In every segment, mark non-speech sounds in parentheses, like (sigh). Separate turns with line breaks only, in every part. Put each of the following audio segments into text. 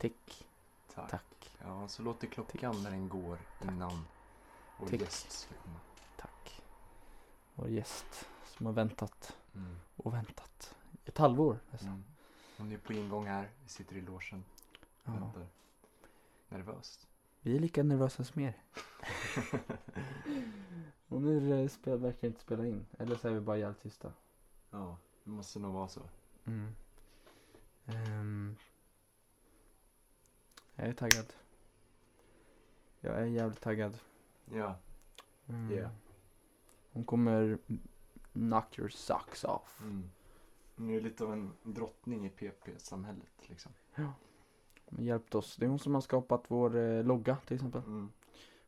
Tick,
Tack.
tack,
Ja, så låter klockan
Tick.
när den går
Tack.
innan vår
Tick.
gäst ska komma.
tack. Vår gäst som har väntat
Mm.
och väntat. Ett halvår nästan.
Mm. Hon är på ingång här, vi sitter i logen
Ja.
väntar. Nervöst.
Vi är lika nervösa
(laughs)
som er. och nu eh, spel, verkar inte spela in. Eller så är vi bara jävligt tysta.
Ja, det måste nog vara så.
Mm. Ehm, jag är taggad. Jag är jävligt taggad.
Ja,
Mm.
Yeah.
Hon kommer knock your socks off.
mm. Hon är lite av en drottning i PP-samhället liksom.
Hon har Hjälpt oss. Det är hon som har skapat vår eh, logga till exempel.
Mm.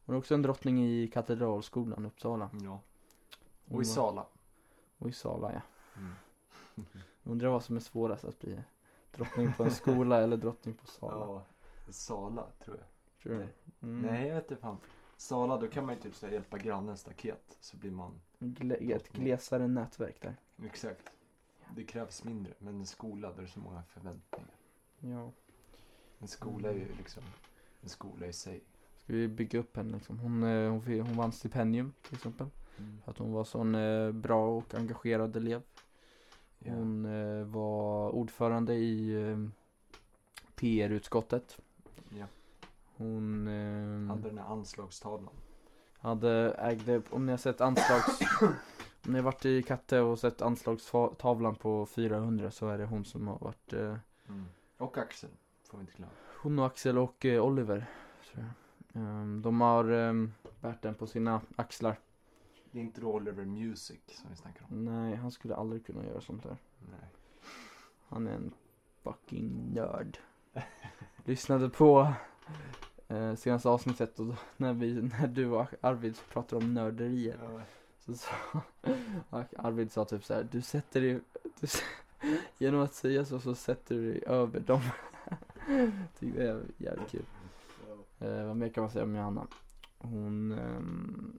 Hon är också en drottning i Katedralskolan i Uppsala.
Ja.
Hon
Och i
var-
Sala.
Och i Sala ja.
Mm.
Undrar vad som är svårast att bli. Drottning på en skola eller drottning på Sala.
Ja, Sala tror jag.
Tror du?
Nej.
Mm.
Nej, jag vet inte fan. Sala, då kan man ju typ så här, hjälpa grannens staket så blir man
Gle- ett glesare nätverk där.
Exakt. Det krävs mindre, men en skola där det är så många förväntningar.
Ja.
En skola är ju liksom en skola i sig.
Ska vi bygga upp henne liksom. Hon, eh, hon, fick, hon vann stipendium till exempel.
Mm.
För att hon var sån eh, bra och engagerad elev.
Ja.
Hon eh, var ordförande i eh, PR-utskottet.
Ja.
Hon eh,
Hade den här anslagstavlan.
hade, ägde, om ni har
(coughs)
sett anslags, om ni har varit i Katte och sett anslagstavlan på 400 så är det hon som har varit, eh,
Mm. Och Axel, får vi inte glömma.
hon och Axel och eh, Oliver. Tror jag. Ehm, de har eh, bärt den på sina axlar.
Det är inte då Oliver Music som vi snackar om.
Nej, han skulle aldrig kunna göra sånt där.
Nej.
Han är en fucking nörd. Lyssnade på eh, senaste avsnittet och då, när, vi, när du och Arvid pratade om nörderier.
Ja.
Så sa, och Arvid sa typ så här, du sätter dig, du, s- (laughs) genom att säga så så sätter du dig över dem. (laughs) Tyckte det var jävligt kul. Eh, vad mer kan man säga om Johanna? Hon, ehm,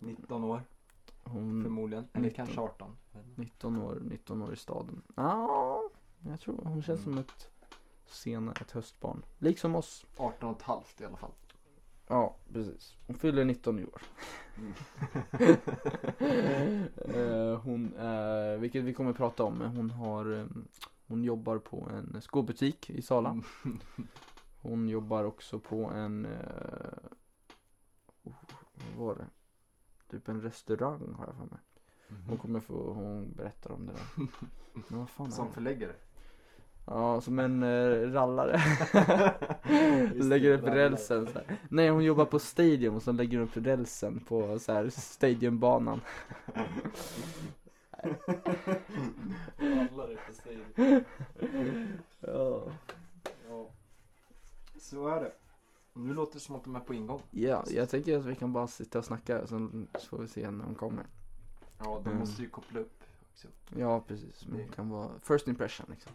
19 år,
hon,
förmodligen. Eller
19.
kanske 18. Men-
19 år, 19 år i staden. Ja, jag tror hon känns som ett senare, ett höstbarn. Liksom oss.
18 och ett halvt i alla fall.
Ja, precis. Hon fyller 19 (laughs) i år.
(laughs) Mm.
Eh, hon, eh, vilket vi kommer att prata om, men hon har, eh, hon jobbar på en skobutik i (laughs) Sala. Hon jobbar också på en, eh, oh, vad var det? Typ en restaurang har jag för mig. Hon kommer få, hon berättar om det (laughs) där. Men vad fan är
Som
det?
förläggare.
Ja, som en eh, rallare.
(laughs) Just
lägger
det,
upp
rallare.
rälsen så här. Nej, hon jobbar på Stadium och sen lägger hon upp rälsen på så här
(laughs)
Stadiumbanan.
Alla rätt säger
Ja,
Ja. Så är det. Nu låter det som att de är på ingång.
jag tänker att vi kan bara sitta och snacka och sen får vi se när hon kommer.
Ja, de
Mm.
måste ju koppla upp. Också.
Ja, precis. Men det kan vara first impression liksom.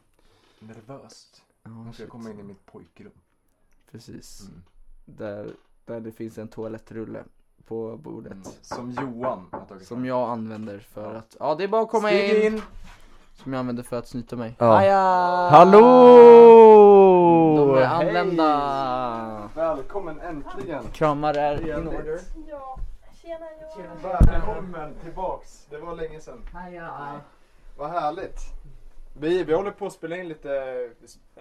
Nervöst.
Ja,
Nu ska jag komma
shit. Mm.
in i mitt pojkrum.
Precis. Där, där det finns en toalettrulle på bordet.
Mm. Som Johan har tagit
Som
fram.
jag använder för att, ja det är bara att komma
Stig
in! Som jag använder för att snyta mig.
Ja.
Aja! De är
Hej!
använda!
Välkommen äntligen!
Kramar är in
Trevligt.
order.
Ja, tjena Johan.
Välkommen tillbaks! Det var länge sedan.
Aja.
Vad härligt! Vi, vi håller på att spela in lite...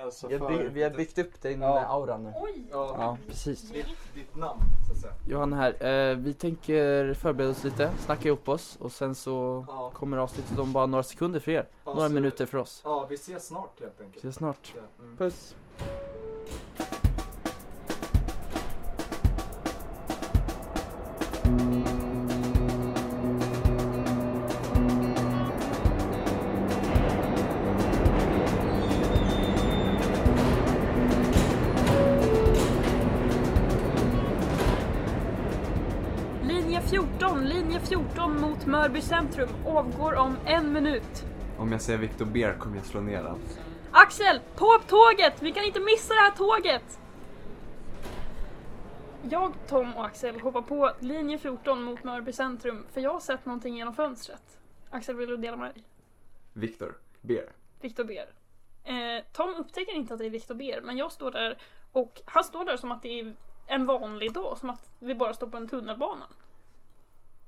Alltså
Jag by- vi har byggt upp din
Ja.
eh, aura nu.
Oj!
Ja,
Ja, precis.
ditt, ditt namn så att säga.
Johan här. Eh, vi tänker förbereda oss lite, snacka ihop oss och sen så
Ja.
kommer avsnittet om bara några sekunder för er. Några
Alltså,
minuter för oss.
Ja, vi ses snart helt enkelt.
Ses snart.
Mm.
Puss.
Linje 14, linje 14 mot Mörby centrum avgår om en minut.
Om jag säger Victor Beer kommer jag slå ner honom.
Axel, på upp tåget! Vi kan inte missa det här tåget! Jag, Tom och Axel hoppar på linje 14 mot Mörby centrum för jag har sett någonting genom fönstret. Axel, vill du dela med dig?
Victor Beer.
Viktor ber. Eh, Tom upptäcker inte att det är Viktor Ber, men jag står där och han står där som att det är en vanlig dag, som att vi bara står på en tunnelbana.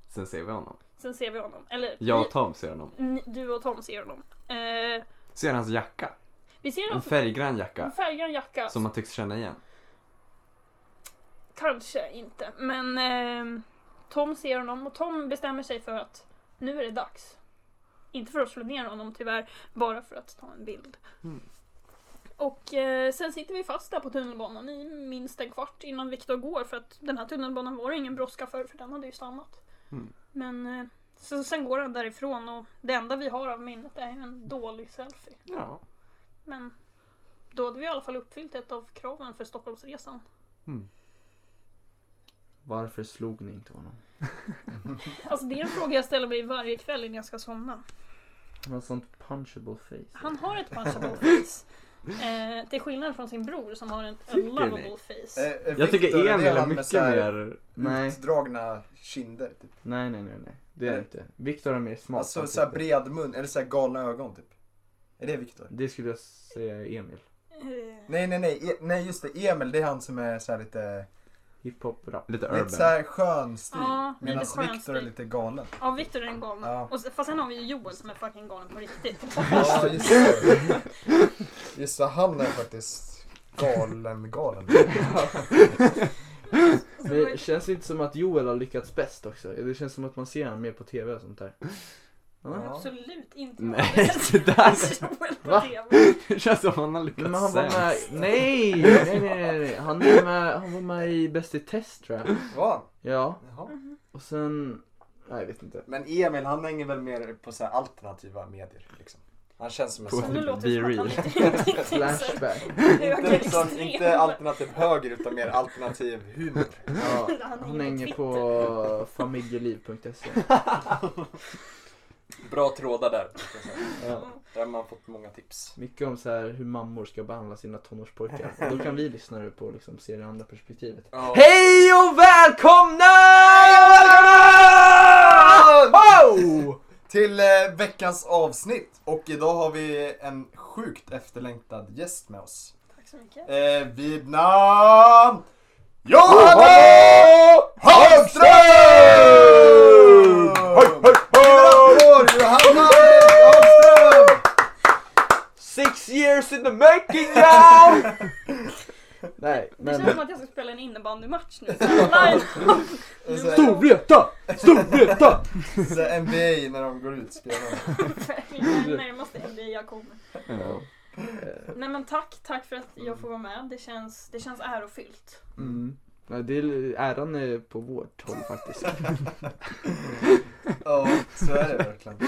Sen ser vi honom.
Sen ser vi honom. Eller
Jag och Tom ser honom.
vi, ni, du och Tom ser honom. Eh,
Ser hans jacka.
vi ser
En
en,
färggrann
en
jacka.
färggrann jacka.
Som man tycks känna igen.
Kanske inte, men ehm, Tom ser honom och Tom bestämmer sig för att nu är det dags. Inte för att slå ner honom tyvärr, bara för att ta en bild.
Mm.
Och eh, sen sitter vi fast där på tunnelbanan i minst en kvart innan Viktor går för att den här tunnelbanan var det ingen brådska för, för den hade ju stannat.
Mm.
Men eh, så, sen går han därifrån och det enda vi har av minnet är ju en dålig selfie.
Ja.
Men då hade vi i alla fall uppfyllt ett av kraven för Stockholmsresan.
Mm.
Varför slog ni inte honom?
(laughs) Alltså det är en fråga jag ställer mig varje kväll innan jag ska somna.
Han har sånt punchable face.
Han har ett punchable face. Eh, till skillnad från sin bror som har ett
Tycker ni?
lovable face.
Eh, eh,
Jag
Victor,
tycker
är det
Emil
han
är
med
mycket
så här
mer...
Nej,
Utdragna kinder typ.
nej, nej, nej, nej. Det är det inte. Viktor har mer smak.
Alltså
faktiskt.
så här bred mun, eller så här galna ögon typ. Är det Viktor?
Det skulle jag säga är Emil.
Eh,
Nej nej nej, e- nej just det, Emil det är han som är så här lite,
Hiphop rap.
Lite
lite så
(laughs)
urban.
här skön stil.
Ja, lite
Medan
skön
Viktor är
stil.
lite galen.
ja, Victor är en galen.
Ja.
Och, s- fast sen har vi ju Joel som är fucking galen på riktigt.
Ja just det. Just det, han är faktiskt galen galen.
Mm,
Men det känns inte som att Joel har lyckats bäst också. Det känns som att man ser honom mer på tv och sånt där.
Ja.
Absolut inte.
Nej,
(laughs)
det där-
(laughs) Joel på
Va?
TV.
Det känns som han har lyckats
Men han var
sämst.
med, nej, nej, nej, nej, nej. Han, är med, han var med i Bäst i test tror jag.
Va?
Ja,
Jaha.
och sen, nej jag vet inte.
Men Emil han hänger väl mer på så här alternativa medier liksom. Han känns som en
På-
Så (laughs) nu
sån.
låter det som att han
Be
inte
(laughs)
riktigt tänker
Flashback.
Inte,
höger
liksom,
extrem.
inte alternativ höger utan mer alternativ humor.
Ja,
Han hänger
han
på
hänger
Twitter.
på familjeliv.se.
(laughs) Bra trådar där. kan jag säga.
Ja.
Där har man fått många tips.
Mycket om så här hur mammor ska behandla sina tonårspojkar. Och Då kan vi lyssnare på liksom se det andra perspektivet.
Ja.
Hej och välkomna! Wow!
Till eh, veckans avsnitt och idag har vi en sjukt efterlängtad gäst med oss.
Tack så mycket.
Eh, vid namn Johanna Hagström! Vår Johanna Hagström!
Six years in the making now! (laughs) Nej,
Det känns
men...
som att jag ska spela en
(laughs)
innebandymatch nu.
(laughs)
Live. (laughs)
Så här,
Storvreta! Storvreta!
så här NBA när de går ut spelarna.
Det närmaste NBA jag kommer.
Ja.
Nej men tack, tack för att jag får vara med. Det känns, det känns ärofyllt.
Mm. Nej, det är, äran är på vårt håll (laughs) faktiskt.
Ja, så är det verkligen.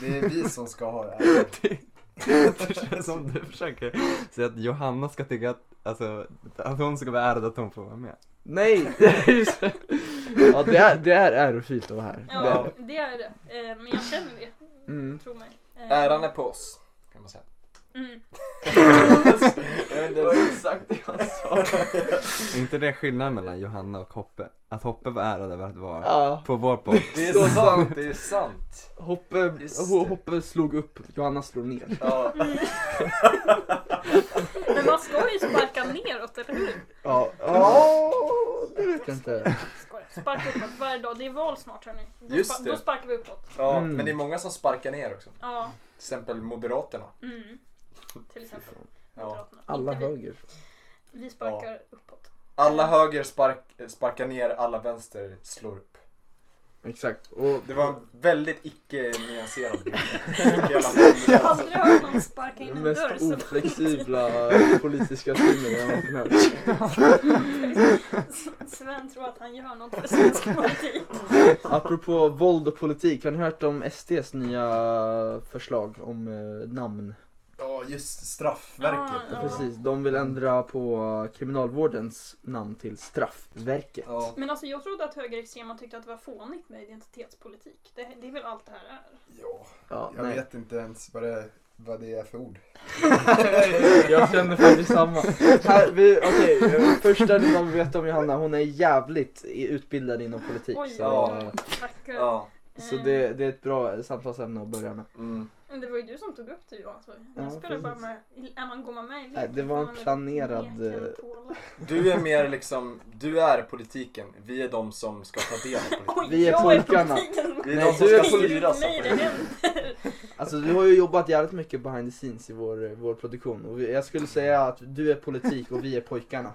Det är vi som ska ha det här.
(laughs) Det känns som du försöker säga att Johanna ska tycka att, alltså, att hon ska vara ärad att hon får vara med.
(laughs) Nej! det är ju så- ja, det är, det är ärofyllt att vara här. Det är
Ja,
det.
det är det. Eh, Men jag känner det,
Mm.
tro mig. Eh,
Äran är på oss, kan man säga.
Mm.
Det var
exakt det jag sa.
Är inte det skillnaden mellan Johanna och Hoppe? Att Hoppe var ärad över att vara
Ja,
på vår podd.
Det är
Så
sant, det är sant.
Hoppe,
Just
Ho-
det.
Hoppe slog upp, Johanna slog (laughs) ner.
Ja.
Men man ska ju sparka neråt, eller hur?
Ja, ja det vet jag inte.
Skojar. Sparka uppåt varje dag. Det är val snart hörni. Då,
Just
spa-
det.
då sparkar vi uppåt.
Ja,
Mm.
men det är många som sparkar ner också. Till
Ja.
exempel Moderaterna.
Mm. Till exempel
Ja.
Moderaterna.
Alla
Inte vi.
höger.
Vi sparkar
(laughs)
uppåt.
Alla höger spark, sparkar ner, alla vänster slår upp.
Exakt. Och
Det var en väldigt icke-nyanserad bild.
(laughs) Jag har aldrig hört någon sparka in
den
en dörr.
mest
Så,
oflexibla politiska styrningen jag någonsin hört.
(laughs) Sven tror att han gör något för svensk politik.
Apropå våld och politik, har ni hört om SDs nya förslag om eh, namn?
Ja, just straffverket.
Ja.
Precis, de vill ändra på kriminalvårdens namn till Straffverket.
Ja,
Men alltså jag trodde att högerextrema tyckte att det var fånigt med identitetspolitik. Det, det är väl allt det här är.
ja.
Ja,
Jag vet inte ens vad det, vad det är för ord.
(laughs) Jag känner faktiskt samma. Här, vi, okej, eh, första ni behöver veta om Johanna, hon är jävligt i- utbildad inom politik.
Oj,
så
ja.
tackar. Mm.
Ja.
så det, det är ett bra samtalsämne att börja med.
Mm.
Men Det var ju du som tog upp det Johan. Så jag
Ja,
spelar bara
precis.
med, är man, går man med i
Nej,
leken
det var
får
en
man
planerad,
leka en
eh,
påle.
Du är mer liksom, du är politiken. Vi är de som ska ta del av politiken.
Oj,
eh, vi är
jag
pojkarna.
politiken.
Vi är
Nej,
de som
du är
ska
poli-
styras av
Nej, det
politiken.
(laughs)
händer.
Alltså du har ju jobbat jävligt mycket behind the scenes i vår, eh, vår produktion och vi- jag skulle säga att du är politik och vi är pojkarna.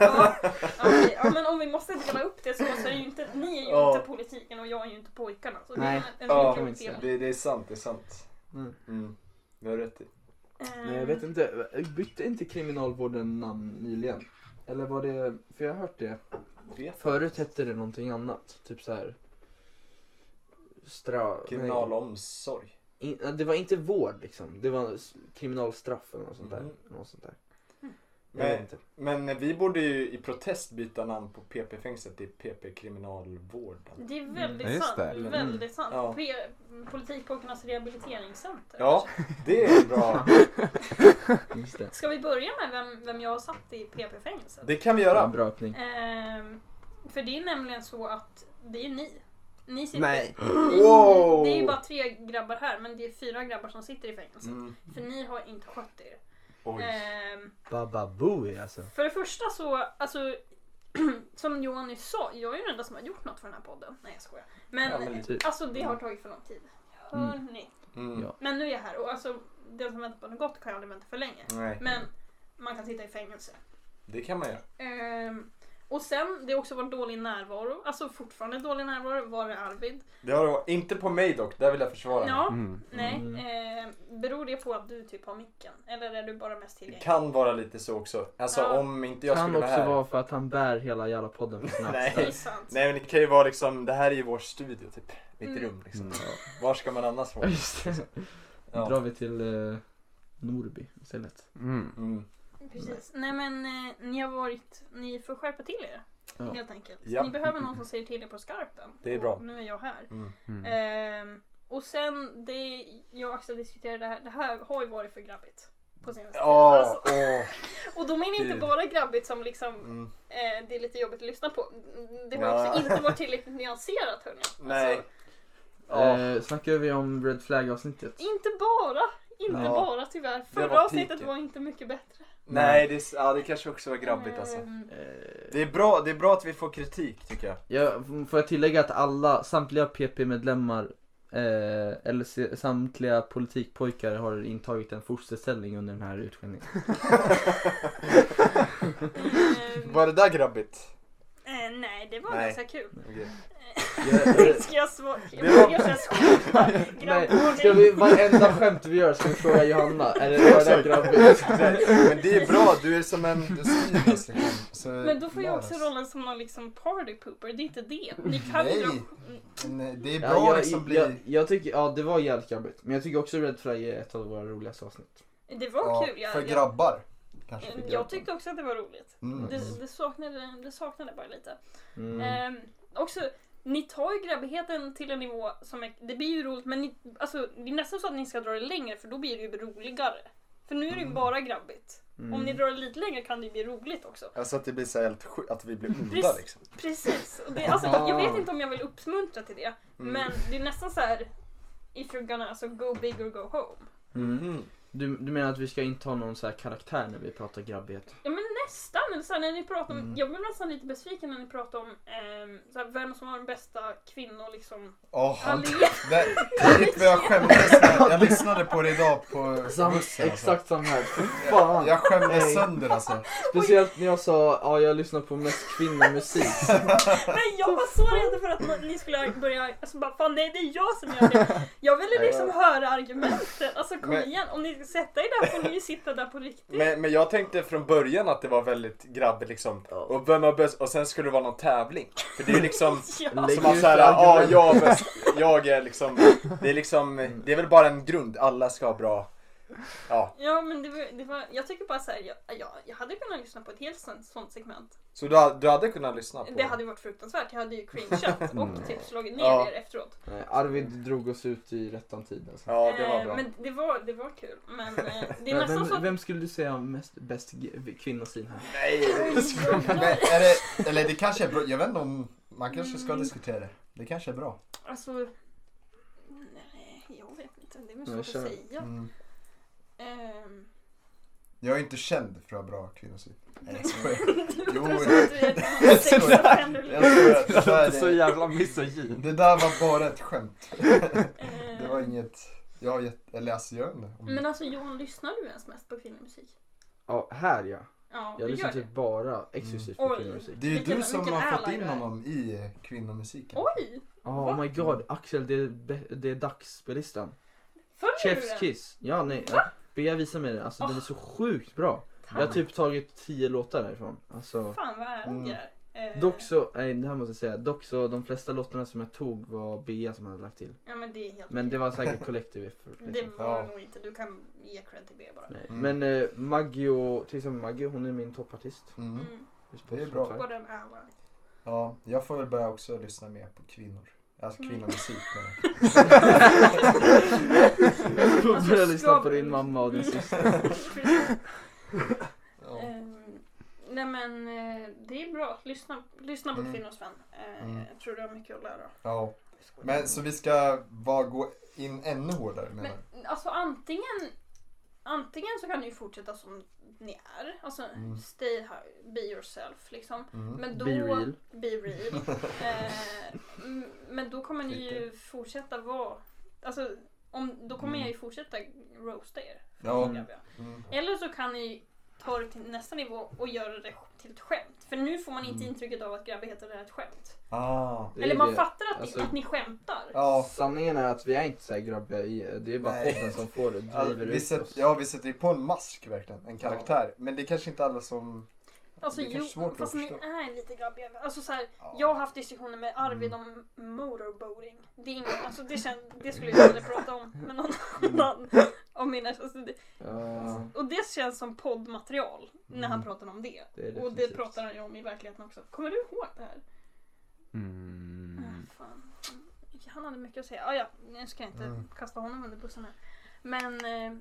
Ja, okej. ja, men om vi måste dela upp det så, så är det ju inte, ni är ju
Ja.
inte politiken och jag är ju inte pojkarna. Så
Nej,
det är en, en
Ja,
lika
kan vi inte
uppdelning.
Det, det är sant, det är sant.
Mm.
Mm. Du har rätt i.
Ehm, Mm.
Men jag vet inte, bytte inte kriminalvården namn nyligen? Eller var det, för jag har hört det.
Vet.
Förut hette det någonting annat, typ så här. Stra... nej.
Kriminalomsorg.
In, det var inte vård liksom, det var s- kriminalstraff eller något sånt där.
Mhm.
Något sånt där. Jag vet
Men,
inte.
men vi borde ju i protest byta namn på PP-fängelset till PP-kriminalvården.
Det är väldigt
Ja, just
sant.
Mm. det.
Väldigt sant.
Ja.
Re- Politikpojkarnas rehabiliteringscenter.
Ja, det är bra.
Just det.
Ska vi börja med vem, vem jag satt i PP-fängelset?
Det kan vi
Ja,
göra.
bra öppning.
Ehm, för det är nämligen så att det är ni. Ni sitter,
Nej.
Ni,
Wow.
Det är ju bara tre grabbar här men det är fyra grabbar som sitter i fängelse.
Mm.
För ni har inte skött er.
Oj.
Ehm,
Bababooey alltså.
för det första så, alltså (clears throat) som Johan nyss sa, jag är ju den enda som har gjort något för den här podden. Nej jag skojar. Men,
Ja, men lite.
alltså det har tagit för lång tid.
Mm.
Hörni.
Mm.
Ja.
Men nu är jag här och alltså den som väntar på något gott kan aldrig vänta för länge.
Nej,
Men man kan sitta i fängelse.
det kan man göra.
Ehm, och sen, det har också varit dålig närvaro. Alltså fortfarande dålig närvaro. Var är Arvid?
Det har det varit. Inte på mig dock, där vill jag försvara mig.
Ja,
Mm.
nej.
Mm.
Ehm, beror det på att du typ har micken? Eller är du bara mest
Det
tillgänglig?
kan vara lite så också. Alltså
Ja.
om inte jag
kan
skulle
också
vara här.
vara för att han bär hela jävla podden för (laughs) snabbt.
Nej.
Det är sant.
Nej men det kan ju vara liksom, det här är ju vår studio typ. Mitt
Mm.
rum liksom.
Mm.
Var ska man annars
Ja,
vara?
Just det.
Ja.
drar vi till eh, Norby istället.
Mm.
Mm.
Precis. Nej men eh, ni har varit, ni får skärpa till er.
Ja.
Helt enkelt.
Ja.
Ni behöver någon som säger till er på skarpen.
Det är
Och
bra.
Nu är jag här.
Mm.
Mm.
Ehm, och sen, det jag och Axel diskuterade det här, det här har ju varit för grabbigt. På senaste tiden.
Ja,
Alltså,
åh.
och då menar jag inte
Gud.
bara grabbigt som liksom,
Mm.
eh, det är lite jobbigt att lyssna på. Det har
Ja.
också inte varit tillräckligt nyanserat hörni.
Nej.
Alltså,
Ja.
Eh, snackar vi om Red Flag avsnittet?
inte bara, inte
Ja.
bara tyvärr. Förra
typ
var
avsnittet
peaken.
var inte mycket bättre.
Nej, det, är- ja, det kanske också var grabbigt alltså.
(laughs)
Ehm,
Eh,
Det är, bra, det är bra att vi får kritik tycker
(laughs)
jag.
jag, får jag tillägga att alla, samtliga PP-medlemmar eh, eller se- samtliga politikpojkar har intagit en fosterställning under den här (laughs) utskällningen.
ehm,
Var det där grabbigt?
eh, nej, det var
Nej.
ganska kul.
Okej.
(laughs) Ska jag svara? Jag
Det var-
vågar inte svara. Grabbordning.
ska vi, varenda skämt vi gör ska vi fråga Johanna, är det var det
(laughs)
där grabbigt?
Men det är bra, du är som en du styr oss liksom. Så
Men då får jag
lär
också
oss.
rollen som någon liksom party pooper. Det är inte det. Ni kan
Nej.
ju dra...
Men Det är bra
Ja, jag,
liksom bli...
jag, jag tycker, ja det var jävligt grabbigt. Men jag tycker också Red Flag är ett av våra roligaste avsnitt.
Det var kul.
för
Jag, jag,
grabbar. Kanske.
grabbar.
jag tyckte också att det var roligt.
Mm.
Det, det, saknade, det saknade bara lite.
Mm.
Ehm, också, ni tar ju grabbigheten till en nivå som är, det blir ju roligt men ni, alltså, det är nästan så att ni ska dra det längre för då blir det ju roligare. För nu är det ju bara grabbigt. Om ni
Mm.
drar det lite längre kan det ju bli roligt också.
Alltså att det blir så här helt sjukt, att vi blir onda
Precis.
liksom.
Precis. Och det, alltså, jag vet inte om jag vill uppmuntra till det
Mm.
men det är nästan så här if you're gonna alltså, go big or go home.
Mm.
Mm.
Du, du menar att vi ska inta någon så här karaktär när vi pratar grabbighet?
Ja men nästan. Eller Så här, när ni pratar om,
Mm.
Jag blev nästan lite besviken när ni pratade om ehm, så här, vem som har den bästa kvinnor liksom.
Åh, han-
Allé.
det, det gick vad jag skämdes när, jag lyssnade på det idag på
Sam,
bussen
exakt samma här, Fy
alltså.
fan!
Jag skämdes
Nej.
sönder alltså.
Speciellt när jag sa ja jag lyssnar på mest kvinnomusik.
Nej jag var så rädd för att man- ni skulle börja, alltså bara fan nej det är jag som gör det. Jag ville liksom höra argumenten. Alltså kom
Men-
igen, om ni sätter er där får ni ju sitta där på riktigt.
Men, men jag tänkte från början att det var väldigt grabbigt liksom. Och vem har bäst? Och sen skulle det vara någon tävling. För det är liksom
(laughs) Ja.
Lägg
som att
ut
såhär, ja
argument.
ah, jag är bäst. Jag är liksom, det är liksom, det är väl bara en grund. Alla ska ha bra, ja.
Ja men det var, det var, jag tycker bara såhär, jag, jag, jag hade kunnat lyssna på ett helt sånt, sånt segment.
Så du, ha- du hade kunnat lyssna på Mm.
Det hade ju varit fruktansvärt, jag hade
(laughs)
ju cringeat och typ slagit ner
Ja.
er efteråt.
Nej, Arvid drog oss ut i rättan tid alltså.
Ja, det var
Eh,
bra.
Men det var, det var kul.
(laughs)
Men eh, det är
Men
nästan så
Vem,
att...
vem skulle du säga har mest bäst g- kvinnosyn här?
Nej, det ska-
(laughs) Oj, oj, oj.
men är det, eller det kanske är bra, jag vet inte om,
Mm.
man kanske ska diskutera det. Det kanske är bra.
Alltså... Nej, jag vet inte. inte. Det är väl
Nej,
svårt
kör.
att säga.
Mm.
Ehm,
Jag är inte känd för att ha bra
(laughs)
kvinnosyn. Nej, jag skojar.
det
Jo.
låter som att du är ett sex av fem, du
Jag
(laughs)
skojar.
Det låter
Det,
så
där är,
jävla misogyn.
det där var bara ett skämt. Det var
Ehm,
inget... Jag har gett... Eller alltså, jag vet inte. om-
Men alltså Johan, lyssnar du ens mest på kvinnlig musik?
Ja, här ja.
Ja,
Jag
du
lyssnar
gör
typ
det.
bara exklusivt
Mm.
på
Oj.
kvinnomusik.
Det är ju
Vilken-
du som
vilken
har fått
ally
in
du är.
honom i kvinnomusiken.
Oj!
Ja, oh my god, Axel det är, be- det är dags på listan.
Följer du
Chef's
den?
kiss. Ja, nej. Bea visa mig den, alltså den är så sjukt bra. Jag har
Tack.
typ tagit 10 låtar därifrån. Alltså,
Fan vad ärad jag är. Ehm,
dock så, nej det här måste jag säga, dock så de flesta låtarna som jag tog var Bea som hade lagt till.
Ja men det är helt
Men det var
(laughs)
säkert collective effort. Liksom.
Det var
Ja.
nog inte. Du kan ge cred till B bara.
Nej.
Mm.
Men eh, Maggio, till exempel Maggio, hon är min toppartist.
Mm.
Mm.
just
Det är
på
bra.
Spotify.
Både en ally.
Ja, jag får väl börja också lyssna mer på kvinnor. Alltså
Mm.
kvinnomusik.
Jag får
Alltså,
börja
ska
lyssna på
vi-
din mamma och din syster.
Men, ja.
Ehm, Nej men eh, det är bra. Lyssna, lyssna på
Mm.
kvinnor Sven. Eh,
Mm.
Jag tror du har mycket att lära.
ja. Men så vi ska bara gå in ännu hårdare menar du?
Men alltså antingen Antingen så kan ni ju fortsätta som ni är. Alltså
Mm.
stay high, be yourself liksom.
Mm.
Men då,
Be real.
(laughs)
Be real. eh, m- men då kommer ni ju fortsätta vara, alltså om, då kommer
Mm.
jag ju fortsätta roasta er.
Ja.
grabbar.
(laughs) Mm.
Eller så kan ni ta det till nästa nivå och göra det till ett skämt. För nu får man inte
Mm.
intrycket av att grabbar heter det här ett skämt.
Ah.
Det är
Eller man
det.
fattar att,
Alltså-
ni, att ni skämtar.
Ja.
Sanningen är att vi är inte så här grabbiga i det är bara
Nej.
podden som får det, driver
Alltså,
ut
vi sätter,
oss.
ja, vi sätter ju på en mask verkligen, en karaktär. Men det är kanske inte alla som...
Alltså
det är
jo,
kanske svårt att
fast ni
förstå.
är lite grabbiga. Alltså så här,
Ja.
jag har haft diskussioner med Arvid
Mm.
om motorboating. Det är inget, alltså det, kän, det skulle jag aldrig prata om med någon
Mm.
annan. Om mina, alltså det,
Ja,
och det känns som poddmaterial när han
Mm.
pratar om det.
det är
Och det
definitivt.
pratar han ju om i verkligheten också. Kommer du ihåg det här?
Mm.
Ah, fan. Han hade mycket att säga. Ah, ja, nu ska jag inte
Mm.
kasta honom under bussen här. Men eh,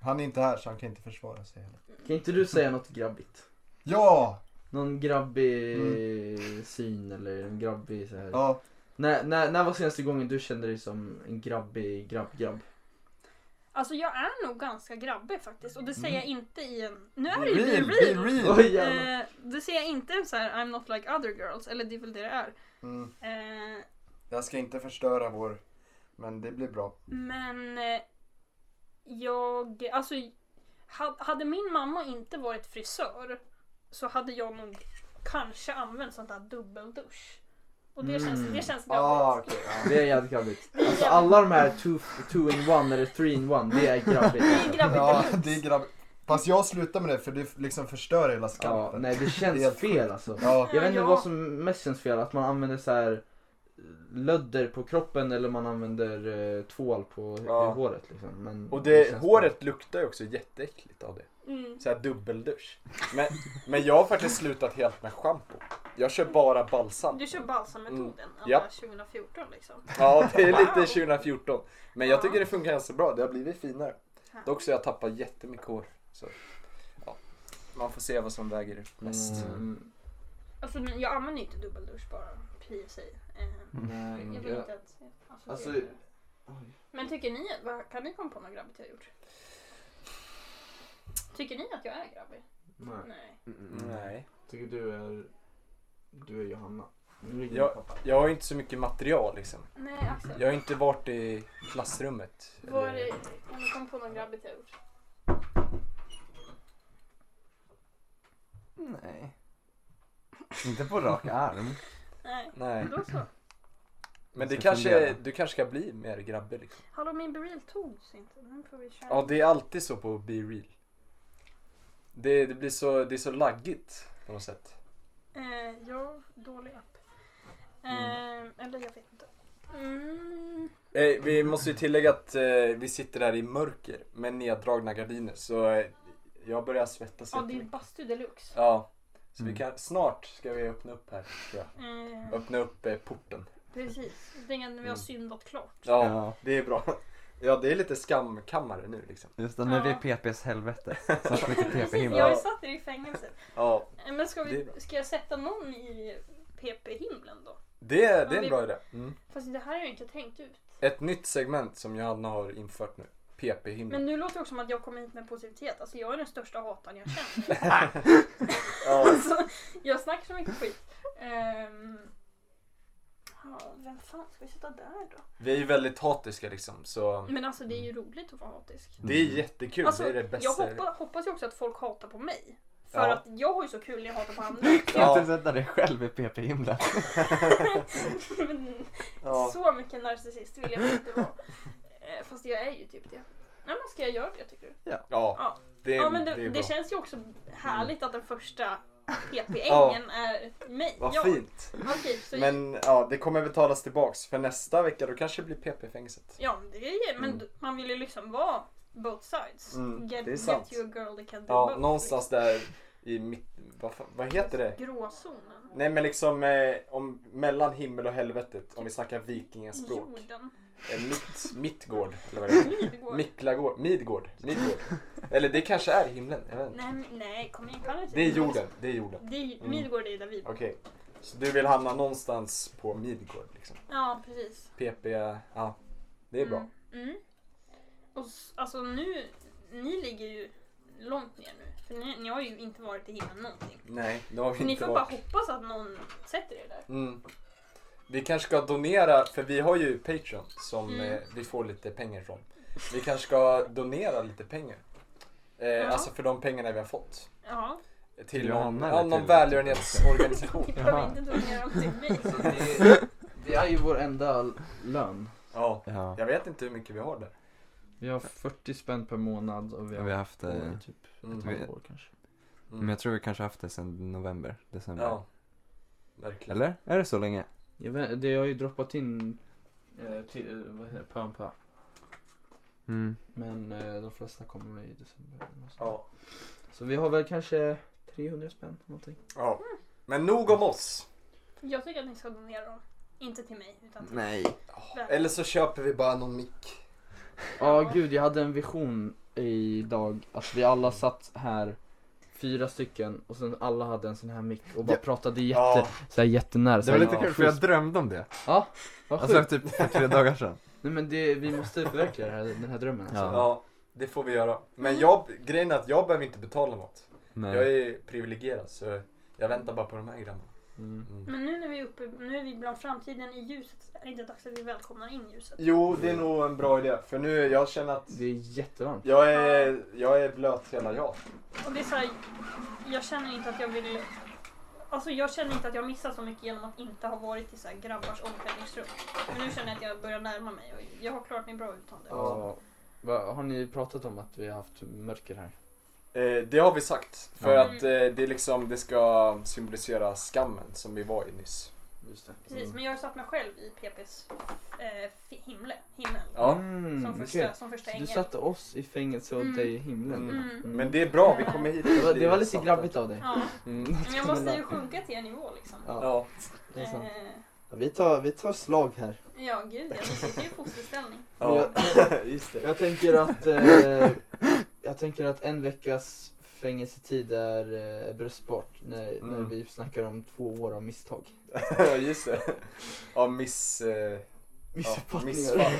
Han är inte här så han kan inte försvara sig heller.
Kan inte du säga något grabbigt?
Ja!
Någon grabbig syn eller en grabbig så här.
Mm. Ja.
När, när, när var senaste gången du kände dig som en grabbig grabb-grabb?
alltså jag är nog ganska grabbig faktiskt. Och det säger jag inte i en... Nu är det ju
Real,
real!
Mm. be
real.
real!
Oj jävlar.
Eh, det säger jag inte en så här I'm not like other girls. Eller det är väl det det är.
Mm.
Eh,
Jag ska inte förstöra vår... Men det blir bra.
men eh, jag... Alltså ha- hade min mamma inte varit frisör så hade jag nog kanske använt sånt där dubbeldusch. Och det känns,
Mm.
det känns grabbigt.
Ah, okej. ja.
Det är jävligt grabbigt. Alltså alla de här two, two in one eller three in one, det
(laughs)
är grabbigt.
Det är grabbigt
Ja,
deluxe.
det är grabbigt. Fast jag slutar med det för det liksom förstör hela
Ja,
skalpen.
nej det
Det är
känns
helt
fel alltså.
Ja,
Jag vet inte
Ja.
vad som mest känns fel, att man använder så här eh, lödder på kroppen eller man använder eh, tvål på
Ja.
håret liksom. Men
Och det,
känns
håret luktar ju också jätteäckligt av det.
Mm.
Såhär dubbeldusch. Men, men jag har faktiskt slutat helt med schampo. Jag kör bara balsam.
Du kör balsammetoden
Mm.
alla
Japp.
2014 liksom.
Ja, det är lite
Wow.
2014. Men jag tycker det funkar ganska bra. Det har blivit finare. Dock så har jag tappat jättemycket hår. Så, ja. Man får se vad som väger mest.
Mm,
Alltså men jag använder ju inte dubbeldusch bara PSI. Eh, Jag
nej,
vill
jag,
inte att associera
Mm, Alltså-
det. Men tycker ni, vad- kan ni komma på något grabbigt jag har gjort? Tycker ni att jag är grabbig?
nej.
Nej.
Mm. Nej.
Tycker du är, du är Johanna. Nu ringer
Ja.
min pappa.
Jag har ju inte så mycket material liksom.
Nej Axel.
Jag har ju inte varit i klassrummet.
Vad är
eller-
det, kan du komma på något grabbigt jag har gjort?
Nej. Inte på rak arm.
Nej.
Nej.
Då så.
Men det
Jag ska
kanske,
fundera.
du kanske ska bli mer grabbig liksom.
Hallå min beril togs inte. Nu får vi köra.
Ja, det är alltid så på Be Real. Det, det blir så, det är så laggigt på något sätt.
Eh, ja, dålig app. Eh, Eller jag vet inte. Mm.
Eh, vi måste ju tillägga att eh, vi sitter där i mörker med neddragna gardiner så eh, jag börjar svettas
Ja, det är
jättemycket.
bastu deluxe.
Ja, så
Mm.
vi kan, snart ska vi öppna upp här tror jag.
Eh,
Öppna upp eh, porten.
precis, det är när vi har
Mm.
syndat klart.
Ja,
Ja.
det är bra. (laughs) Ja, det är lite skamkammare nu liksom.
Just det, nu är vi i
Ja.
PPs (laughs) helvete. Så att vi inte PP
precis,
himla.
jag har ju satt er i fängelse.
Ja,
Eh, Men ska,
Det är bra.
vi, ska jag sätta någon i PP-himlen då?
Det, är- det
Ja,
är en
vi-
bra idé. Mm.
Fast det här har jag inte tänkt ut.
Ett nytt segment som Johanna har infört nu. PP-himlen.
Men nu låter det också som att jag kommer hit med positivitet. Alltså jag är den största hataren jag känner.
(laughs) Ja.
alltså, jag snackar så mycket skit. Ehm, ja, vem fan ska vi sätta där då?
Vi är ju väldigt hatiska liksom så
Men alltså det är ju roligt att vara hatisk.
det är jättekul.
Alltså,
det Mm. är det
jag
bästa.
hoppas, hoppas ju också att folk hatar på mig. För
Ja.
att jag har ju så kul när jag hatar på andra.
Kan
(laughs) Ja.
du inte sätta dig själv i PP-himlen?
(laughs) Men
Ja.
Så mycket narcissist vill jag inte vara. Eh, Fast jag är ju typ det. Nej men ska jag göra det tycker du?
Ja,
Ja.
det,
ja men
det,
det,
är
det,
bra.
känns ju också härligt att den första
Ja.
PP-ängen är mig.
Vad
jag.
fint.
Okej, så
Men ja, det kommer betalas tillbaks för nästa vecka då kanske det blir PP-fängelset.
Ja, men det är, men
Mm.
d- man vill ju liksom vara both sides.
Mm,
get,
det är sant.
get you a girl that can do
Ja,
both. liksom.
någonstans där i mitt... Vad, fan- vad heter det?
Gråzonen.
Nej men liksom eh, om, mellan himmel och helvetet om vi snackar vikingaspråk.
Jorden.
Eh, mitt, mittgård eller vad det heter.
Midgård.
Miklagård, Midgård, Midgård. Eller det kanske är himlen, jag vet inte.
nej, men- nej, kom igen. Kan du inte-
Det är jorden, det är jorden.
Det är,
Mm.
Midgård är där vi bor.
Okej. Så du vill hamna någonstans på Midgård liksom?
Ja, precis.
PP, ja. Det är bra.
Mm. Mm. Och s- alltså nu, ni ligger ju långt ner nu. För ni, ni har ju inte varit i himlen någonting.
Nej, det har vi
Så ni
inte
får
varit.
bara hoppas att någon sätter er där.
Mm. Vi kanske ska donera, för vi har ju Patreon som
Mm.
eh, vi får lite pengar från. Vi kanske ska donera lite pengar. Eh, Alltså för de pengarna vi har fått.
Ja,
Till någon,
Johanna
ja,
eller
någon
till-
välgörenhetsorganisation.
(laughs) ni behöver inte donera dem till mig.
(laughs) Det, det är ju vår enda lön.
(laughs) ja,
Ja.
jag vet inte hur mycket vi har där.
Vi har 40 spänn per månad och vi
Vi
har
har haft det,
på i
mm.
typ ett
Mm.
halvår kanske.
men jag tror vi kanske haft det sedan november, december.
Ja, verkligen.
Eller? Är det så länge?
Jag vet, det har ju droppat in eh, till, eh, vad heter det, pö om pö.
Mm.
Men eh, de flesta kommer i december. eller nåt sånt.
Ja.
Så vi har väl kanske 300 spänn någonting.
ja. Men nog om oss.
Jag tycker att ni ska donera dem. Inte till mig, utan till
Nej.
världen.
Eller så köper vi bara någon mick.
Ja gud, jag hade en vision idag att vi alla satt här Fyra stycken och sen alla hade en sån här mick och bara pratade jätte,
Ja.
så här jättenära
Det
så
var
här,
lite
ja,
kul för jag
schysst.
drömde om det.
Ja, vad
Alltså
sjukt
typ för (laughs) tre dagar sedan.
Nej men det, vi måste förverkliga det här, den här drömmen alltså.
Ja.
Ja, det får vi göra. Men jag, grejen är att jag behöver inte betala något. Jag
Nej.
är privilegierad så jag väntar bara på de här grabbarna.
Mm.
Mm.
Men nu när vi är uppe, nu är vi bland framtiden i ljuset. Är det inte dags att vi välkomnar in ljuset?
Jo, det är nog en bra idé. För nu, jag känner att
Det är jättevarmt.
jag är, jag är blöt hela jag.
Och det är så här, jag känner inte att jag vill... Alltså jag känner inte att jag missar så mycket genom att inte ha varit i så här grabbars omklädningsrum. Men nu känner jag att jag börjar närma mig och jag har klarat mig bra utan det.
Ja. Va, har ni pratat om att vi har haft mörker här?
Eh, det har vi sagt. För
Ja.
att eh, det, är liksom, det ska symbolisera skammen som vi var i nyss.
Just
Precis, men jag har satt mig själv i PPs eh, fi- himle, himmel.
Ja.
Mm,
Som första,
okej.
som första
Så Du
ängel.
satte oss i fängelse och
Mm.
dig i himlen.
Mm.
Mm.
Men det är bra, vi kommer hit.
Det var, det var lite
sant.
grabbigt av (laughs) dig.
Ja,
Mm.
men jag måste ju sjunka till er nivå liksom.
Ja,
Ja.
det är sant.
Eh,
Vi tar, vi tar slag här.
ja gud ja, ni sitter ju i
(laughs)
fosterställning.
ja. Just det.
Jag tänker
(laughs)
att, eh, jag tänker att en veckas fängelsetid är eh, bröstbart när, när
Mm.
vi snackar om två år av misstag.
Ja, just det. Ja, miss... Eh, ja,
Missuppfattningar.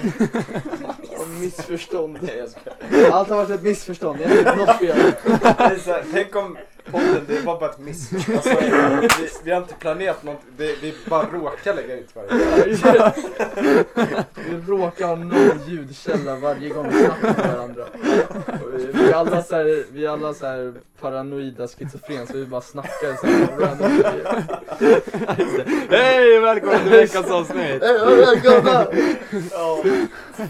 missfall. (laughs)
(laughs) och missförstånd.
Nej, jag skojar.
Allt har varit ett missförstånd, jag har gjort något
(laughs)
fel.
Det är så här, Tänk om podden, det var bara ett miss. Alltså, vi, vi har inte planerat något, det, vi bara råkar lägga ut varje
Vi råkar ha noll ljudkälla varje gång vi snackar med varandra. Och vi- Vi är alla så här, vi är alla så här paranoida schizofren så vi bara snackar så här random grejer.
Hej välkommen till veckans
Eh,
avsnitt!
Ja,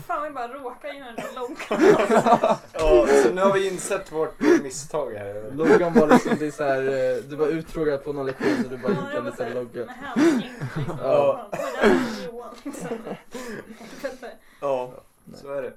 Fan vi bara råkar göra en lång
(laughs) ja, så nu har vi insett vårt misstag här.
Loggan var liksom, det är så här, eh, du var uttråkad på någon lektion så du bara gick en liten logga.
Med hänsyn. liksom.
Ja.
Fan, oj, där var Johan, liksom. Vänta.
Ja, så är det.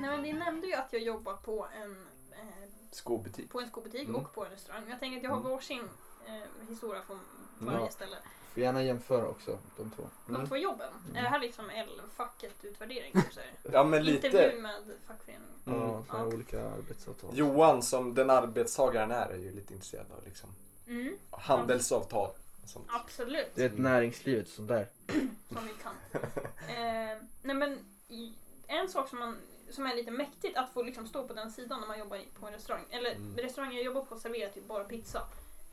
Nej men ni nämnde ju att jag jobbar på en, eh,
Skobutik.
på en skobutik
Mm.
och på en restaurang. Jag tänker att jag har
Mm.
varsin eh, historia från varje
Ja.
ställe.
Får gärna jämföra också, de två.
De
Mm.
två jobben. Är det här liksom L-facket
(laughs)
utvärdering? Typ så här?
Ja men lite.
Intervju med fackföreningen.
Mm.
Ja, så här
Ja.
olika arbetsavtal.
Johan som den arbetstagaren är är ju lite intresserad av liksom
Mm,
handelsavtal. och Sånt.
absolut.
Det är ett näringslivet sånt där.
Som vi kan.
(laughs)
Eh, nej men i- en sak som, man, som är lite mäktigt att få liksom stå på den sidan när man jobbar i- på en restaurang. Eller
Mm.
restaurangen jag jobbar på serverar typ bara pizza.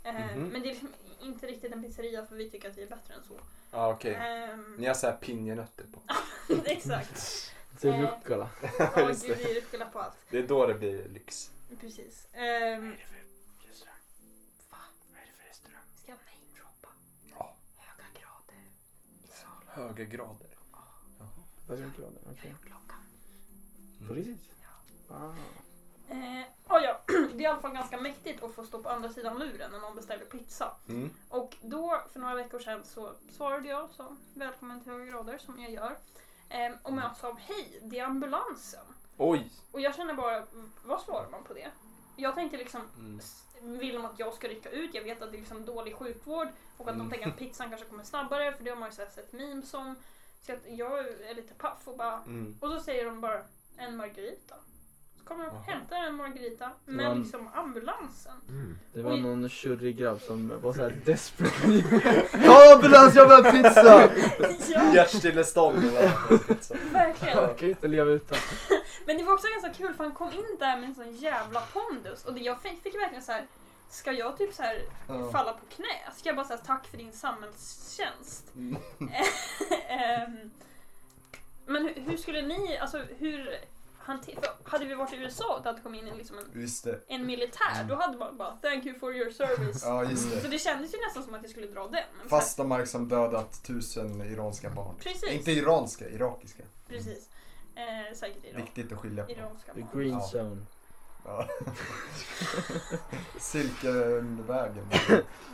Eh,
Mhm.
Men det är liksom inte riktigt en pizzeria för vi tycker att vi är bättre än så.
Ja okej.
Ehm,
Ni har såhär pinjenötter på.
(laughs)
(laughs)
exakt.
Till
Eh.
Rucola.
Ja,
Just
gud, vi rucklar på allt.
Det är då det blir lyx.
Precis. Ehm,
Vad är det för restaurang?
ska jag namedroppa?
Ja.
Höga grader i salen.
Höga grader.
Okej.
Klockan.
På riktigt? Ah.
Eh, ja, ja. (clears throat) Det är i alla fall ganska mäktigt att få stå på andra sidan luren när någon beställer pizza.
Mm.
Och då, för några veckor sedan, så svarade jag så välkommen till höga grader som jag gör. Ehm, och möts av hej, det är ambulansen.
Oj!
Och jag känner bara, vad svarar man på det? Jag tänkte liksom,
Mm.
s- vill de att jag ska rycka ut? Jag vet att det är liksom dålig sjukvård och att de
Mm.
tänker att pizzan kanske kommer snabbare för det har man ju så här sett memes om. Så att jag är lite paff och bara,
Mm.
och så säger de bara en margarita. Så kommer de
Jaha.
och hämtar en margarita med
Mm.
liksom ambulansen.
Det var
Oj.
någon tjurig grabb som var såhär desperate. (laughs) Ja, ambulans, jag behöver pizza!
(laughs) ja,
Hjärtstillestånd.
(laughs)
det var pizza.
verkligen.
Jag kan ju inte leva utan.
Men det var också ganska kul för han kom in där med en sån jävla pondus och det jag fick, fick verkligen så här. Ska jag typ så här
Ja.
falla på knä? Ska jag bara säga tack för
(laughs)
din samhällstjänst? (laughs)
Mm.
Ehm, Men hur, hur skulle ni, alltså hur hanter- för Hade vi varit i USA och det hade kommit in en, liksom en,
Just det.
en militär, då hade man bara thank you for your service.
Ja, just
Mm.
det.
Så det kändes ju nästan som att jag skulle dra den. Men så här-
Fasta mark som dödat tusen iranska barn.
Precis.
Inte iranska, irakiska.
Precis. Eh, säkert Iran.
Viktigt att skilja på.
Iranska
The
barn.
green
Ja.
zone.
Ja. Silkenvägen.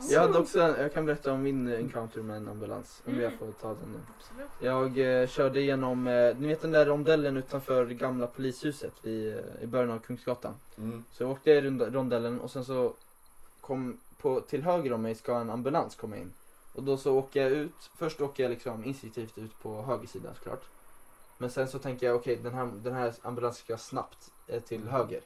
Jag hade också, en- jag kan berätta om min encounter med en ambulans. Om jag
Mm.
får ta den nu.
Absolut.
Jag eh, körde igenom, eh, ni vet den där rondellen utanför gamla polishuset vid, eh, i början av Kungsgatan.
Mm.
Så jag åkte i rond- rondellen och sen så kom på, till höger om mig ska en ambulans komma in. Och då så åker jag ut, först åker jag liksom instinktivt ut på höger sida såklart. Men sen så tänker jag okej den, här, den här ambulansen ska snabbt eh, till höger.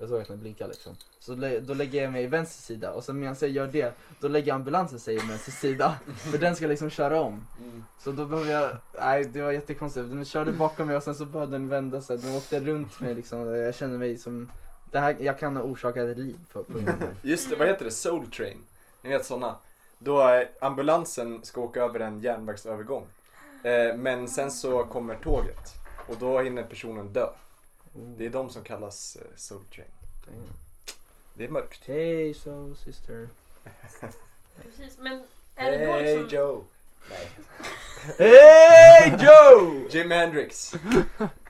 Jag såg att den blinkade liksom. Så lä- då lägger jag mig i vänster sida och sen medan jag gör det, då lägger ambulansen sig i vänster sida. För den ska liksom köra om.
Mm.
Så då behövde jag, nej det var jättekonstigt. Den körde bakom mig och sen så började den vända sig. Den åkte runt mig liksom. Jag kände mig som, det här, jag kan ha orsakat ett liv för på grund av
(laughs)
det här.
Just det, vad heter det? Soul Train. Ni vet såna. Då är ambulansen ska åka över en järnvägsövergång. Eh, men sen så kommer tåget. Och då hinner personen dö. Det är de som kallas eh, Soul Train.
Oh, Damn.
Det är mörkt.
Hey so sister.
Precis. Men är det då
Hey
liksom...
Joe! Nej.
(laughs) Hey Joe!
Jim Hendrix.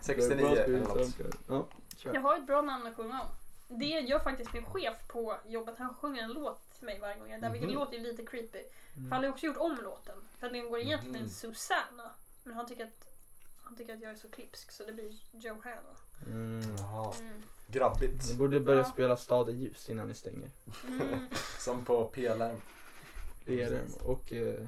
69 eller något.
Ja, kör.
Jag har ett bra namn att sjunga om. Det gör faktiskt min chef på jobbet. Han sjunger en låt till mig varje gång jag är där, vilket
Mhm.
låter ju lite creepy.
Mm.
För han har ju också gjort om låten. För att den går egentligen
Mhm.
till Susanna. Men han tycker, att, han tycker att jag är så klipsk så det blir Johanna.
Mm.
Jaha.
Mm.
Grabbigt.
Ni borde börja
Ja.
spela Staden ljus innan ni stänger.
Mm.
Som på pelaren.
Det är det. Och, eh,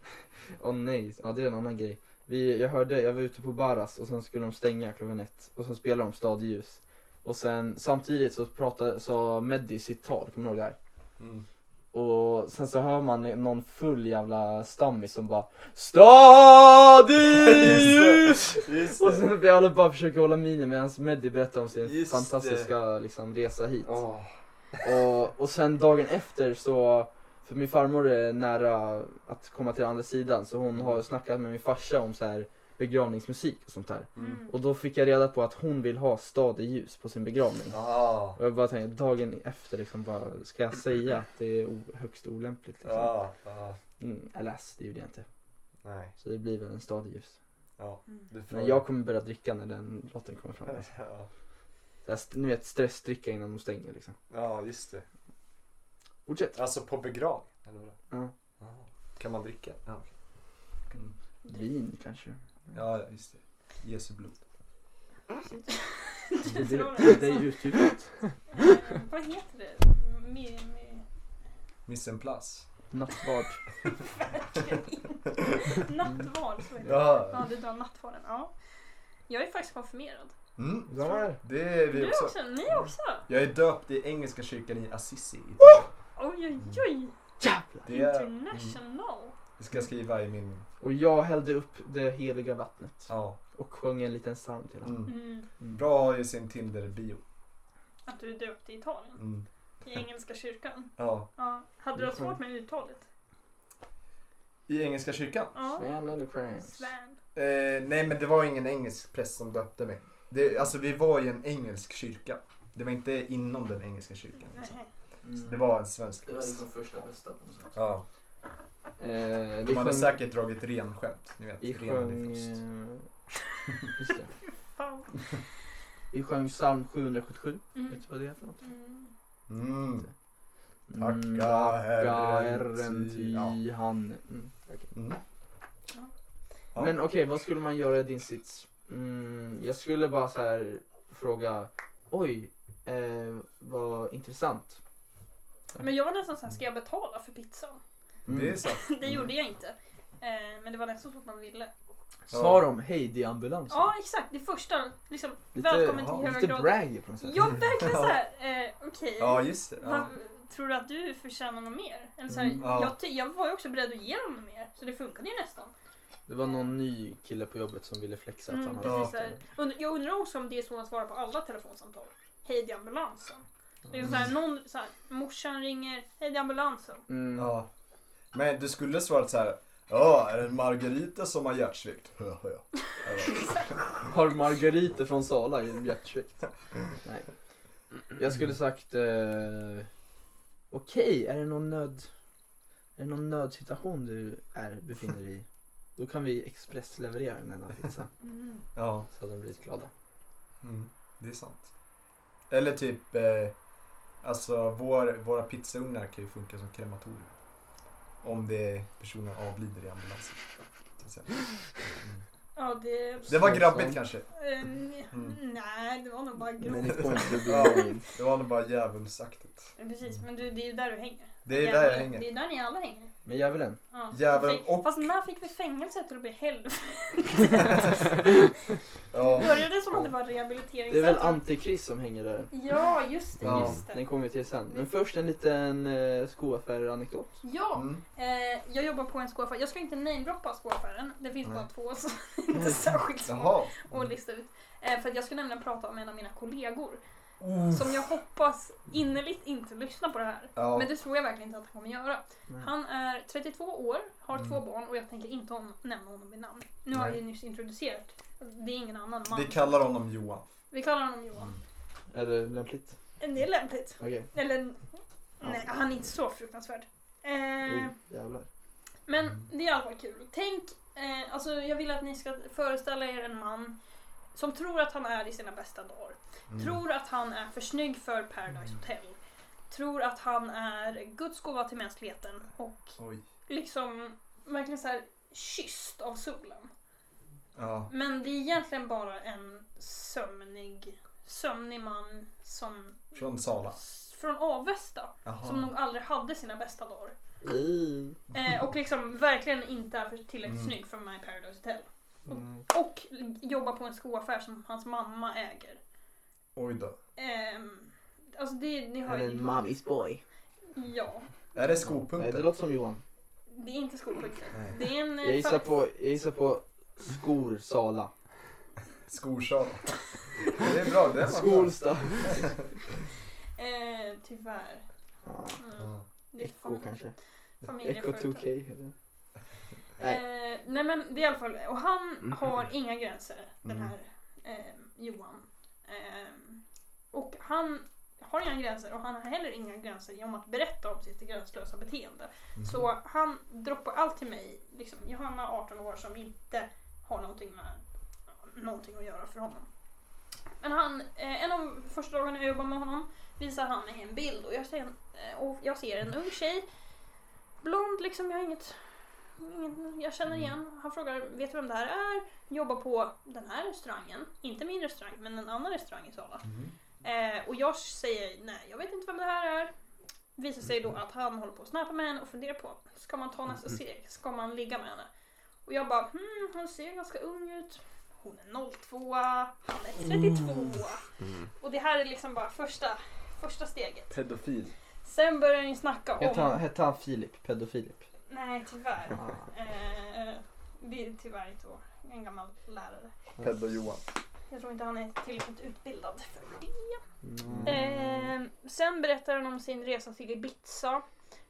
(laughs) åh nej, ja, det är en annan grej. Vi, jag hörde, jag var ute på Baras och sen skulle de stänga klockan ett och sen spelade de Stad i ljus. Och sen samtidigt så pratade, sa Meddi sitt tal, kommer du ihåg det här?
Mm.
Och sen så hör man någon full jävla stammis som bara Stad i
(laughs)
ljus!
Just
Och
det.
sen vi alla bara försöker hålla minen medan Meddi berättar om sin
Just det.
fantastiska liksom, resa hit.
Åh.
Och, och sen dagen efter så, för min farmor är nära att komma till andra sidan så hon har snackat med min farsa om så här begravningsmusik och sånt där.
Mm.
Och då fick jag reda på att hon vill ha stadig ljus på sin begravning.
Ah.
Och jag bara tänkte dagen efter liksom bara, ska jag säga att det är o- högst olämpligt liksom?
Ah. Ah.
Mm, alas, det gjorde jag inte.
Nej.
Så det blir väl en stadig ljus.
Ja.
Mm.
Du får...
Men jag kommer börja dricka när den låten kommer fram. Alltså.
Ja.
Så jag, st- ni vet stressdricka innan de stänger liksom.
Ja, just det.
Fortsätt!
Alltså på begravning? Eller vadå?
Ja.
Jaha. Kan man dricka? Ja, okej.
Mm.
Vin kanske?
Ja, ja, just det. Jesu blod.
Det,
(laughs) Du tror
det, det är
det.
ju typ
Mm, Eh, Vad heter det? Mi, mi,
Missen Plus.
Nattvard.
(laughs)
(laughs) Nattvard, så heter det.
Ja.
Ja, du drar nattvarden. Ja. Jag är faktiskt konfirmerad.
Mm.
De är...
Det är vi
Du
också. Mm.
också? Ni också?
Jag är döpt i engelska kyrkan i Assisi. Italien.
Oj, oj, oj!
Det är,
International.
det ska jag skriva i min...
Och jag hällde upp det heliga vattnet.
Ja.
Och sjöng en liten psalm till honom.
Mm.
Mm.
Bra att ha i sin Tinder-bio.
Att du är döpt i Italien.
Mm. (laughs)
I Engelska kyrkan.
Ja.
Ja. Hade du
Mm.
haft svårt med uttalet?
I Engelska kyrkan?
Ja.
Sven eller Crans.
Sven.
Eh, nej, men det var ingen engelsk präst som döpte mig. Det, alltså, vi var i en engelsk kyrka. Det var inte inom den engelska kyrkan. Liksom.
Nej.
Det var en svensk präst.
liksom första bästa på något sätt.
Ja.
Eh,
De
vi
hade
sjöng...
säkert dragit renskämt. Ni vet,
Vi
ren
sjöng...
i frost.
Eh, (laughs) just det.
Fan.
Vi sjöng psalm 777.
Mm.
Vet du vad det heter?
Mm.
Mm.
Mm,
Tacka
Tacka
Herren
Herren
ty-
ty
ja.
han. Mm. okej.
Mm. Ja.
Men okej, vad skulle man göra i din sits? Mm, jag skulle bara så här fråga, oj, eh, vad intressant.
Men jag var nästan såhär, ska jag betala för pizzan? (laughs)
Mm.
Det är så.
Det gjorde jag inte. Eh, Men det var nästan så att man ville.
Sa de hej det är ambulansen?
Ja exakt, det första liksom,
Lite-
välkommen till
ja,
höga
Lite
grader.
braggy på något sätt.
Ja verkligen såhär, eh, okej.
Ja, just det. Ja.
Vad- Tror du att du förtjänar något mer? Eller så här,
Mm,
ja.
jag, ty- jag var ju också beredd att ge dem något mer, så det funkade ju nästan.
Det var någon ny kille på jobbet som ville flexa att han
Mm,
hade
Ja.
precis,
haft
så här.
det.
Und- jag undrar också om det är så man svarar på alla telefonsamtal. Hej, det är ambulansen. Det är så här, någon, så här, morsan ringer, hej, det är ambulansen.
Mm.
Ja. Men du skulle svarat så här. Ja, är det en Margarita som har hjärtsvikt? Ja, ja.
Har Margarita från Sala i en hjärtsvikt? Nej. Jag skulle sagt, eh, okej, är det någon nöd, är det någon nödsituation du är, befinner dig i? Då kan vi expressleverera en enda pizza.
Ja,
Så hade de blivit glada.
mm, det är sant. Eller typ, eh, alltså vår, våra pizzaugnar kan ju funka som krematorium. Om det är personer avlider i ambulansen. till exempel.
Ja, det... Eh,
Det var
Så
grabbigt
sant.
kanske. Mm.
n- Nej, det var nog bara
Men
grovt.
det får inte bli
Ja.
lögn.
Det var nog bara djävulsaktigt.
Precis, men du, det är ju där du hänger.
Det är där jag
Det
hänger.
är där ni alla hänger.
Men djävulen.
Ja.
Djävulen
Fast-
och-
Fast när fick vi fängelse till att bli helvete?
(laughs)
(laughs)
Ja,
Började som att det var
Det är väl
rehabiliteringscentrum.
antikrist som hänger där.
Ja, just det,
Ja.
just det. Mm.
Den kommer vi till sen. Men först en liten eh, skoaffär-anekdot.
Ja,
mm.
Eh, jag jobbar på en skoaffär. Jag ska inte namedroppa skoaffären. Det finns
Nej.
bara två så det är (laughs) inte särskilt svårt
jaha.
att lista ut. Eh, för att jag ska nämligen prata om en av mina kollegor.
Oh.
Som jag hoppas innerligt inte lyssnar på det här.
Ja.
Men det tror jag verkligen inte att han kommer göra.
Nej.
Han är 32 år, har
Mm.
två barn och jag tänker inte om, nämna honom vid namn. Nu har
Nej.
jag ju nyss introducerat. Det är ingen annan man.
Vi kallar honom Mm. Johan.
Vi kallar honom Johan.
Är det lämpligt?
Det är lämpligt.
Okej.
Eller nej, han är inte så fruktansvärd. Eh,
Oh, jävlar.
Men det är i alla fall kul. Tänk, eh, alltså jag vill att ni ska föreställa er en man som tror att han är i sina bästa dagar.
Mm.
Tror att han är för snygg för Paradise Hotel. Tror att han är Guds gåva till mänskligheten och
Oj.
liksom verkligen så här kysst av solen.
Ja.
Men det är egentligen bara en sömnig, sömnig man som
Från Sala.
från Avesta som
Jaha.
nog aldrig hade sina bästa dagar.
Mm.
Eh, och liksom verkligen inte är för- tillräckligt
Mm.
snygg för My Paradise Hotel. Och jobbar på en skoaffär som hans mamma äger.
Oj då.
Ehm, alltså det, det har
Eller
ju...
en mommy's boy.
Ja.
Är det
Nej, det
skopunkter?
låter som Johan.
Det är inte skolpojkar.
Nej.
Det är en... eh,
Jag gissar
fabrik.
på, jag gissar på skor Sala.
Skorsal. (laughs) Det är bra, det var bra.
Skolsta.
Eh, tyvärr. Mm.
Ja.
Det är
Echo kanske. Echo
familjeföretag.
2K. heter det.
Eh, nej men det är i alla fall, och han har inga gränser den
Mm.
här eh, Johan. Eh, och han har inga gränser och han har heller inga gränser genom att berätta om sitt gränslösa beteende.
Mm.
Så han droppar allt till mig, liksom Johanna 18 år som inte har någonting, med, någonting att göra för honom. Men han, eh, en av första dagarna jag jobbade med honom visar han mig en bild och jag ser en, eh, och jag ser en ung tjej. Blond liksom, jag har inget, inget jag känner igen. Han frågar, vet du vem det här är? Jobbar på den här restaurangen. Inte min restaurang, men en annan restaurang i Sala.
Mhm.
Eh, och jag säger, nej jag vet inte vem det här är. visar sig då att han håller på att snappa med henne och funderar på ska man ta nästa steg? Ska man ligga med henne? Och jag bara hmm, hon ser ganska ung ut. Hon är 02, han är 32.
Mm.
Och det här är liksom bara första, första steget.
Pedofil.
Sen börjar ni snacka
Hette han,
om...
hette han Filip? Pedofilip?
Nej tyvärr.
Ah.
Eh, det är tyvärr inte vår, en gammal lärare.
Pedo-Johan.
Jag tror inte han är tillräckligt utbildad för det.
Mm.
Eh, sen berättar han om sin resa till Ibiza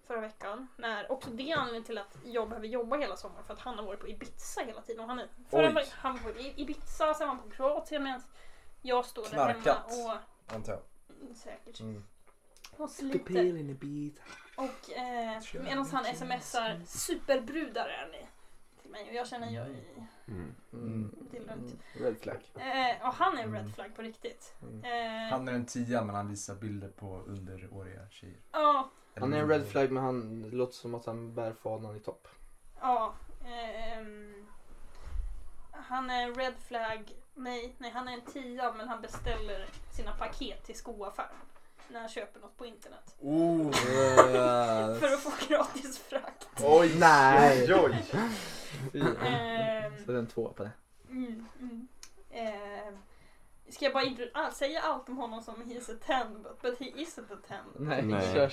förra veckan. När också det är anledningen till att jag behöver jobba hela sommaren för att han har varit på Ibiza hela tiden. Och han, är, förra
Oj.
veckan- han var på I- Ibiza, sen var han på Kroatien medan jag står där
Knarkat.
hemma
Antar jag.
och säkert
Mm.
och sliter. Och eh, medan han smsar superbrudar är ni till mig och jag känner ju
Mm.
Mm.
det är lugnt.
Red flag.
Eh, och han är en
Mm.
red flag på riktigt.
Mm.
Eh,
Han är en tia men han visar bilder på underåriga tjejer.
Ja,
Han är en
Eller-
red flag men han det låter som att han bär fanan i topp.
ja. ehm, han är en red flag. Nej, nej, han är en tia men han beställer sina paket till skoaffären. När han köper något på internet.
(laughs)
Oh.
För att få gratis frakt.
Oj.
Nej.
Oj, oj.
Ehm,
Så det är en tvåa på det.
Mm, mm. Eh, ska jag bara intro- ah, säga allt om honom som he's a ten but, but he isn't a ten.
Nej,
Nej.
kör.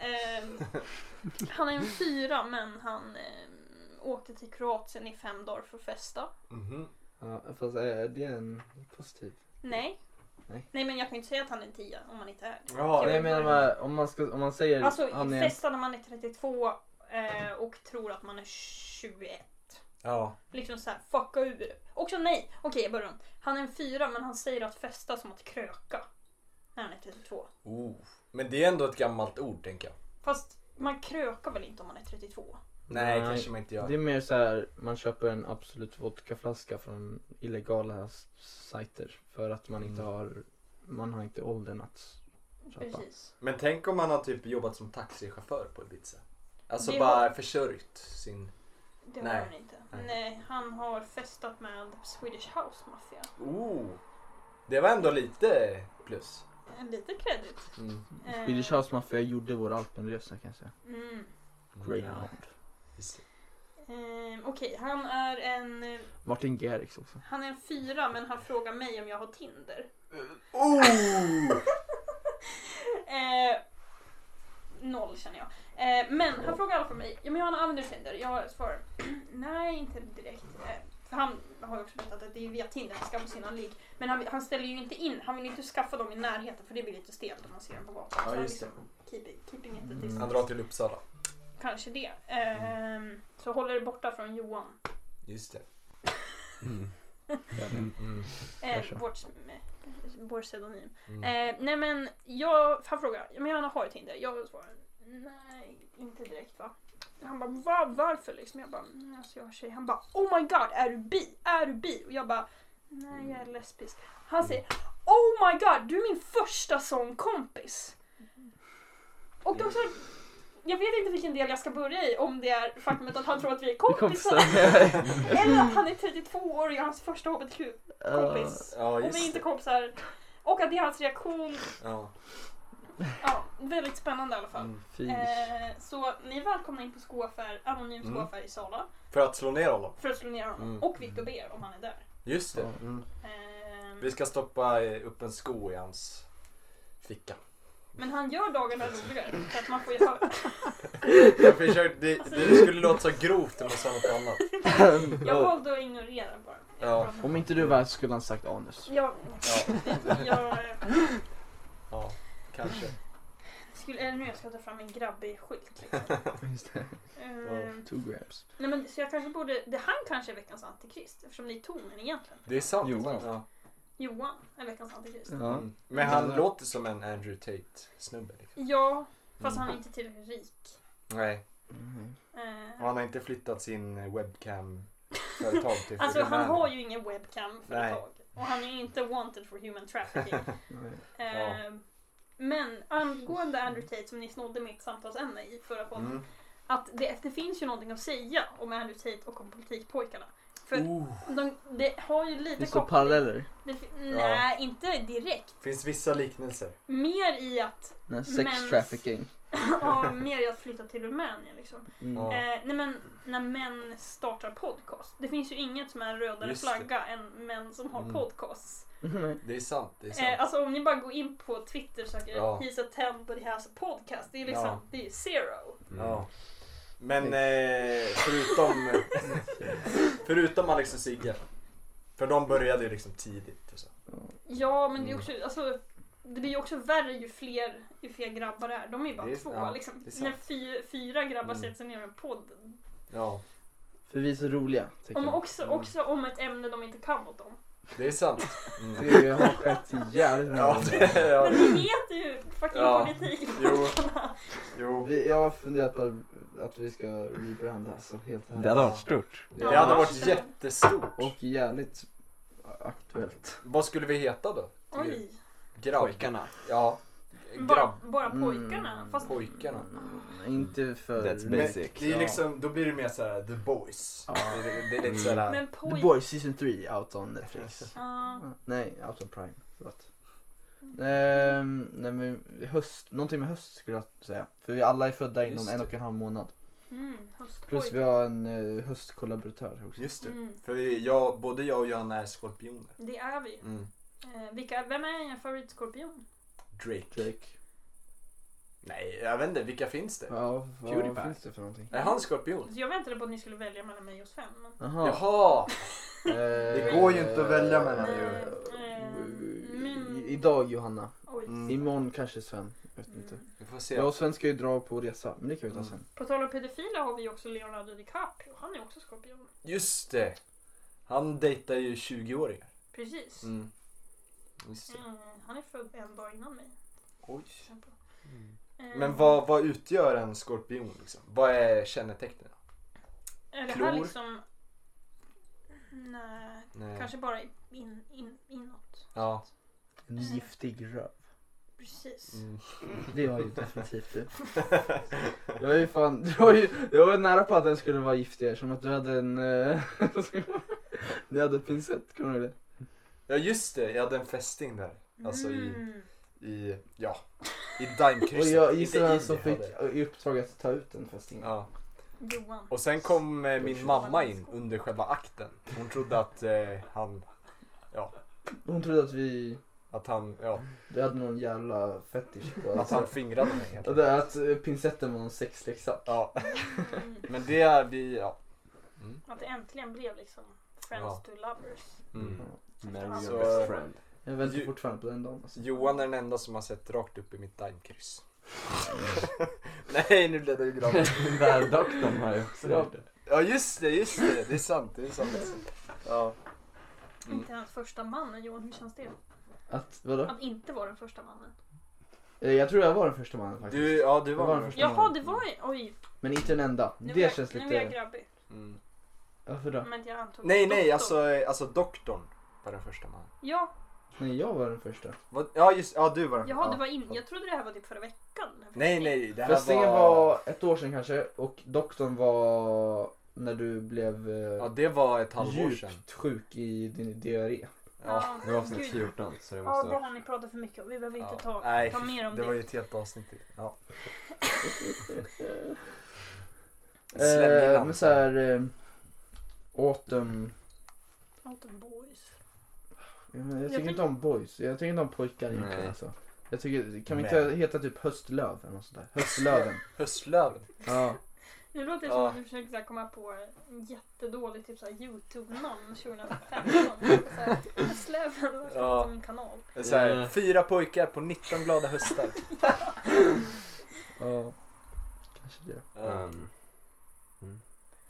Eh, han är en fyra men han eh, åkte till Kroatien i fem dagar för att festa.
Mhm.
Ja, fast är det en positiv?
Nej.
Nej.
men jag kan ju inte säga att han är en tia om man inte är det.
Jaha,
Nej, jag menar bara, om man, ska, om man säger
Alltså
han är...
festa när man är 32 eh, och tror att man är 21.
Ja.
Liksom såhär fucka ur. Också nej, okej jag börjar om. Han är en fyra men han säger att festa är som att kröka. När han är 32.
Oh. Men det är ändå ett gammalt ord tänker jag.
Fast man krökar väl inte om man är 32?
Nej,
Nej.
kanske man inte gör.
Det är mer så här, man köper en absolut vodkaflaska från illegala s- sajter för att man inte har, man har inte åldern att köpa.
Precis.
Men tänk om man har typ jobbat som taxichaufför på Ibiza. Alltså
Det
bara
har-
försörjt sin...
Det
Nej.
har han inte.
Nej.
Nej. han har festat med Swedish House Mafia.
Oh. Det var ändå lite plus.
En liten credit.
Mm.
Eh,
Swedish House Mafia gjorde vår Alpenresa kan jag säga.
Mm.
Greyhound.
Ehm, Okej, han är en...
Martin Garrix också.
Han är en fyra men han frågar mig om jag har Tinder.
Oh!
(laughs) Eh, noll känner jag. Eh, men han frågar i alla fall mig, ja men Johanna använder du Tinder? Jag svarar, (clears throat) nej inte direkt. Eh, för han har ju också berättat att det är via Tinder han skaffar sina ligg. Men han, han ställer ju inte in, han vill inte skaffa dem i närheten för det blir lite stelt om man ser dem på gatan.
Ja,
han liksom
just det.
keep, keeping it at
Mm.
distance.
Han drar till Uppsala.
Kanske det. Ehm, så håller det borta från Johan.
Just det.
Mm.
Mm.
Eh,
Kanske.
vårt, eh, vår pseudonym.
Mm.
Eh, nej men jag, han frågar, men Johanna har ju Tinder? Jag svarar, nej inte direkt va. Han bara, va, varför liksom? Jag bara, "Mm, alltså jag har tjej. Han bara, oh my god är du bi? Är du bi? Och jag bara, nej
Mm.
jag är lesbisk. Han säger, oh my god du är min första sån kompis. Och då så, jag vet inte vilken del jag ska börja i om det är faktumet att han tror att vi är
Vi
kompisar.
kompisar.
(laughs) Eller att han är 32 år och jag är hans första hbtq-kompis.
Ja,
och vi är
just
inte
det.
kompisar. Och att det är hans reaktion
Ja.
Ja, väldigt spännande i alla fall.
Mm.
Fy.
Eh, så ni är välkomna in på skoaffär, anonym
Mm.
skoaffär i Sala
För att slå ner honom.
för att slå ner honom.
Mm.
Och Viktor Ber om han är där.
Just det.
Ja.
Mm.
Ehm,
Vi ska stoppa eh, upp en sko i hans
(laughs)
ficka.
men han gör dagarna roligare för att man
(laughs)
får ju höra.
Jag försökte, det,
Alltså-
det skulle låta så grovt om jag sa något annat.
(laughs) Jag valde att ignorera bara.
Ja.
(laughs) Om inte du var här skulle han sagt anus.
Jag,
Ja,
jag eh,
ja kanske.
skulle, eller nu jag ska ta fram en grabbig
(laughs)
skylt.
Just det.
Ehm,
Two grabs.
nej men, så jag kanske borde, det han kanske är veckans antikrist eftersom det är tonen egentligen.
Det är sant.
Johan.
Ja.
Johan är veckans antikrist.
Ja.
Mm. Men han
Ja.
låter som en Andrew Tate-snubbe. Liksom.
Ja, fast
Mm.
han är inte tillräckligt rik.
Nej,
Mm.
Ehm,
och han har inte flyttat
eh,
sin webcam-företag till
Alltså han
Rumänien.
har ju ingen webcam-företag. Och han är ju inte wanted for
(laughs)
(laughs)
human trafficking.
Mm.
Nej.
Ja.
eh, men angående Andrew Tate som ni snodde mitt samtalsämne i förra podden.
Mm.
Att det, det finns ju någonting att säga om Andrew Tate och om politikpojkarna. För
Oh,
de, det har ju lite
Det står paralleller.
Det fi- Nej, inte direkt.
finns vissa liknelser.
Mer i att (laughs)
Nej, sex
Men-
trafficking.
ja, mer i att flytta till Rumänien liksom.
Mm. (laughs)
Ja.
Eh, nej men när män startar podcast. Det finns ju inget som är en rödare
Just det.
flagga än män som har
Mm.
podcasts.
Nej.
Det är sant, det är sant.
Eh, alltså om ni bara går in på Twitter och söker
Ja.
He's a temp och det här är podcast. Det är liksom,
Ja.
det är zero.
Ja. Men eh, förutom, förutom Alex och Sigge. För de började ju liksom tidigt. Och så.
Ja men det är
Mm.
också, alltså det blir ju också värre ju fler, ju fler grabbar det är. De är ju bara
Det är-
två.
ja,
liksom.
det är sant.
När fy, fyra grabbar
Mm.
sätter sig ner i en podd.
Ja,
För vi är så roliga. tycker
Om
jag.
mm.
också, också om ett ämne de inte kan åt dem.
det är sant. Mm. (laughs)
Det har skett jävligt
Ja,
mycket.
det, ja.
Men ni heter ju fucking
Ja.
politik.
Jo, jo.
Vi, jag har funderat på att vi ska rebranda alltså, helt ärligt.
Det hade varit stort.
Det hade varit jättestort.
Och jävligt aktuellt.
Vad skulle vi heta då?
(laughs) Oj.
Grabb. Ja.
Bara,
Grabb.
bara pojkarna.
Mm.
Fast
Pojkarna.
Mm, inte för...
That's
Men
basic.
det är liksom, då blir det mer såhär the boys. Det, är- det är lite såhär,
Men
The
pojk...
Boys Season 3 out on Netflix.
Ja.
Ah, (laughs) Nej, out on Prime. Förlåt. Ehm, nej men höst, någonting med höst skulle jag säga. För vi alla är födda
Just
inom en
det.
och en halv månad.
Mm,
Plus
höstpojk.
vi har en uh, höstkollaboratör också.
just det.
Mm,
För vi, jag, både jag och Johanna är skorpioner.
det är vi.
Mm.
Eh, vilka, vem är er favoritskorpion?
Drake.
Drake.
Nej, jag vet inte, vilka finns det?
Ja, vad
Pewdiepie.
finns det för någonting?
Är han skorpion?
Jag väntade på att ni skulle välja mellan mig och Sven. Men...
Jaha.
Jaha!
det
går ju inte att välja mellan
er. Eh, min-
Idag Johanna.
Oj.
Mm.
Imorgon kanske Sven. Jag vet inte.
Mm.
Vi får
Jag
se.
och Sven ska ju dra på resa, men det kan vi ta
Mm.
sen.
På tal om pedofiler har vi ju också Leonardo DiCaprio. Han är också skorpion.
Just det! Han dejtar ju 20-åringar.
Precis.
Mm. Just det.
Eh, han är född en dag innan mig.
Oj.
till exempel.
Mm.
Eh,
Men vad, vad utgör en skorpion liksom? Vad är kännetecknen?
Är det
Klor?
här liksom... Nej,
Nej.
kanske bara in, in, inåt.
Ja.
En giftig röv.
Precis.
Mm.
Det var ju
(laughs)
definitivt du. Jag är ju fan, du var ju, jag var nära på att den skulle vara giftig som att du hade en, eh, (laughs) du hade ett pincett, kommer du ihåg det?
Ja just det, jag hade en fästing där. Alltså i-
Mm.
I, ja, (laughs) i
Och
Daimkrysset.
jag
Inte
gissar
i
vem som
det,
fick
hade jag.
i uppdrag att ta ut den fästingen.
Ja.
Johan.
Och sen kom eh, min mamma in under själva akten. Hon trodde att eh, han,
Hon trodde att vi,
att han, ja,
du hade någon jävla fetisch på
att han
alltså,
fingrade mig helt
att, att eh, pincetten var någon sexleksak.
Ja,
Mm.
men det är vi, ja. Mm.
Att det äntligen blev liksom Friends
Ja.
to lovers.
Mm.
Marry your
Så-
best friend.
Jag väntar
Ju-
fortfarande på den dagen alltså.
Johan är den enda som har sett rakt upp i mitt Daimkryss. (laughs) Nej, nu blev det ju grabbigt.
Den där doktorn har ju också gjort det.
Ja just det, just det, det är sant, det är sant. Ja. Mm.
Inte ens första mannen Johan, hur känns det?
Att, vadå?
Att inte vara den första mannen.
Eh, Jag tror jag var den första mannen faktiskt.
Du, ja du
Det var
var
den
med.
första.
Jaha, det var ju... Oj,
Men inte den enda.
nu,
det
var jag,
känns
nu är jag Mm.
lite,
grabbig.
Mm.
varför då?
Men jag antog
Nej, nej,
doktorn.
alltså, eh, alltså doktorn var den första mannen.
Ja,
Nej jag var den första.
Vad- Ja just ja du var den.
jaha,
ja.
det var in... jag trodde det här var typ förra veckan. den här
Nej
festen.
nej, det här
Fästingen
var...
var ett år sedan kanske och doktorn var när du blev
Ja
eh,
det var ett halvår
djupt
sedan.
sjuk i din diarré.
Ja.
Det var avsnitt
Gud.
14 så det
Ja,
måste
det
vara...
har ni pratat för mycket om. Vi behöver
Ja.
inte ta,
Nej,
ta mer om
det
det.
var ju ett helt avsnitt till.
(laughs)
Ja. Släng i
Eh,
land.
men såhär eh, autumn,
Mountain Boys.
jag, jag, tycker
tycker-
inte om boys, jag tycker inte om pojkar egentligen
Nej.
alltså. Jag tycker, kan vi
Men.
inte heta typ höstlöv eller något sånt där? Höstlöven.
Höstlöven.
ja.
Nu låter det
Ja.
som att du försöker så här komma på en jättedålig typ såhär Youtube-namn
(laughs)
2015. Släven var
Ja.
min kanal.
Så här,
Eh.
Mm.
Fyra pojkar på 19 glada
(laughs)
höstar.
ja. Kanske det.
Ja.
(laughs)
Mm.
Um,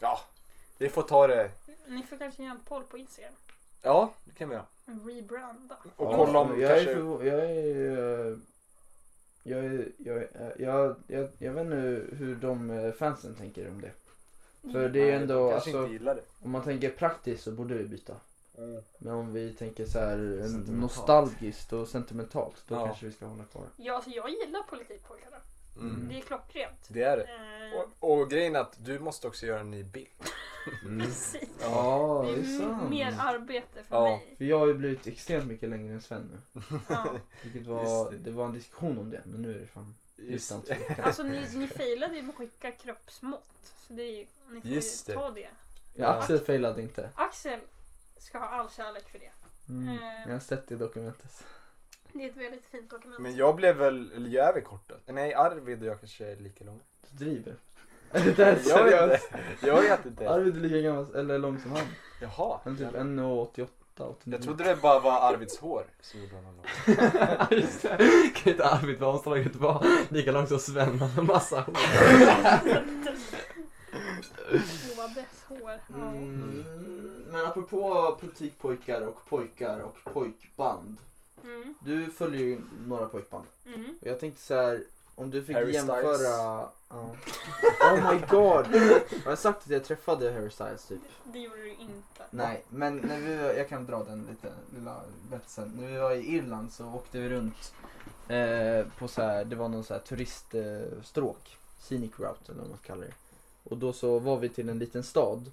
ja, vi får ta det.
Ni får kanske göra en poll på Instagram.
Ja, det kan vi göra.
Rebranda.
Och
Ja,
kolla om
jag
kanske...
Är förvo- jag är... eh, Jag, är, jag, är, eh, jag, jag, jag vet inte hur de eh, fansen tänker om det.
Mm.
För det är ju
Nej,
ändå,
kanske
alltså,
inte gillar det.
om man tänker praktiskt så borde vi byta.
Mm.
Men om vi tänker så här eh,
Sentimentalt.
nostalgiskt och sentimentalt, då
Ja.
kanske vi ska hålla kvar.
Ja, alltså jag gillar politikpojkarna. Det är
Mm.
klockrent.
Det är det.
Mm. Eh,
Och, och grejen är att du måste också göra en ny bild.
mm.
precis.
Ja,
Det
det är
är m-
sant.
mer arbete för
Ja.
mig.
(laughs) För jag har ju blivit extremt mycket längre än Sven nu.
Ja.
Vilket
Just
var,
det.
det var en diskussion om det, men nu är det fan
Just,
Utan tvekan.
(laughs) Alltså ni, ni failade ju med att skicka kroppsmått. Så det är, ni får
Just
ju
det.
ta det.
Ja, Axel failade inte.
Axel ska ha all kärlek för det.
Mm.
Eh,
Jag har sett det i dokumentet.
Det är ett väldigt fint dokument. (laughs)
Men jag blev väl, eller jag är väl kort då? Nej Arvid och jag kanske är lika långa.
Du driver. Är (laughs) det där
Jag vet
seriöst?
inte. Jag vet inte.
Arvid är lika gammal, eller lång som han.
Jaha.
Han är typ
jag-
1,88, 89.
Jag
(laughs)
(laughs)
trodde det bara var Arvids hår som gjorde honom lång.
Just det. Kan inte Arvid Wahlström vara lika lång som Sven? Han har massa hår.
Åbes hår. Ja.
Mm, men apropå politikpojkar och pojkar och pojkband.
Mm.
Du följer ju några pojkband.
Mm.
Och jag tänkte så här, om du fick
Harry
jämföra...
Styles.
Ja. Oh my god! Har jag sagt att jag träffade Harry Styles typ?
Det gjorde du inte.
Nej, men när vi var, jag kan dra den lite, lilla berättelsen. När vi var i Irland så åkte vi runt eh, på så här, det var någon så här turiststråk, eh, stråk. scenic route eller vad man kallar det. Och då så var vi till en liten stad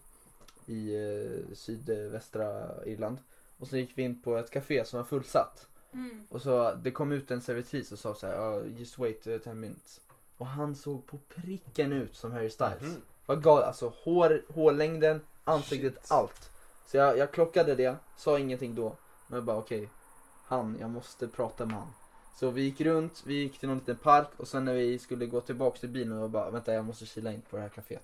i eh, sydvästra Irland. Och så gick vi in på ett café som var fullsatt.
Mm.
Och så det kom ut en servitris och sa så här, "Ja, just wait eh, 10 minutes. Och han såg på pricken ut som Harry Styles.
Mm.
Vad gal, alltså hår, hårlängden, ansiktet,
Shit.
allt. Så jag, jag klockade det, sa ingenting då. Men jag bara okej, han, jag måste prata med han. Så vi gick runt, vi gick till någon liten park och sen när vi skulle gå tillbaks till bilen och bara vänta jag måste kila in på det här kaféet.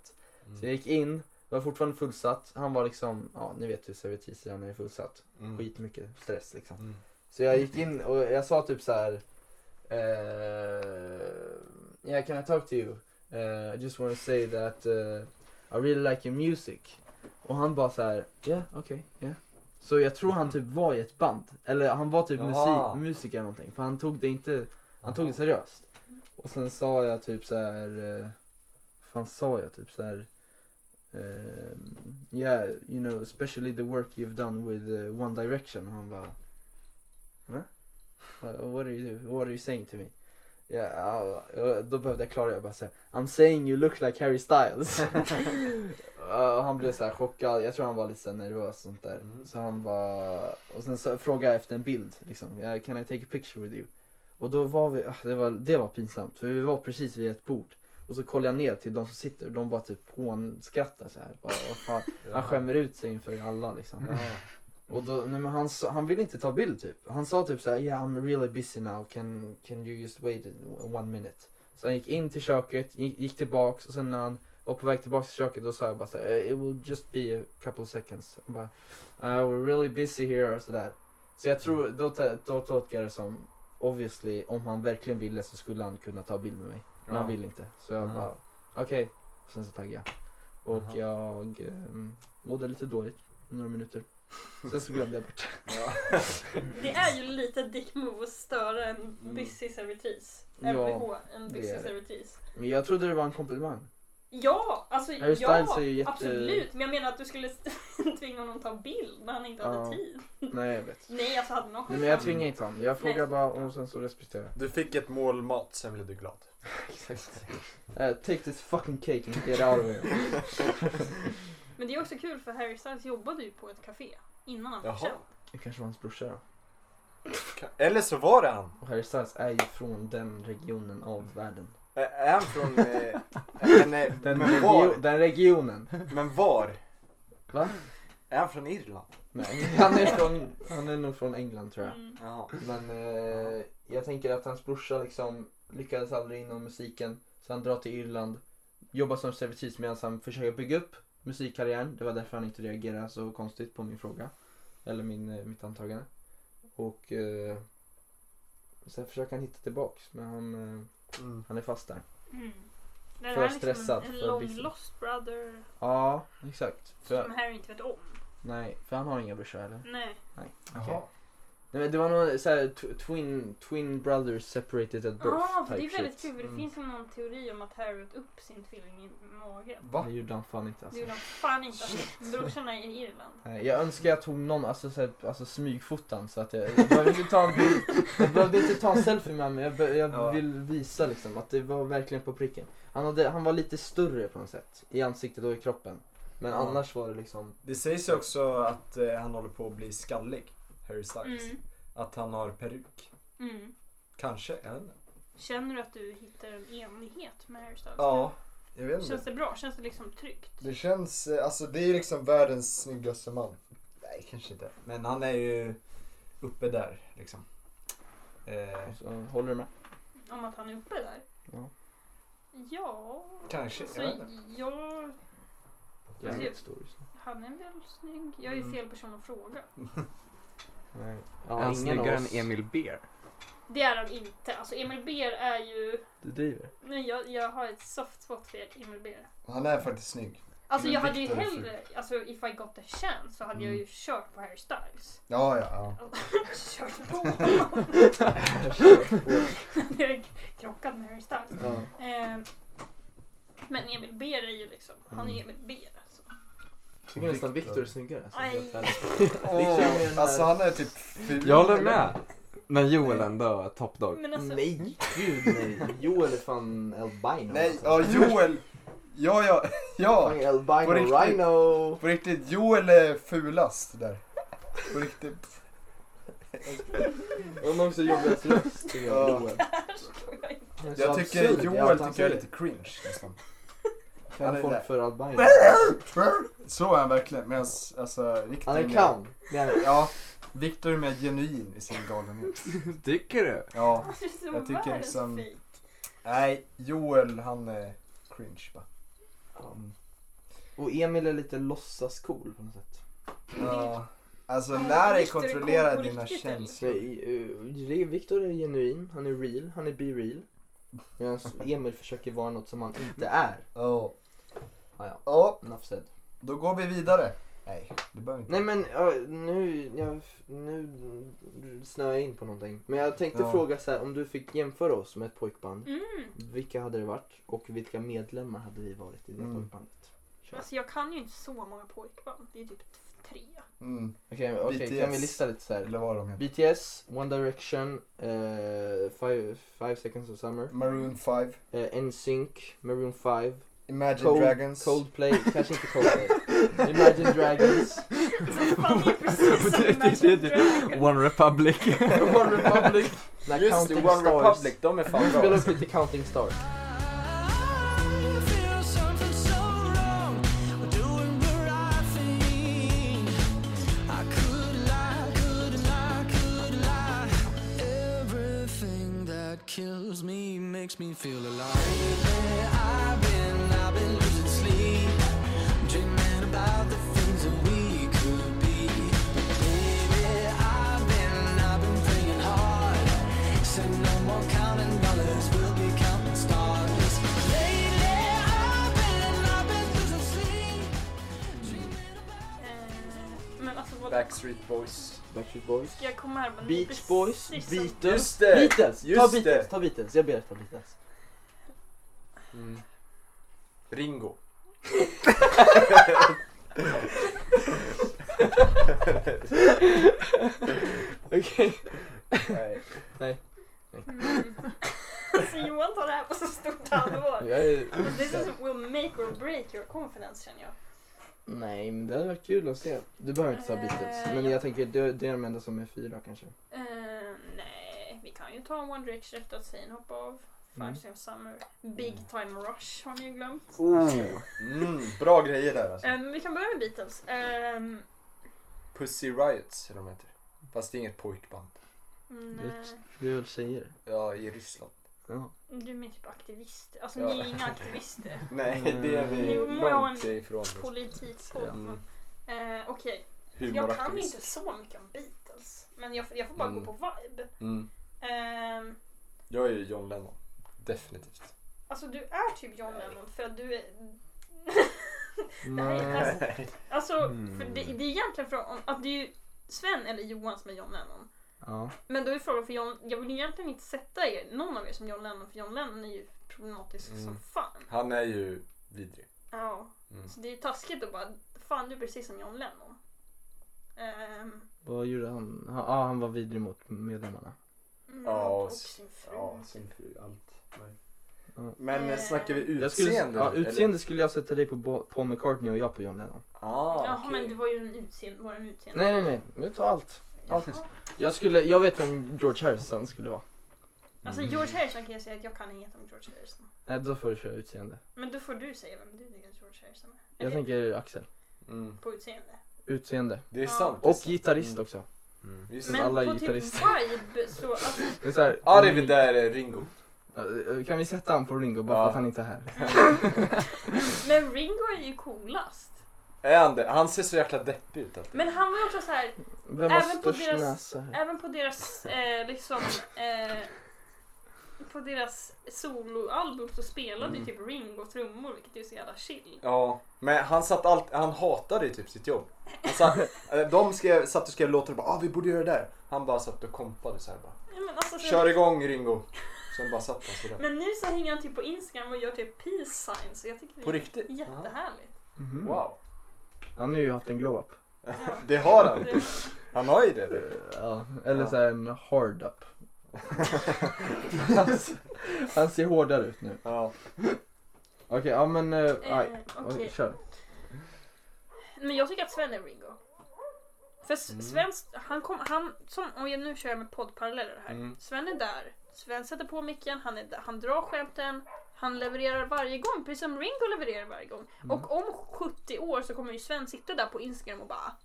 Mm.
Så jag gick in, det var fortfarande fullsatt. Han var liksom, ja ni vet hur servitriser är när det är fullsatt.
Mm.
Skitmycket stress liksom.
Mm.
Så jag gick in och jag sa typ så här. Eh, yeah, can I talk to you? Eh, I just want to say that eh, I really like your music. Och han bara så här, yeah, okay, yeah. Så jag tror han typ var i ett band. Eller han var typ
Jaha.
musik, musiker eller någonting. För han tog det inte, han tog det seriöst. Och sen sa jag typ så här, eh, fan sa jag typ så här. ehm, yeah, you know, especially the work you've done with eh, One Direction. Och han bara, Uh, what are you What are you saying to me? Yeah, uh, uh, då behövde jag klara det. Jag bara säga I'm saying you look like Harry Styles. uh, han blev så här chockad. Jag tror han var lite så här nervös och sånt där.
Mm.
Så han bara... Och sen så frågade jag efter en bild. Liksom. Yeah, can I take a picture with you? Och då var vi... ah, det, var, det var pinsamt. För vi var precis vid ett bord. Och så kollade jag ner till de som sitter och de bara typ hånskrattar så här. Bara, vad fan. Han skämmer ut sig inför alla liksom. Och då, nej, men han, sa- han ville inte ta bild typ. Han sa typ såhär, yeah I'm really busy now, can, can you just wait one minute? Så han gick in till köket, gick, gick tillbaks och sen när han var på väg tillbaks till köket då sa jag bara såhär, "Eh, it will just be a couple seconds. Han bara, uh, we're really busy here och sådär. Så jag tror, då, t- då tolkar jag det som, obviously om han verkligen ville så skulle han kunna ta bild med mig. Men han vill inte. Så jag
Ja.
bara, okej. Sen så taggade jag. Och
Aha.
jag um, mådde lite dåligt i några
(laughs)
minuter. Sen så glömde jag bort
Det är ju lite dick move att störa en busy servitris.
Mm. Ja,
MVH, en
det är
busy
det.
servitris.
Men jag trodde det var en komplimang.
Ja, alltså
Harry
ja,
Styles är ju jätte-
absolut. Men jag menar att du skulle (laughs) tvinga honom att ta bild när han inte hade
Ja.
tid.
Nej jag vet.
Nej, alltså hade någon
Nej, men jag tvingar inte honom. Jag frågar
Nej.
bara och sen så respekterar jag.
Du fick ett mål mat, sen blev du
(laughs)
glad.
Exakt. Eh, take this fucking cake and get out of
(laughs)
here.
Men det är också kul för Harry Styles jobbade ju på ett café innan han blev
Jaha.
känd.
Det kanske var hans brorsa då.
Eller så var det han.
Och Harry Styles är ju från den regionen av världen.
Ä- Är han från...
(laughs)
Eh, men, eh,
Den,
men
regio-
var?
den regionen.
Men var?
Va?
Är han från Irland?
Nej, han
(laughs)
är, från, han är nog från England tror jag.
Mm.
Jaha.
Men eh, jag tänker att hans brorsa liksom lyckades aldrig inom musiken. Så han drar till Irland, jobbar som servitris medan han försöker bygga upp musikkarriären. Det var därför han inte reagerade så konstigt på min fråga. Eller min, eh, mitt antagande. Och eh, sen försöker han hitta tillbaks men han, eh,
Mm.
han är fast där.
Mm. Det här
För
är liksom
stressad,
en, en
för
long
busy.
lost brother
Ja, exakt. För,
som Harry inte vet om.
nej, för han har inga brorsor eller?
Nej.
Nej.
Jaha.
Nej men det var någon såhär tw- twin, twin brothers separated at birth
Ja, Ah, för det är
type
väldigt
shit.
kul. för Det
Mm.
finns ju någon teori om att Harry åt upp sin tvilling i magen.
Va?
Det gjorde han fan inte
Det
alltså.
gjorde han fan inte. Brorsorna är i Irland.
Nej, Jag önskar jag tog någon, alltså, så här, alltså smygfotan så att jag, jag behövde inte ta en bild, jag behövde inte ta en selfie med mig, jag, be, jag
Ja.
vill visa liksom att det var verkligen på pricken. Han, hade, han var lite större på något sätt, i ansiktet och i kroppen. Men
Ja.
annars var det liksom,
Det sägs ju också att eh, han håller på att bli skallig, Harry Styles.
Mm.
Att han har peruk.
Mm.
Kanske, jag vet inte.
Känner du att du hittar en enighet med Harry Styles?
Ja, jag vet inte.
Känns det bra? Känns det liksom tryggt?
Det känns, eh, alltså det är ju liksom världens snyggaste man.
Nej, kanske inte. Men han är ju uppe där liksom. Eh,
Så, alltså, håller du med?
Om att han är uppe där?
Ja.
Ja,
kanske,
alltså
jag vet inte.
jag...
Jävligt stor just nu.
Han är väl snygg? Jag är ju
Mm.
fel person att fråga.
Nej.
är han
ingen av
snyggare
oss-
än Emil Beer?
Det är han inte. Alltså Emil Beer är ju...
Du driver?
Nej, jag, jag har ett soft spot för Emil Beer.
Han är faktiskt snygg.
Alltså
Men
jag hade ju
Victor är
hellre, alltså if I got the chance så hade jag
Mm.
ju kört på Harry Styles.
Ja, ja, ja. (laughs)
kört på honom. Hade jag krockat med Harry Styles.
ja.
Eh, men Emil Beer är ju liksom, han
Mm.
är Emil Beer alltså.
Tycker nästan Viktor är snyggare. alltså.
Aj. (laughs)
Helt ärligt. Victor är mer den
Åh,
här-
alltså han är typ ful.
Jag håller med. Men Joel ändå, är top dog.
Men alltså, (laughs)
Nej, gud nej. Joel är fan albino.
Nej,
alltså.
ja Joel. Ja, ja, (laughs) ja.
Fan, albino
På riktigt.
rhino.
På riktigt, Joel är fulast där. På riktigt.
Och någon som jobbar ett (laughs) röst.
Ja.
Joel. Det är så
Jag tycker
absurd,
Joel tycker
jävligt
jag är
absurd.
lite cringe nästan. Han
Kan
är
folk
där.
för albino.
Så är han verkligen. Medan alltså Victor
Han är
mer-
clown. Det är han.
Ja, Victor är mer genuin i sin galenhet.
(laughs) Tycker du?
Ja.
han är så
Jag tycker
världens
liksom-
fejk.
Nej, Joel han är cringe bara. Mm.
Och Emil är lite låtsascool på något sätt.
Ja. Alltså
Ja,
när är
Victor är cool
kontrollera
på
dina
riktigt,
Så,
känslor?
eh, Viktor är genuin, han är real, han är be real. Medan Emil försöker vara något som han inte är.
Ja.
Ah, ja.
Ja,
Enough said.
då går vi vidare. Nej, det behöver vi
Nej
inte.
men ja, nu, jag, nu snöar jag in på någonting. Men jag tänkte
Ja.
fråga så här, om du fick jämföra oss med ett pojkband.
Mm.
Vilka hade det varit och vilka medlemmar hade vi varit i det
Mm.
pojkbandet? Kör.
Alltså jag kan ju inte så många pojkband. Det är typ
(laughs)
tre.
Mm.
Okej, okej, kan vi
BTS.
lista lite så här?
Eller vad de heter.
BTS, One Direction, eh, five, five Seconds of Summer,
Maroon 5.
eh, NSYNC, Maroon 5,
Imagine
Cold-
Dragons.
Coldplay, kanske inte Coldplay. Imagine Dragons,
Alltså, Fan, det är precis som Imagine Dragons.
One Republic.
(laughs) One Republic, när
Just det,
Counting
One
Stars.
Republic, de är fan
Spela
bra.
upp lite Counting Stars.
Kills me, makes me feel alive. I've been, I've been losing sleep, dreaming about the things that we could be. Baby, I've been, I've been praying hard. Said no more counting dollars, we'll be counting stars. Lately, I've been, I've been losing sleep.
Eh, Men alltså vad
Backstreet Boys.
Backstreet Boys.
ska jag komma här med? Det är
Beach Boys,
precis som-
Beatles.
Just det,
Beatles! ta
just
Beatles,
det.
ta Beatles. Jag ber dig ta (laughs) Beatles.
Mm.
Ringo.
Nej.
Mm. (laughs) alltså Johan tar det här på så stort allvar. Alltså, This is will make or break your confidence känner jag.
Nej, men det hade varit kul att se. Du behöver inte ta Beatles,
Eh,
men
ja.
jag tänker det, det är de enda som är fyra kanske.
Eh, nej, vi kan ju ta One Direction efter att Zayn hoppar av. Five
Mm.
Seconds Summer. Big Time Rush har ni ju glömt.
Mm, bra grejer där alltså.
Eh, men vi kan börja med Beatles. Ehm,
Pussy Riots är de heter. Fast det är inget pojkband.
nej,
Du är väl tjejer?
Ja, i Ryssland.
Ja.
du är mer typ aktivist. Alltså
Ja.
ni är
(laughs)
inga aktivister.
Nej, det är vi
Mm. Jo, men jag har en
långt ifrån.
Politikpodd.
Mm.
Eh, Okej, jag kan
Humoraktivist.
inte så mycket om Beatles. Men jag, jag får bara
Mm.
gå på vibe.
Mm.
Ehm,
Jag är ju John Lennon. (laughs) Definitivt.
Alltså du är typ John Lennon för att du är... (laughs) Det här är-
Nej.
alltså, för
Mm.
det, det är egentligen frågan om att det är ju Sven eller Johan som är John Lennon.
Ja.
Men då är frågan för John, jag vill egentligen inte sätta er, någon av er som John Lennon för John Lennon är ju problematisk
Mm.
som fan.
Han är ju vidrig.
Ja,
Mm.
så det är ju taskigt att bara, fan du är precis som John Lennon. Ehm,
Vad gjorde han? Ja, ah, han var vidrig mot medlemmarna.
Ja,
mm, och
och s-
sin fru.
Ja, sin fru. Allt. Nej.
Ja.
Men eh, snackar vi utseende?
Jag skulle, ja,
eller?
utseende skulle jag sätta dig på Bo- Paul McCartney och jag på John Lennon.
Ah,
Jaha
okej.
men det var ju en utseende, var det en utseende?
Nej, nej, nej. Nu tar allt.
Jaha.
Jag skulle, jag vet vem George Harrison skulle vara.
Alltså
Mm.
George Harrison kan jag säga att jag kan inget om George Harrison.
Nej, då får du köra utseende.
Men då får du säga vem du tycker att George Harrison är.
Jag
Eller
tänker Axel.
Mm.
på utseende.
Utseende.
Det är
Ja.
sant. Mm.
Och gitarrist också.
Mm.
Visst.
Men
alla
på typ
gitarrister.
vibe så, alltså,
Det är så här, mm. eh,
Ja, det är väl där eh, Ringo.
Kan vi sätta han på Ringo bara
Ja.
för att han inte är här?
(laughs) men Ringo är ju coolast.
Är han det? Han ser så jäkla deppig ut alltså. alltid.
Men han var ju också så här,
Vem har
Även på
störst
deras-
näsa här?
även på deras eh, liksom eh, på deras soloalbum så spelade
Mm.
ju typ Ringo trummor vilket är så jävla chill.
Ja, men han satt allt, han hatade ju typ sitt jobb. Han (laughs) satt, eh, de skrev, satt och skrev låtar och bara ah, vi borde göra det där. Han bara satt och kompade så här bara.
Ja, men, alltså, så-
Kör igång Ringo. Sen bara satt han sådär.
men nu så hänger han typ på Instagram och gör typ peace signs. Jag tycker
På
det
riktigt? (laughs)
är jättehärligt.
Mhm.
Wow.
Han har ju haft en glow-up.
Det har han.
Det-
Han har ju det.
Eh, Ja, eller så här en hard-up. han, ser- han ser hårdare ut nu.
(laughs) Ja.
Okej, ja men... eh, aj.
Eh,
Oj,
okej.
Kör.
Men jag tycker att Sven är Ringo. För S-
Mm.
Sven, han kom, han, som, och jag nu kör jag med poddparalleller här.
Mm.
Sven är där, Sven sätter på micken, han, är där, han drar skämten, han levererar varje gång, precis som Ringo levererar varje gång.
Mm.
Och om 70 år så kommer ju Sven sitta där på Instagram och bara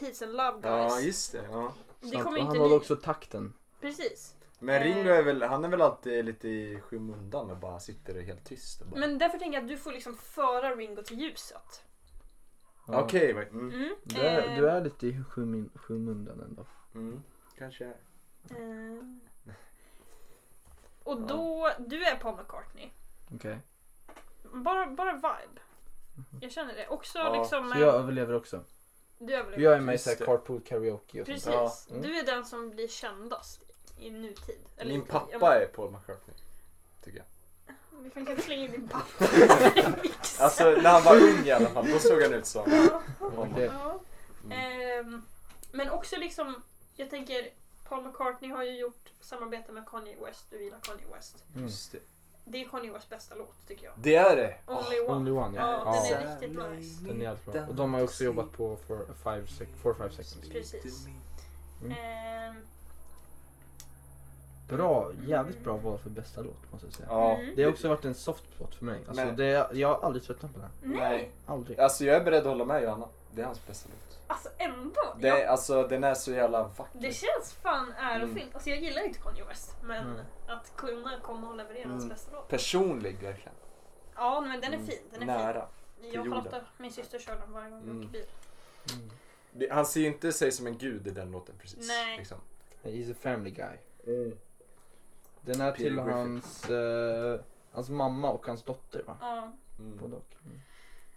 Peace and love
ja,
guys.
just det. Ja.
det
Sant.
kommer
Och
ju
han
inte
håller
ni...
också takten.
Precis.
Men Ringo är väl, han är väl alltid lite i skymundan och bara sitter där helt tyst och bara.
Men därför tänker jag att du får liksom föra Ringo till ljuset.
Ja.
Okej, vad- mm,
Mm.
Du är,
Eh,
du är lite i skymun- skymundan ändå.
mm, kanske. är.
eh. Och då, du är Paul McCartney.
Okej.
Bara, bara vibe. Jag känner det. Också
Ja,
liksom...
Så
eh,
jag överlever också.
du överlever.
Jag är med i så här
Just det.
carpool karaoke och sånt.
Precis.
där.
Ja,
mm.
Du är den som blir kändast i nutid. Eller
Min
inte, jag
pappa
menar-
är Paul McCartney. Tycker jag.
Vi kan kanske slänga in din (laughs) pappa
Alltså när han var ung i alla fall, då såg han ut som honom.
Okej.
Ja. Ehm, men också liksom, jag tänker Paul McCartney har ju gjort samarbete med Kanye West, du gillar Kanye West.
Mm.
Just det.
Det är Kanye Wests bästa låt tycker jag.
Det är det.
Only One.
Mm. Only one ja.
Ja, den
ja.
är riktigt nice.
Den är alltid bra. Och de har ju också jobbat på 4-5 sec- four, five seconds.
Precis.
Mm.
Ehm,
Bra, jävligt bra val för bästa låt måste jag säga.
Ja.
mm.
Det har också varit en soft plot för mig. Alltså,
Men-
det, jag har aldrig tröttnat på den. här.
Nej.
Aldrig.
Alltså jag är beredd att hålla med Johanna. Det är hans bästa låt.
Alltså ändå.
Det, är- Alltså den är så jävla vacker.
Det känns fan ärofyllt.
Mm.
Alltså jag gillar inte Kanye West men att kunna komma och leverera hans
Mm.
bästa låt.
Personlig verkligen.
Ja men den är fin. Den är
Nära.
fin.
till
Jag
jorden.
hatar, min syster kör den varje gång vi
Mm.
åker bil.
Det, han ser ju inte sig som en gud i den låten precis.
Nej.
Liksom.
He's a family guy.
Mm.
Den är
Peter
till
Griffin.
hans, eh, hans mamma och hans dotter va?
Ja.
Mm.
Både och. Mm.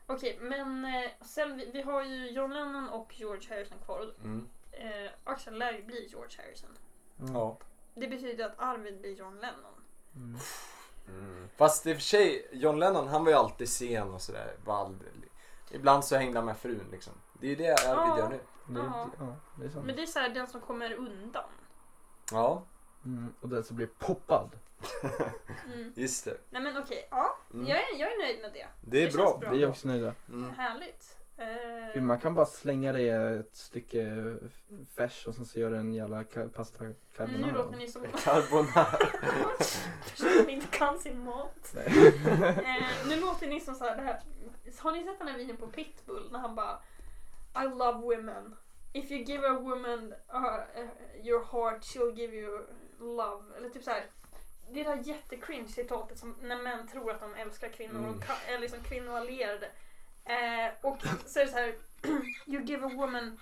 Okej men eh, sen vi, vi har ju John Lennon och George Harrison kvar. och,
Mm.
Eh, Axel lär ju bli George Harrison.
Mm.
Ja.
Det betyder att Arvid blir John Lennon.
Mm.
Mm.
Fast i och för sig, John Lennon han var ju alltid sen och sådär. Var aldrig- Ibland så hängde han med frun liksom. Det är ju det Arvid
Ja.
gör nu.
Det,
Ja.
är- ja, det
Mm.
är sant.
Men det är så här, den som kommer
(laughs)
undan.
Ja,
Mm. Och den som blir poppad.
Mm.
just det.
Nej men okej, ja.
Mm.
Jag, är, jag är nöjd med det.
Det är
Det
bra.
känns bra.
Vi är också nöjda.
Mm.
Härligt. Eh,
Gud, Man kan bara slänga det i ett stycke färs och sen så gör du en jävla ka- pasta
Mm, nu
carbonara.
låter ni som
Carbonara.
(laughs) Personer som inte kan sin mat. eh, nu låter ni som så här, det här. Har ni sett den här videon på Pitbull när han bara I love women. If you give a woman uh, uh, your heart she'll give you love. Eller typ så här. Det där jättecringe citatet som när män tror att de älskar kvinnor och ka- är liksom kvinnoallierade. Eh, och så är det så här. (clears throat) You give a woman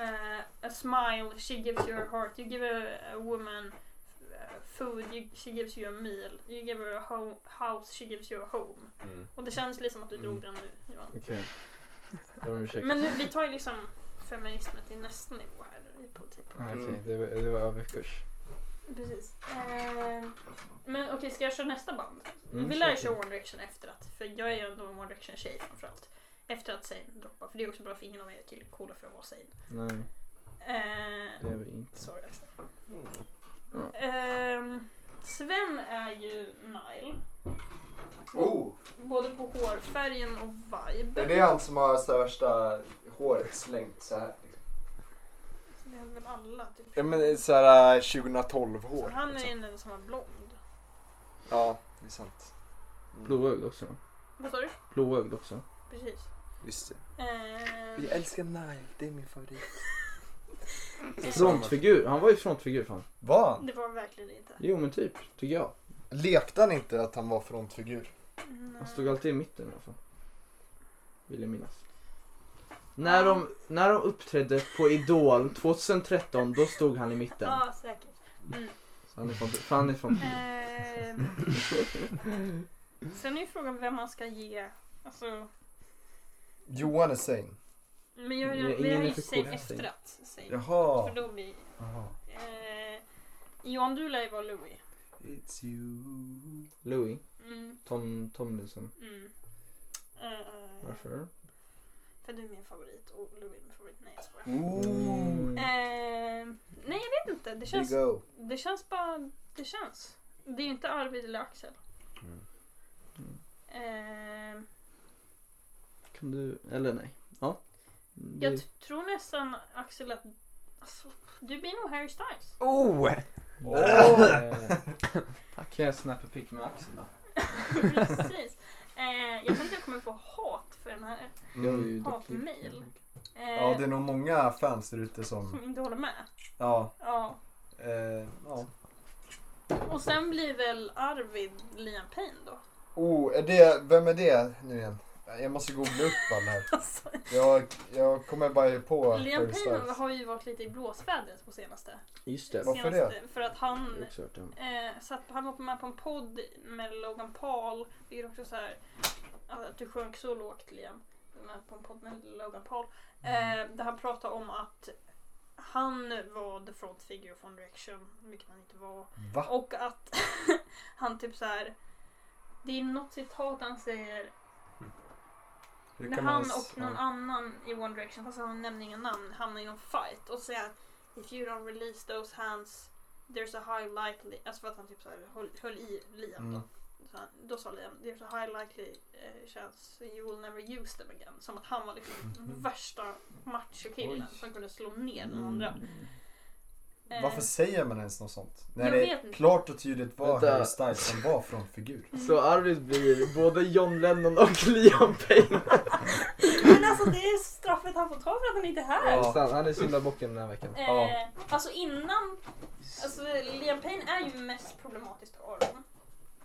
uh, a smile, she gives you her heart. You give a, a woman uh, food, you, she gives you a meal. You give her a ho- house, she gives you a home.
Mm.
Och det känns liksom att du drog den nu Johan.
Okej. Jag ber om ursäkt.
Men nu, vi tar ju liksom feminismen till nästa nivå här. i politik.
Ah, Okej, det var- det var överkurs.
Precis. Eh, men okej, ska jag köra nästa band?
Mm,
vi lär ju
kör
köra One Direction efter att, för jag är ju ändå en One Direction tjej framförallt. Efter att Zayn droppar, för det är också bra för ingen av er är tillräckligt coola för att vara Zayn.
Nej,
Eh,
det är vi inte.
Sorry Axel.
Mm.
Ehm, Sven är ju Nile.
Oh,
Både på hårfärgen och vibe.
är det han som har så här värsta håret slängt så här? liksom?
Det är väl alla typ.
Ja men såhär 2012
Så
hår.
han är
liksom.
ju den som var blond.
Ja, det är sant. Mm.
Blåögd också.
Vad sa du?
Blåögd också.
Precis.
Visst det.
Eh,
Jag älskar Nile, det är min
(laughs)
favorit.
Frontfigur. Han var ju frontfigur fan.
Var han?
det var verkligen inte.
Jo men typ, tycker jag.
Lekte han inte att han var frontfigur?
Han stod alltid i mitten i alla fall. Vill jag minnas. När de, när de uppträdde på Idol 2013, då stod han i mitten.
Ja, säkert.
Så han är från, för han är från
Eh, sen är ju frågan vem man ska ge. Alltså,
Johan Hussein.
men jag,
Nej,
jag, vi
ingen
har
är
ju
för
save
kort.
efter att save.
Jaha.
För då blir...
Jaha.
Eh, Johan, du lär ju vara Louis.
It's you.
Louis.
Mm,
Tom, Tomlinson.
mm. Eh,
Varför?
för du är min favorit och Louis är min favorit. Nej, jag skojar.
Ooh.
Mm.
Eh, nej, jag vet inte. Det
Big
känns,
O.
det känns bara... Det känns. Det är ju inte Arvid eller Axel.
Mm.
Eh,
Kan du, eller nej. Ja.
jag
Du-
t- tror nästan Axel att... Alltså, du blir nog Harry Styles.
Oh!
(laughs) Eh, Kan jag snappa pick med Axel då?
Precis. Eh, jag tänkte jag kommer få hat för den här.
Mm.
Jag är ju
Hat
duktig.
mail. Eh,
Mm. Ja, det är nog många fans där ute
Som
som...
inte håller med.
Ja.
Ja.
Eh, ja.
Och sen blir väl Arvid Liam Payne då?
Oh, är det, vem är det nu igen? Jag måste googla upp alla här.
(laughs) Alltså,
Jag, jag kommer bara på
Liam
Harry
Payne
Styles.
har ju varit lite i blåsvädret på senaste.
Just det.
Varför det?
senaste För att
Jag
han,
har också hört den.
eh, satt, han var med på en podd med Logan Paul. Det är också så här alltså, att du sjönk så lågt Liam. Med på en podd med Logan Paul. Eh, där han pratade om att han var the front figure of One Direction, vilket han inte var.
Va?
Och att (laughs) han typ så här. Det är något citat han säger
Hur
när
kan
han
man ens-
och någon annan i One Direction, fast han nämner inga namn, hamnar i någon fight och säger att If you don't release those hands there's a high likely, alltså för att han typ så här höll, höll i Liam
Mm.
då. Så han, då sa Liam there's a high likely eh, chance you will never use them again. Som att han var liksom
Mhm.
värsta machokillen
Oj. Mm.
som kunde slå ner den andra.
Mm.
Eh,
Varför säger man ens något sånt? När
jag
det
vet inte.
klart och tydligt var
Vänta.
Harry Styles som var frontfigur.
Mm.
Så Arvid blir både John Lennon och (laughs) Liam Payne.
Men alltså det är straffet han får ta för att han inte är här.
Ja. Han är syndabocken den här veckan.
Eh,
Ja.
Alltså innan, alltså Liam Payne är ju mest problematiskt av dem.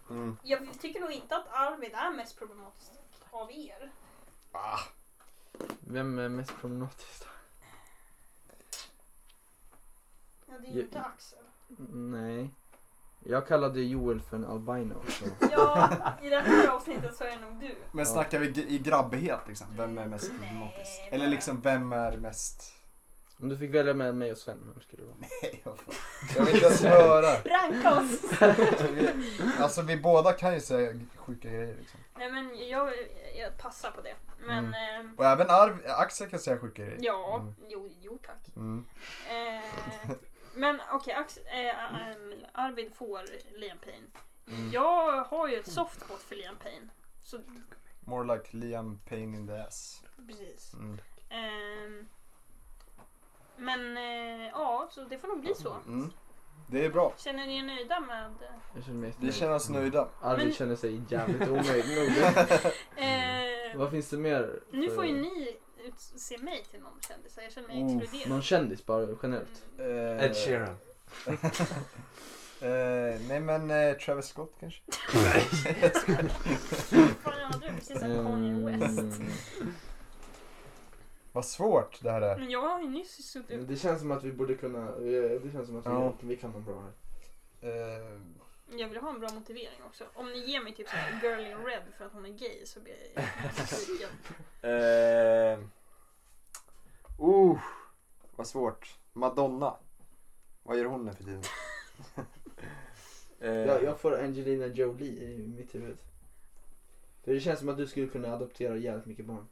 Mm.
Jag tycker nog inte att Arvid är mest problematisk av er.
Ah.
Vem är mest problematisk?
Ja, det är
Ja.
ju inte Axel.
Nej. Jag kallade Joel för en albino. Så.
Ja, i det här avsnittet så är det nog du.
Men
Ja.
snackar vi g- i grabbighet liksom? Vem är mest
Nej,
problematisk?
bara-
Eller liksom vem är mest...
Om du fick välja mellan mig och Sven, vem skulle det vara?
Nej, vad fan. Jag vill inte ens höra.
Ranka oss!
(laughs) Vi, alltså vi båda kan ju säga sjuka grejer liksom.
Nej men jag, jag passar på det. Men eh,
Och även Arv, Axel kan säga sjuka grejer.
ja,
Mm.
jo, jo tack.
Mm.
Eh, men okej, Axel- eh, ehm, Arvid får Liam Payne.
Mm.
Jag har ju ett soft spot för Liam Payne. Så
More like Liam Payne in the ass.
precis.
Mm.
Ehm, men eh, ja, så det får nog bli så.
Mm. Det är bra.
Känner ni er nöjda med... eh?
(laughs) Jag känner mig
Vi
jättenöjd.
känner oss nöjda.
Arvid
Men-
känner sig jävligt omöjd
(laughs)
nog.
Eh,
Vad finns det mer?
nu
för-
får ju ni utse mig till någon kändis. Jag känner mig
Oh,
Någon
exkluderad.
kändis bara generellt.
Mm.
Eh,
Ed Sheeran.
(laughs) Eh, nej men eh, Travis Scott kanske?
Fan, jag hade Mm. precis
Ehm.
sagt Kanye West.
Mm.
Vad svårt det här är.
Men jag har ju nyss suttit upp.
Det känns som att vi borde kunna, eh, det känns som att vi,
Ja.
vi kan någon bra här.
Eh,
Jag vill ha en bra motivering också. Om ni ger mig typ såhär girl in red för att hon är gay så blir jag
(laughs)
besviken.
Eh, uh, vad svårt. Madonna. Vad gör hon nu för tiden? eh,
Jag, jag får Angelina Jolie i mitt huvud. För det känns som att du skulle kunna adoptera jävligt mycket barn.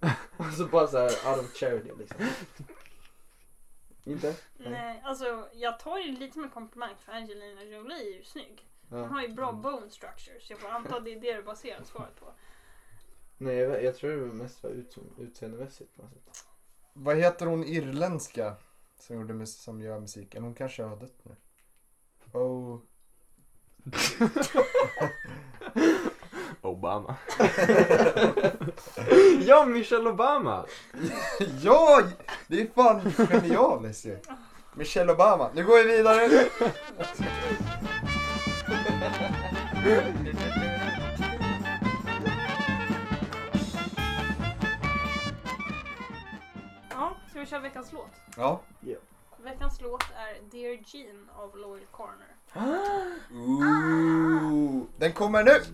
(laughs) alltså bara så här out of charity liksom. Inte?
Nej, alltså jag tar ju lite med komplimang för Angelina Jolie är ju snygg. Hon
Ja.
har ju bra bone structure så jag får anta att det är det du baserar svaret på.
Nej jag, jag tror det var mest var ut, utseendemässigt på något sätt.
vad heter hon irländska som, gjorde mus- som gör musiken? Hon kanske har dött nu. Oh, (laughs)
Obama. (laughs) ja, Michelle Obama!
ja! Det är fan genialiskt ju. Michelle Obama. Nu går vi vidare.
Ja, ska vi köra veckans låt?
Ja.
Veckans låt är Dear Jean av Loyal Corner.
Ooh. Den kommer nu.
eyes,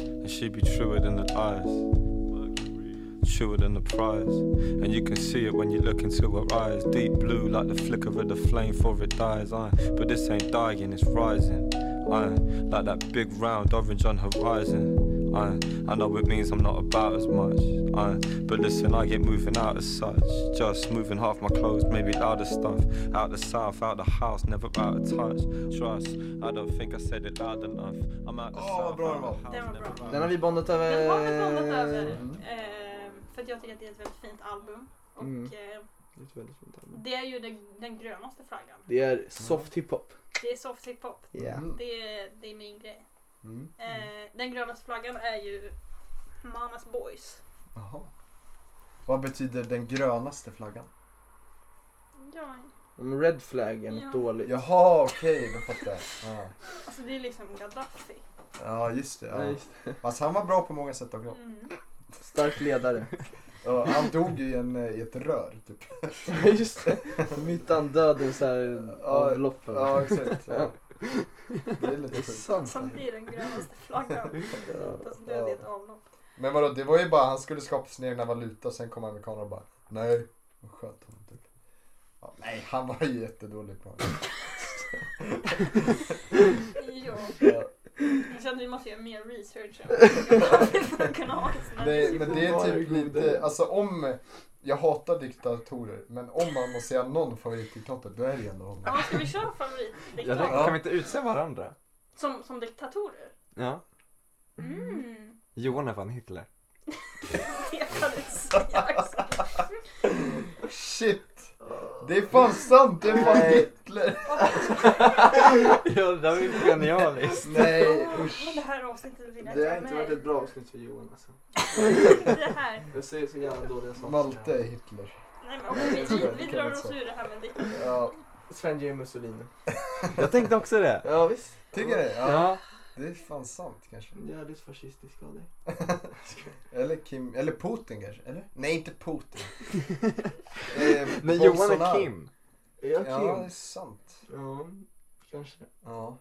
and she be truer than the eyes. Truer than the prize, and you can see it when you look into her eyes. Deep blue, like the flicker of the flame, for it dies. Aye, but this ain't dying, it's rising. Aye, like that big round orange on horizon. Aye, I know it means I'm not about as much. Aye, but listen, I get moving out as such. Just moving half my clothes, maybe louder stuff. Out the south, out the house, never out of touch. Trust, I don't think I said it loud enough. I'm out the
Åh, vad
south.
bra
out
det var.
the
Den
house,
var
never
bra.
out-
Den har vi bondat över.
Den har vi blandat över. Eh, för att jag tycker att det är ett väldigt fint album. Och
Mm.
eh,
Det är ett väldigt fint album.
det är ju den, den grönaste flaggan.
Det är soft hiphop.
Det är soft hiphop.
Yeah.
Mm.
Det är, det är min grej.
Mm.
Eh, den grönaste flaggan är ju Mamas Boys.
Jaha. Vad betyder den grönaste flaggan?
Ja,
Om red flag är något
Ja.
dåligt.
Jaha, okej, då fattar jag. Ja,
alltså det är liksom Gaddafi.
ja just det.
Nej,
Ja.
just det.
Fast han var bra på många sätt också.
Mm.
Stark (laughs) ledare.
Ja, han dog i, en, eh, i ett rör, typ.
just det. Mitt an döden så här
Ja,
avlopp.
Ja, exakt. Ja. Det är
Det
lite
är
sjukt.
sant.
Som blir den grönaste flaggan. Fast det är ett avlopp.
Men vadå, det var ju bara, han skulle skapa sin egna valuta och sen kom amerikanerna och bara nej, och sköt honom typ. Ja, nej, han var ju jättedålig på det.
Ja.
Ja.
Jag känner att vi måste göra mer research. än vad vi får kunna ha en sån här
Nej, men det är typ
Varsågoda.
lite, alltså om, jag hatar diktatorer, men om man måste säga någon favoritdiktator, då är det ändå honom.
Ja, ska vi köra
Jag
favoritdiktator?
tänkte, kan vi inte utse varandra?
Som, som diktatorer?
Ja.
Mm.
Johan är fan Hitler.
Det kan du säga. också.
Shit! Det är fan sant, det är fan Hitler!
(laughs) ja, det där var ju genialiskt.
(laughs) Nej,
Men
usch.
Det här avsnittet vill jag
Det har
ta
inte
med.
varit ett bra avsnitt för Johan alltså.
Det här.
Jag säger så jävla dåliga saker.
Malte är Hitler.
Nej, men okej, vi, vi drar oss ur det här med diktatorer.
Ja,
Sven-G. Mussolini.
Jag tänkte också det.
Ja visst.
tycker du? Ja,
Ja.
det är fan sant kanske. (laughs)
Jävligt fascistisk av dig.
Eller Kim, eller Putin kanske, eller? Nej, inte Putin. eh,
Men Johan är
Bolsonaro.
Kim.
Ja,
Ja, det är
Kim.
sant.
Ja, kanske.
Ja.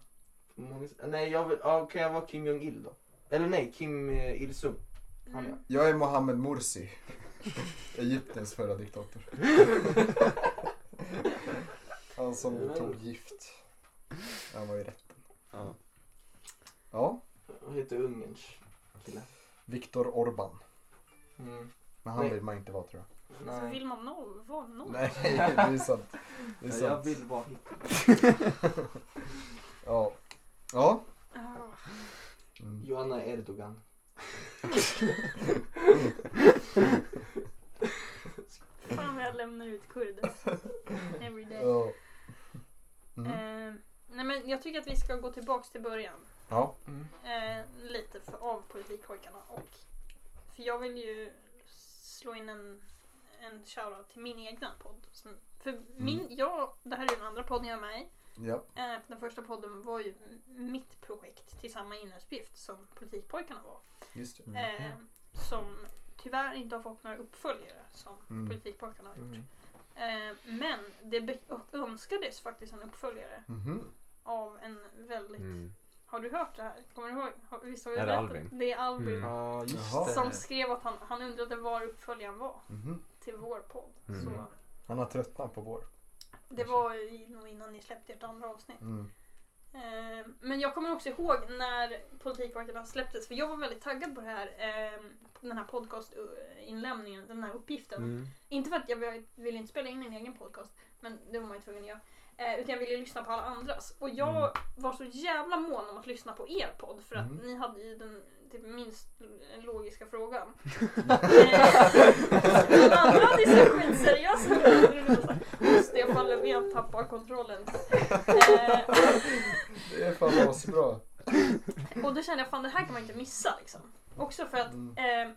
På Många... Nej, jag vill... ja, kan jag vara Kim Jong-Il då? Eller nej, Kim eh, (laughs) Il-Sung. Han ja.
Mm.
Jag är Mohammed Morsi. (laughs) Egyptens förra diktator. Han som tog gift. Han var ju rätt.
Ja.
Ja,
Vad heter Ungerns kille?
Viktor Orban.
Mm.
Men han
Nej.
vill man inte vara tror jag.
Så
Nej.
Alltså, vill man noll, vara noll?
Nej, det är sant. Det är
Ja, jag
sant.
vill vara Hitler.
Ja. Ja.
Ah,
Mm.
Johanna Erdogan.
fan vad jag lämnar ut kurder. Every day.
Ja. Mm.
Eh, nej men jag tycker att vi ska gå tillbaks till början.
Ja.
Mm.
Eh, lite för, av politikpojkarna och för jag vill ju slå in en, en shoutout till min egna podd. Som,
Mm.
för min, jag, det här är ju den andra podden jag är med i.
Ja.
Eh, Den första podden var ju m- mitt projekt till samma innehållsuppgift som Politikpojkarna var.
Just det. Mm.
Mm.
Eh, som tyvärr inte har fått några uppföljare som
Mm.
Politikpojkarna har gjort. Eh, men det be- önskades faktiskt en uppföljare
Mhm.
av en väldigt...
Mm.
Har du hört det här? Kommer du ihåg? Har- Visst har vi
Är det
berättat?
Albin?
Det är Albin.
Mm.
Ja, just
Jaha.
det.
Som skrev att han, han undrade var uppföljaren var
Mhm.
till vår podd.
Mm.
Så
Han har tröttnat på vår.
det var ju nog innan ni släppte ert andra avsnitt.
Mm.
Eh, Men jag kommer också ihåg när Politikvakterna släpptes för jag var väldigt taggad på det här, eh, den här podcastinlämningen, den här uppgiften.
Mm.
Inte för att jag ville inte spela in min egen podcast men det var man ju tvungen att göra. Eh, utan jag ville lyssna på alla andras. Och jag
Mm.
var så jävla mån om att lyssna på er podd för att
Mm.
ni hade ju den typ, minst logiska
(laughs)
frågan. Eh, Den andra hade ju så här skitseriösa frågor. Stefan Löfven tappar kontrollen. Eh,
(laughs) Det är fan asbra.
och då kände jag fan det här kan man inte missa liksom. Också för att
Mm.
eh,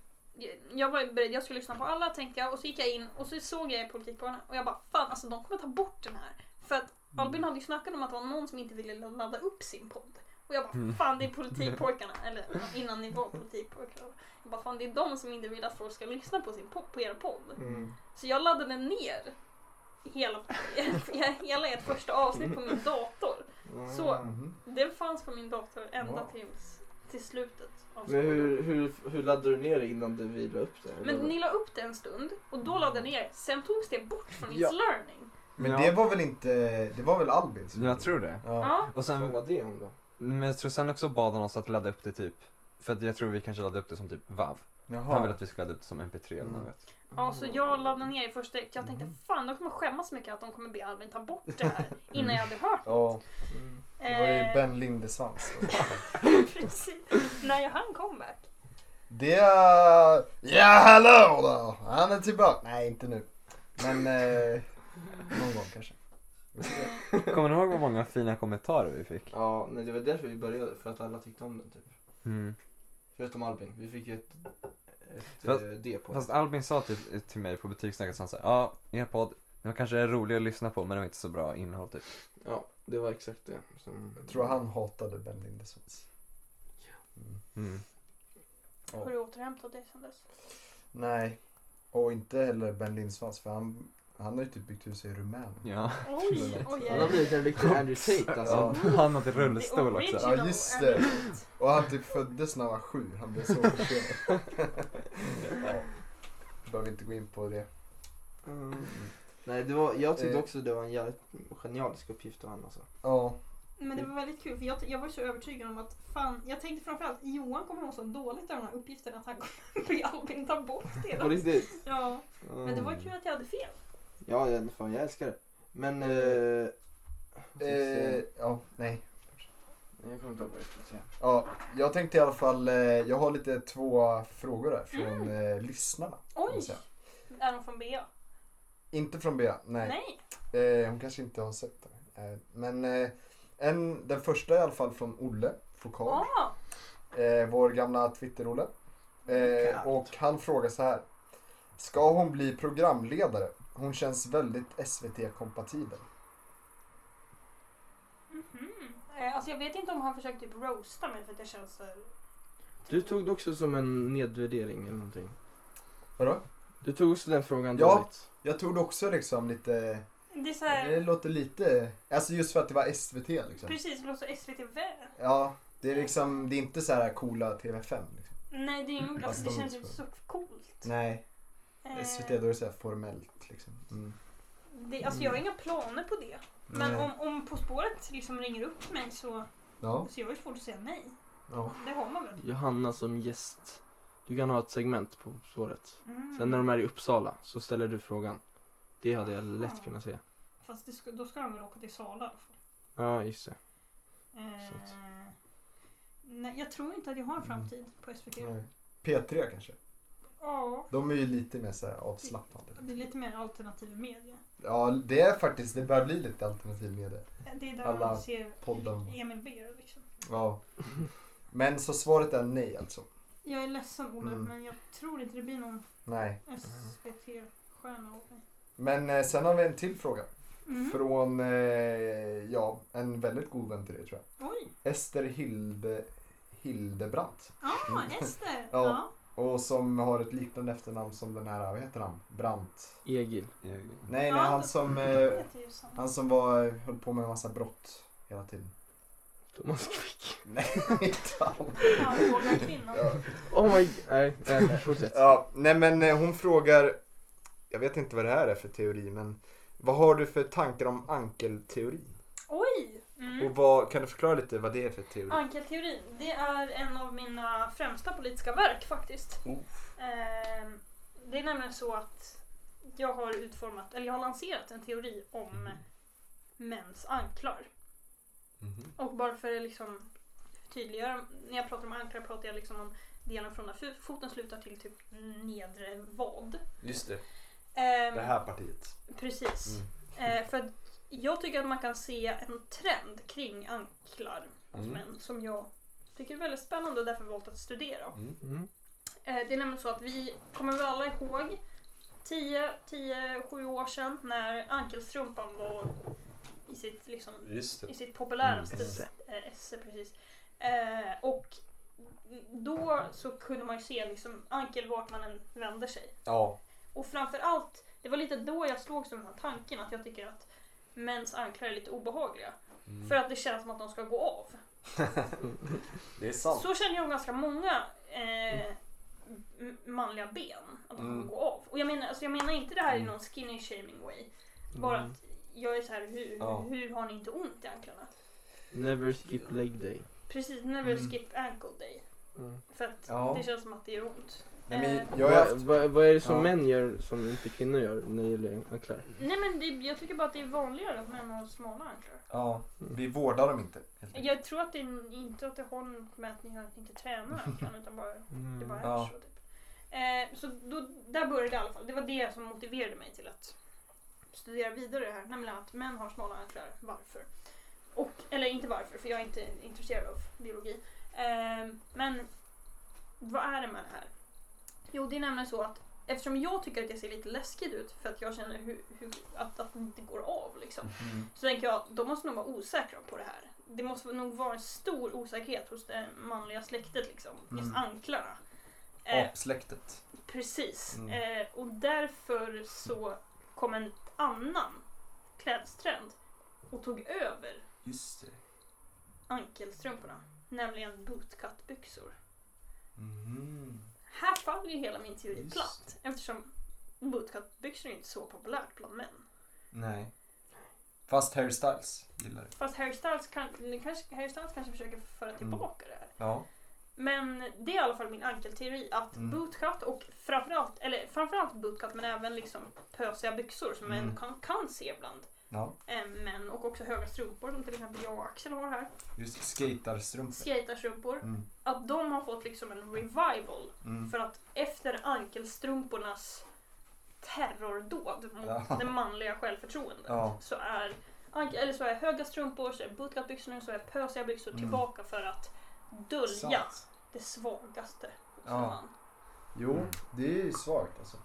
jag var beredd, jag skulle lyssna på alla tänka och så gick jag in och så såg jag i politikbarnen och jag bara fan alltså de kommer ta bort den här. För att
Mm.
Albin hade ju snackat om att det var någon som inte ville ladda upp sin podd. Och jag
Mm.
bara fan det är politikpojkarna,
(laughs)
eller innan ni var politikpojkar. Jag bara fan det är de som inte vill att folk ska lyssna på, sin podd, på er podd.
Mm.
Så jag laddade ner hela, (laughs) hela ert första avsnitt på min dator. Så.
Mhm.
Den fanns på min dator ända
Wow.
tills, till slutet av
Men
skolan.
hur, hur, hur laddade du ner det innan du vi la upp det?
Men ni la upp det en stund och då la den ner. Sen togs det bort från It's
Ja.
learning.
Men
Ja.
det var väl inte, det var väl Albins?
Jag tror det.
Ja.
Ja.
Och
Vad
sen,
var det om då?
men jag tror sen också bad han oss att ladda upp det typ. För att jag tror vi kanske laddade upp det som typ VAV. Han ville
Jaha.
att vi skulle ladda upp det som MP3 eller
Mm.
något.
ja, så jag laddade ner i första. Jag tänkte fan de kommer skämmas så mycket att de kommer be Albin ta bort det här innan jag hade hört
Ja,
Mm.
det var ju
Eh,
Ben Lindesvans.
precis. När jag hann comeback.
Det är... Ja, hallå då! Han är tillbaka. Nej, inte nu. Men eh, någon gång kanske.
Kommer ni ihåg vad många fina kommentarer vi fick?
Ja, nej, det var därför vi började, för att alla tyckte om den typ.
Mm.
Förutom Albin, vi fick ju ett, ett
Fast-
eh, D på
Fast Albin sa till, till mig på butikssnacket, så han sa ja, er podd, den kanske är rolig att lyssna på men det var inte så bra innehåll typ.
Ja, det var exakt det. Som...
Jag tror han hatade Ben Lindesvans. Mm.
Mm.
Har du återhämtat dig sen dess?
Nej, och inte heller Ben Lindesvans för han, han har ju typ byggt hus i Rumänien.
Ja.
Oj, oj,
Han har
oj.
blivit en riktig Andrew Tate
Ja, (laughs)
alltså.
han hade
The
rullstol också.
original
Ja, just
Albin.
Och han typ föddes när han var sju. Han blev så försenad. ja. Behöver inte gå in på det.
Mm. Nej, det var, jag tyckte
Eh.
också det var en jävligt genialisk uppgift av han alltså.
Ja.
Men det var väldigt kul för jag, jag var så övertygad om att fan, jag tänkte framförallt Johan kommer må så dåligt av den här uppgiften att han kommer be Albin ta bort
På
det.
riktigt.
Ja, men det var
Mm.
kul att jag hade fel.
Ja, jag, fan jag älskar det. Men...
Mm.
Eh,
Eh, ja, nej.
jag kommer inte ihåg vad jag skulle säga.
Ja, jag tänkte i alla fall, eh, jag har lite två frågor här från eh, lyssnarna. kan man
Oj!
säga.
Är de från BA?
Inte från Bea, nej.
Nej.
Eh, hon kanske inte har sett det. Eh, men eh, en, den första i alla fall från Olle Fokal.
Ja.
eh, vår gamla Twitter-Olle. Eh, och han frågar så här. Ska hon bli programledare? Hon känns väldigt SVT-kompatibel.
Mhm. Eh, Alltså jag vet inte om han försökte typ roasta mig för att jag känns så... här-
Du tog det också som en nedvärdering eller någonting.
Vadå?
Du tog också den frågan
Ja.
dåligt.
Jag tog det också liksom lite,
Det är så
det
här,
låter lite, alltså just för att det var SVT liksom.
precis, det låter SVT väl.
Ja, det är liksom, det är inte så här coola TV5. Liksom.
Nej det är inget bra,
Fast
det
de-
känns ju inte så coolt.
Nej,
Eh,
SVT då är det så här formellt liksom. Mm.
det, alltså jag har inga planer på det. Men
Nej.
om, om På spåret liksom ringer upp mig så,
Ja,
så jag har ju svårt att säga nej.
ja.
Det har man väl?
Johanna som gäst. Du kan ha ett segment på spåret.
Mm.
Sen när de är i Uppsala så ställer du frågan. Det hade jag lätt kunnat säga.
Fast det ska, då ska de väl åka till Sala i alla fall.
Ja, just det. Så att-
Eh, nej, jag tror inte att jag har en framtid på SVT.
Nej. P3 kanske.
Ja,
De är ju lite mer så här avslappnade.
det är lite mer alternativ media.
Ja, det är faktiskt, det börjar bli lite alternativ media.
Det är där
Alla
man ser
podden.
Emil Beer liksom.
Ja. Men så svaret är nej alltså?
Jag är ledsen Olle,
Mm.
men jag tror inte det blir någon
Nej.
SVT-stjärna av mig.
Men eh, sen har vi en till fråga.
Mm.
Från, eh, ja, en väldigt god vän till dig tror
Oj!
jag. Ester Hilde, Hildebrandt.
Ah, Ester!
Mm. Ja.
Ja.
Och som har ett liknande efternamn som den här, vad heter han? Brandt?
Egil.
Nej,
Ja.
nej, han som,
det
eh,
heter ju samma.
han som var, höll på med en massa brott hela tiden.
Thomas Quick.
(laughs) Inte han.
Ja, vårdnadskvinnan.
Ja.
(laughs) Oh my... Nej, nej, fortsätt.
Ja, nej men eh, hon frågar, jag vet inte vad det här är för teori men vad har du för tankar om ankelteorin?
Oj! Mm.
Och vad, kan du förklara lite vad det är för teori?
Ankelteorin, det är en av mina främsta politiska verk faktiskt. Ehm, Det är
Mm.
nämligen så att jag har utformat, eller jag har lanserat en teori om mäns anklar.
Mhm.
Och bara för att liksom tydliggöra, när jag pratar om anklar pratar jag liksom om delen från där fu- foten slutar till typ nedre vad.
Just det,
Ehm,
det här partiet. Mm.
Precis. Eh, för att jag tycker att man kan se en trend kring anklar hos
Mm.
män som jag tycker är väldigt spännande och därför valt att studera.
Mm.
Eh, det är nämligen så att vi kommer väl alla ihåg 10-7 år sedan när ankelstrumpan var i sitt liksom
Just det.
i sitt populäraste
Mm, esse.
eh, esse, precis. Eh, och då så kunde man ju se liksom ankel vart man än vänder sig.
Ja.
Och framförallt, det var lite då jag slogs av den här tanken att jag tycker att mäns anklar är lite obehagliga.
Mm.
Mm.
För att det känns som att de ska gå av.
Det är sant.
Så känner jag om ganska många eh, m- manliga ben. Att de kommer
Mm.
gå av. Och jag menar, alltså jag menar inte det här i någon skinny shaming way. Bara att jag är så här, hur,
Mm. Ja.
hur har ni inte ont i anklarna?
Never skip leg day.
Precis, never skip ankle day.
Mm.
För att
Ja.
det känns som att det gör ont.
Nej, men jag har
Vad
haft...
vad- vad är det som
Ja.
män gör som inte kvinnor gör när det gäller anklar?
Nej men det, jag tycker bara att det är vanligare att män har smala anklar.
Ja,
Mm.
vi vårdar dem inte. helt enkelt.
Jag tror att det är inte att det har något med att ni har- inte
(laughs)
tränar anklarna utan bara,
Mm.
det bara är
Ja.
så. Typ. Eh, så då, där började det i alla fall. Det var det som motiverade mig till att studera vidare det här. Nämligen att män har smala anklar. Varför? Och, eller inte varför, för jag är inte intresserad av biologi. Eh, men vad är det med det här? Jo, det är nämligen så att eftersom jag tycker att det ser lite läskigt ut för att jag känner hur, hur, att, att det inte går av liksom.
Mm.
Så tänker jag, de måste nog vara osäkra på det här. Det måste nog vara en stor osäkerhet hos det manliga släktet liksom. Just
Mm.
anklarna. Eh,
Apsläktet.
Precis.
Mm.
Eh, och därför så kom en annan klädstrend och tog över
Just det.
ankelstrumporna. Nämligen bootcut-byxor.
Mhm.
Här faller ju hela min teori
Just.
platt eftersom bootcut-byxor är inte så populärt bland män.
Nej. Fast Harry Styles gillar det.
Fast Harry Styles, kan, nu kanske, Harry Styles kanske försöker föra
Mm.
tillbaka det här.
Ja.
Men det är i alla fall min ankelteori att
Mm.
bootcut och framförallt, eller framförallt bootcut men även liksom pösiga byxor som
Mm.
man kan, kan se bland
ja.
eh, män och också höga strumpor som till exempel jag och Axel har här.
Just det. Skatarstrumpor.
Skaterstrumpor.
Mm.
Att de har fått liksom en revival
Mm.
för att efter ankelstrumpornas terrordåd mot
Ja.
det manliga självförtroendet
Ja.
så är ankel, eller så är höga strumpor, så är bootcutbyxor, så är pösiga byxor
Mm.
tillbaka för att dölja
Sant. Mm.
det svagaste hos
Ja.
en man.
Jo, det är ju svagt alltså.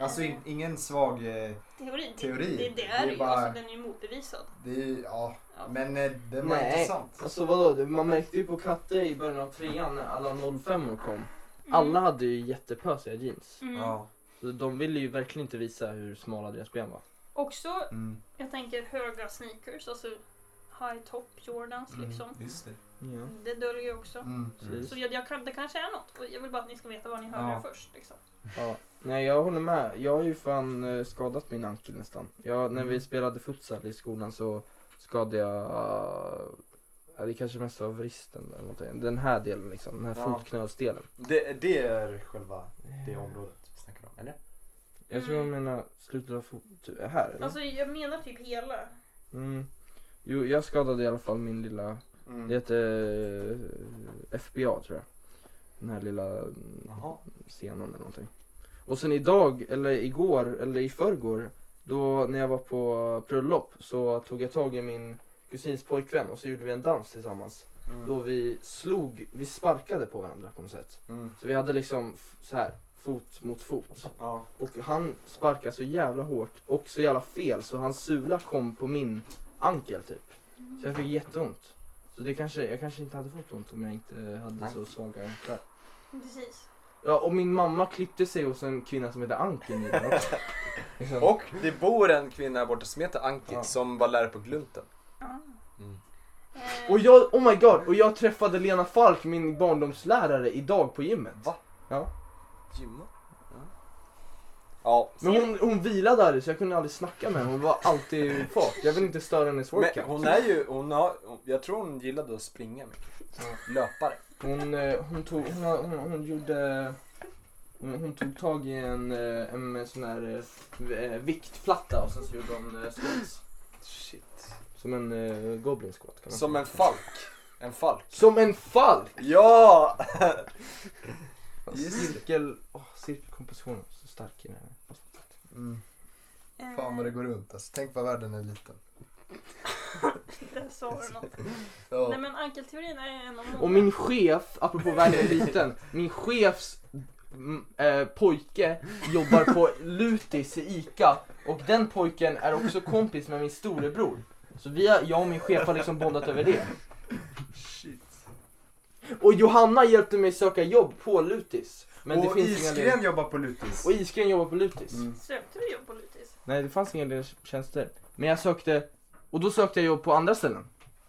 Alltså in, ingen svag... Eh,
Teorin,
Teori.
Det, det, det är
Det är
ju,
bara-
alltså, den är ju motbevisad.
det är ju- ja.
Ja.
Men eh, den var
Nej.
intressant.
Alltså vadå, Det- man märkte ju på katter i början av trean när alla 05 kom. Alla hade ju jättepösiga jeans.
Mm. Mm.
Ja.
Så de ville ju verkligen inte visa hur smala deras ben var.
Också,
Mm.
jag tänker höga sneakers, alltså high top Jordans
Mm.
liksom.
Just det.
Ja.
Det döljer ju också.
Mm.
Precis.
Så jag, jag kan, det kanske är något. Och jag vill bara att ni ska veta vad ni hörde
Ja.
först. Liksom.
Ja. Nej jag håller med. Jag har ju fan eh, skadat min ankel nästan. Jag, när
Mm.
vi spelade futsal i skolan så skadade jag, ja, det kanske mest var vristen eller någonting. Den här delen liksom, den här
Ja.
fotknölsdelen.
Det, det är själva det området vi snackar om, eller?
Jag tror jag menar slutet av fot, typ här eller?
Alltså jag menar typ hela.
Mm. Jo jag skadade i alla fall min lilla Det
Mm.
heter eh, FBA tror jag. Den här lilla mm,
Jaha.
scenen eller någonting. Och sen idag, eller igår, eller i förrgår. Då när jag var på bröllop så tog jag tag i min kusins pojkvän och så gjorde vi en dans tillsammans.
Mm.
Då vi slog, vi sparkade på varandra på något sätt.
Mm.
Så vi hade liksom f- så här fot mot fot.
Ja.
Och han sparkade så jävla hårt och så jävla fel så hans sula kom på min ankel typ. Så jag fick jätteont. Så det kanske, jag kanske inte hade fått ont om jag inte hade
Nej.
så svaga anklar.
Precis.
Ja och min mamma klippte sig hos en kvinna som heter Anki nyligen
(laughs)
också. liksom.
Och det bor en kvinna här borta som heter Anki
Ja.
som var lärare på Glunten.
Ja.
Mm.
Eh,
och jag, oh my god, och jag träffade Lena Falk, min barndomslärare, idag på gymmet.
Va?
Ja.
Gymma? Ja. ja.
Men hon, hon vilade aldrig så jag kunde aldrig snacka med henne, hon var alltid i fart. Jag vill inte störa hennes
Men
workout.
hon är ju, hon har, jag tror hon gillade att springa mycket. Löpare.
Hon, eh, hon tog, hon, har- hon, hon gjorde, hon, hon tog tag i en, eh, en sån här eh, v- eh, viktplatta och sen så gjorde hon eh, squats.
Shit.
Som en eh, goblin squat kan man
Som en falk. En falk.
Som en falk!
Ja!
Cirkel, åh, cirkelkompositionen, så stark i den här.
Mm.
eh,
Fan
(laughs)
vad det går runt alltså. Tänk vad världen är liten.
Där sa du något.
(laughs) Ja.
Nej men ankelteorin är en av många.
Och min chef, apropå världen är liten, min chefs mm, eh, pojke jobbar på Lutis i ICA och den pojken är också kompis med min storebror. Så vi har, jag och min chef har liksom bondat över det.
Shit.
Och Johanna hjälpte mig söka jobb på Lutis. Men det
och
finns inga
Isgren
lediga...
jobbar på Mm. Lutis.
Och Isgren jobbar på Lutis.
Sökte du jobb på Lutis?
Mm. Nej det fanns inga lediga tjänster. Men jag sökte, och då sökte jag jobb på andra ställen.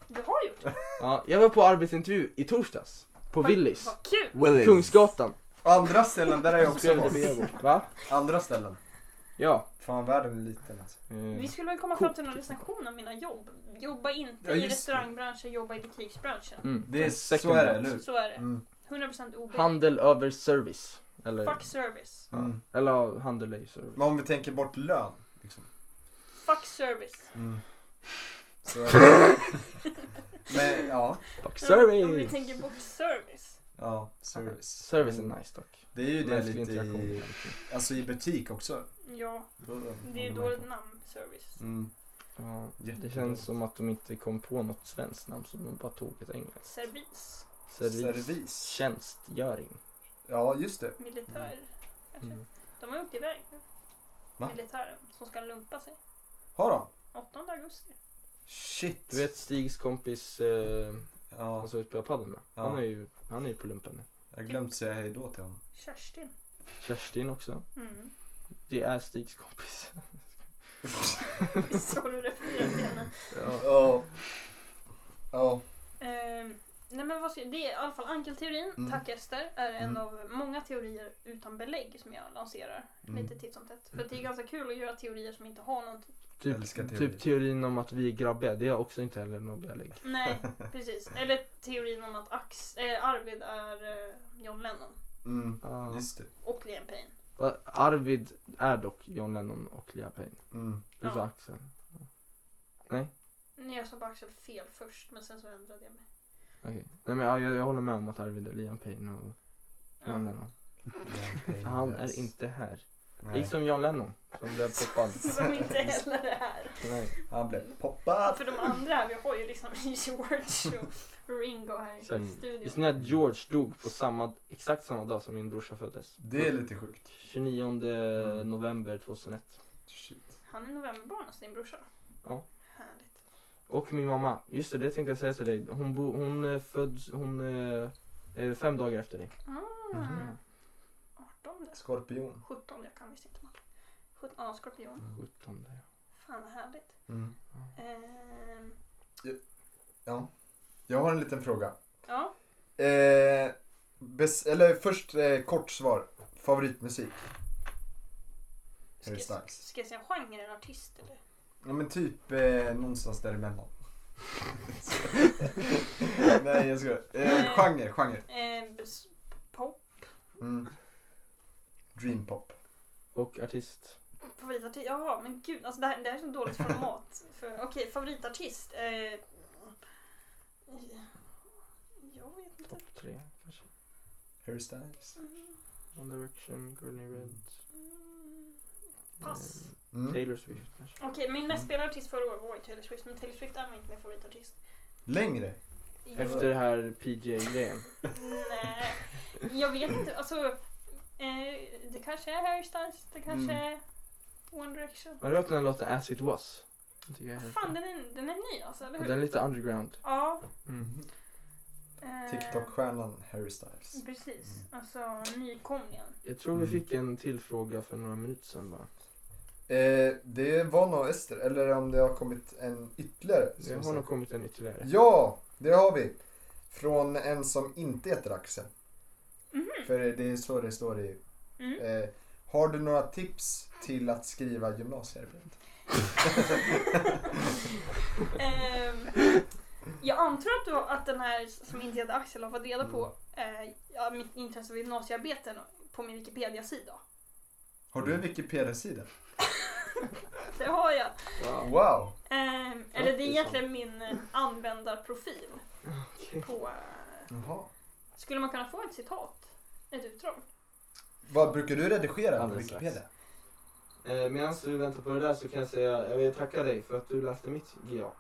Du har gjort det?
Ja, jag var på arbetsintervju i torsdags. På Willys.
Vad kul!
Kungsgatan.
Andra ställen, där har
(laughs)
jag också
Skrev det
varit.
Bebo. Va?
Andra ställen.
Ja.
Fan världen är liten alltså.
Eh,
Vi skulle väl komma fram till någon recension av mina jobb. Jobba inte
Ja,
i
just det.
restaurangbranschen, jobba i butiksbranschen.
Mm.
Det är, så
Second
är det,
hand.
eller hur?
Så är det.
Mm.
100% OB.
Handel över service. Eller,
Fuck service.
Mm.
eller ja, handel är ju service.
Men om vi tänker bort lön. Liksom.
Fuck service.
Så är det.
(laughs)
Men ja,
Fuck
Om vi
service!
tänker bort service.
ja, service.
Service är nice dock.
Det är ju det
Mänsklig
lite
interaktion.
i, alltså i butik också.
Ja, det är ju dåligt namn, service.
Mm.
Ja, det
Jättebra.
känns som att de inte kom på något svenskt namn så de bara tog ett engelskt.
Servis.
Service.
Servis.
Tjänstgöring.
Ja, just det.
Militär. kanske.
Mm.
De har åkt iväg nu.
Va?
Militären som ska lumpa sig.
Har de?
8 augusti.
Shit.
Du vet Stigs kompis, eh,
Ja,
han som vi spelar padel med.
Ja.
Han är ju, han är ju på lumpen nu.
jag har glömt säga hej då till honom.
Kerstin.
Kerstin också.
(laughs)
Mm.
Det är Stigs kompis.
Så du refererar till henne.
Ja. Ja.
Ehm, nej men vad ska, det är i alla fall ankelteorin,
Mm.
tack Ester, är en
Mm.
av många teorier utan belägg som jag lanserar
Mm.
lite titt som tätt. För det är ganska kul att göra teorier som inte har någonting.
Typ,
Älskar teorier.
typ teorin om att vi är grabbiga, det är också inte heller något belägg.
(laughs)
Nej, precis. Eller teorin om att Ax, eh, Arvid är eh, John Lennon
Mm.
Ah.
Just det.
och Liam Payne.
Va, Arvid är dock John Lennon och Liam Payne.
Mm.
Du
Ja.
sa Axel.
Nej, jag sa bara Axel fel först men sen så ändrade jag mig.
Okej. Nej men ja, jag, jag håller med om att Arvid är Liam Payne och
Ja.
John Lennon. Han
Yes.
är inte här.
Nej.
Liksom John Lennon som blev poppad.
(laughs) Som inte heller
(laughs)
är här.
Nej.
Han blev poppad.
För de andra här, vi har ju liksom (laughs) George och Ringo här i
Exakt. Visste
studion.
ni att George dog på samma, exakt samma dag som min brorsa föddes?
Det är lite Mm. sjukt.
29 november 2001.
Shit.
Han är novemberbarn, alltså din brorsa.
Ja.
Härligt.
Och min mamma, just det, det tänkte jag säga till dig. Hon, bo, hon eh, föds, hon eh, är fem dagar efter dig.
Ah, 18,
Skorpion.
17, jag kan visst inte matte. 17, ja, skorpion.
17.
Fan vad härligt.
Mm.
Ehm,
Jag har en liten fråga.
ja,
Eh, bes- eller först eh, kort svar. Favoritmusik?
ska,
Harry
ska
Styles.
jag säga genre eller artist eller?
Ja men typ eh, någonstans däremellan. Nej jag skojar. Eh, genre, genre.
Ehm, s- pop,
Mm. Dream pop.
Och artist.
favoritartist, jaha men gud alltså det här, det här är så dåligt format. För, Okej, favoritartist. Eh, jag vet inte.
Topp tre kanske.
Harry Styles.
One Direction, Gurney Red.
Mm, Pass.
eh,
Mm.
Taylor Swift kanske.
Okej, min mest spelade artist förra året var ju Taylor Swift, men Taylor Swift är inte min favoritartist.
Längre?
Efter det här PJ-grejen.
Nej, jag vet inte. Alltså, eh, det kanske är Harry Styles, det kanske
Mm.
är One Direction.
Har du hört den här låten As It Was? Den tycker jag är helt-
Fan, den är, den är ny alltså, eller
Ja,
hur?
den är lite underground.
Ja.
Mm.
Eh,
TikTok-stjärnan Harry Styles.
Precis, alltså
(laughs)
nykomlingen.
Jag tror vi
Mm.
fick en till fråga för några minuter sedan bara.
Eh, det var nog Ester, eller om det har kommit en ytterligare. ska
Det
vi
har
se.
nog kommit en ytterligare.
Ja, det har vi. Från en som inte heter Axel. För det är så det står i...
Mm.
Eh, har du några tips till att skriva gymnasiearbete?
Ehm, jag antar att, du, att den här som inte heter Axel har fått reda på
Mm.
eh, ja, mitt intresse för
Mm.
gymnasiearbeten på min Wikipedia-sida.
Har du en Wikipedia-sida?
(laughs) Det har jag.
Wow!
Ehm, eller det är egentligen min eh, användarprofil. På, eh,
Jaha.
skulle man kunna få ett citat? Ett utdrag?
Vad brukar du redigera på
Alldeles strax.
Wikipedia?
Eh, Medan du väntar på det där så kan jag säga, jag vill tacka dig för att du läste mitt GA.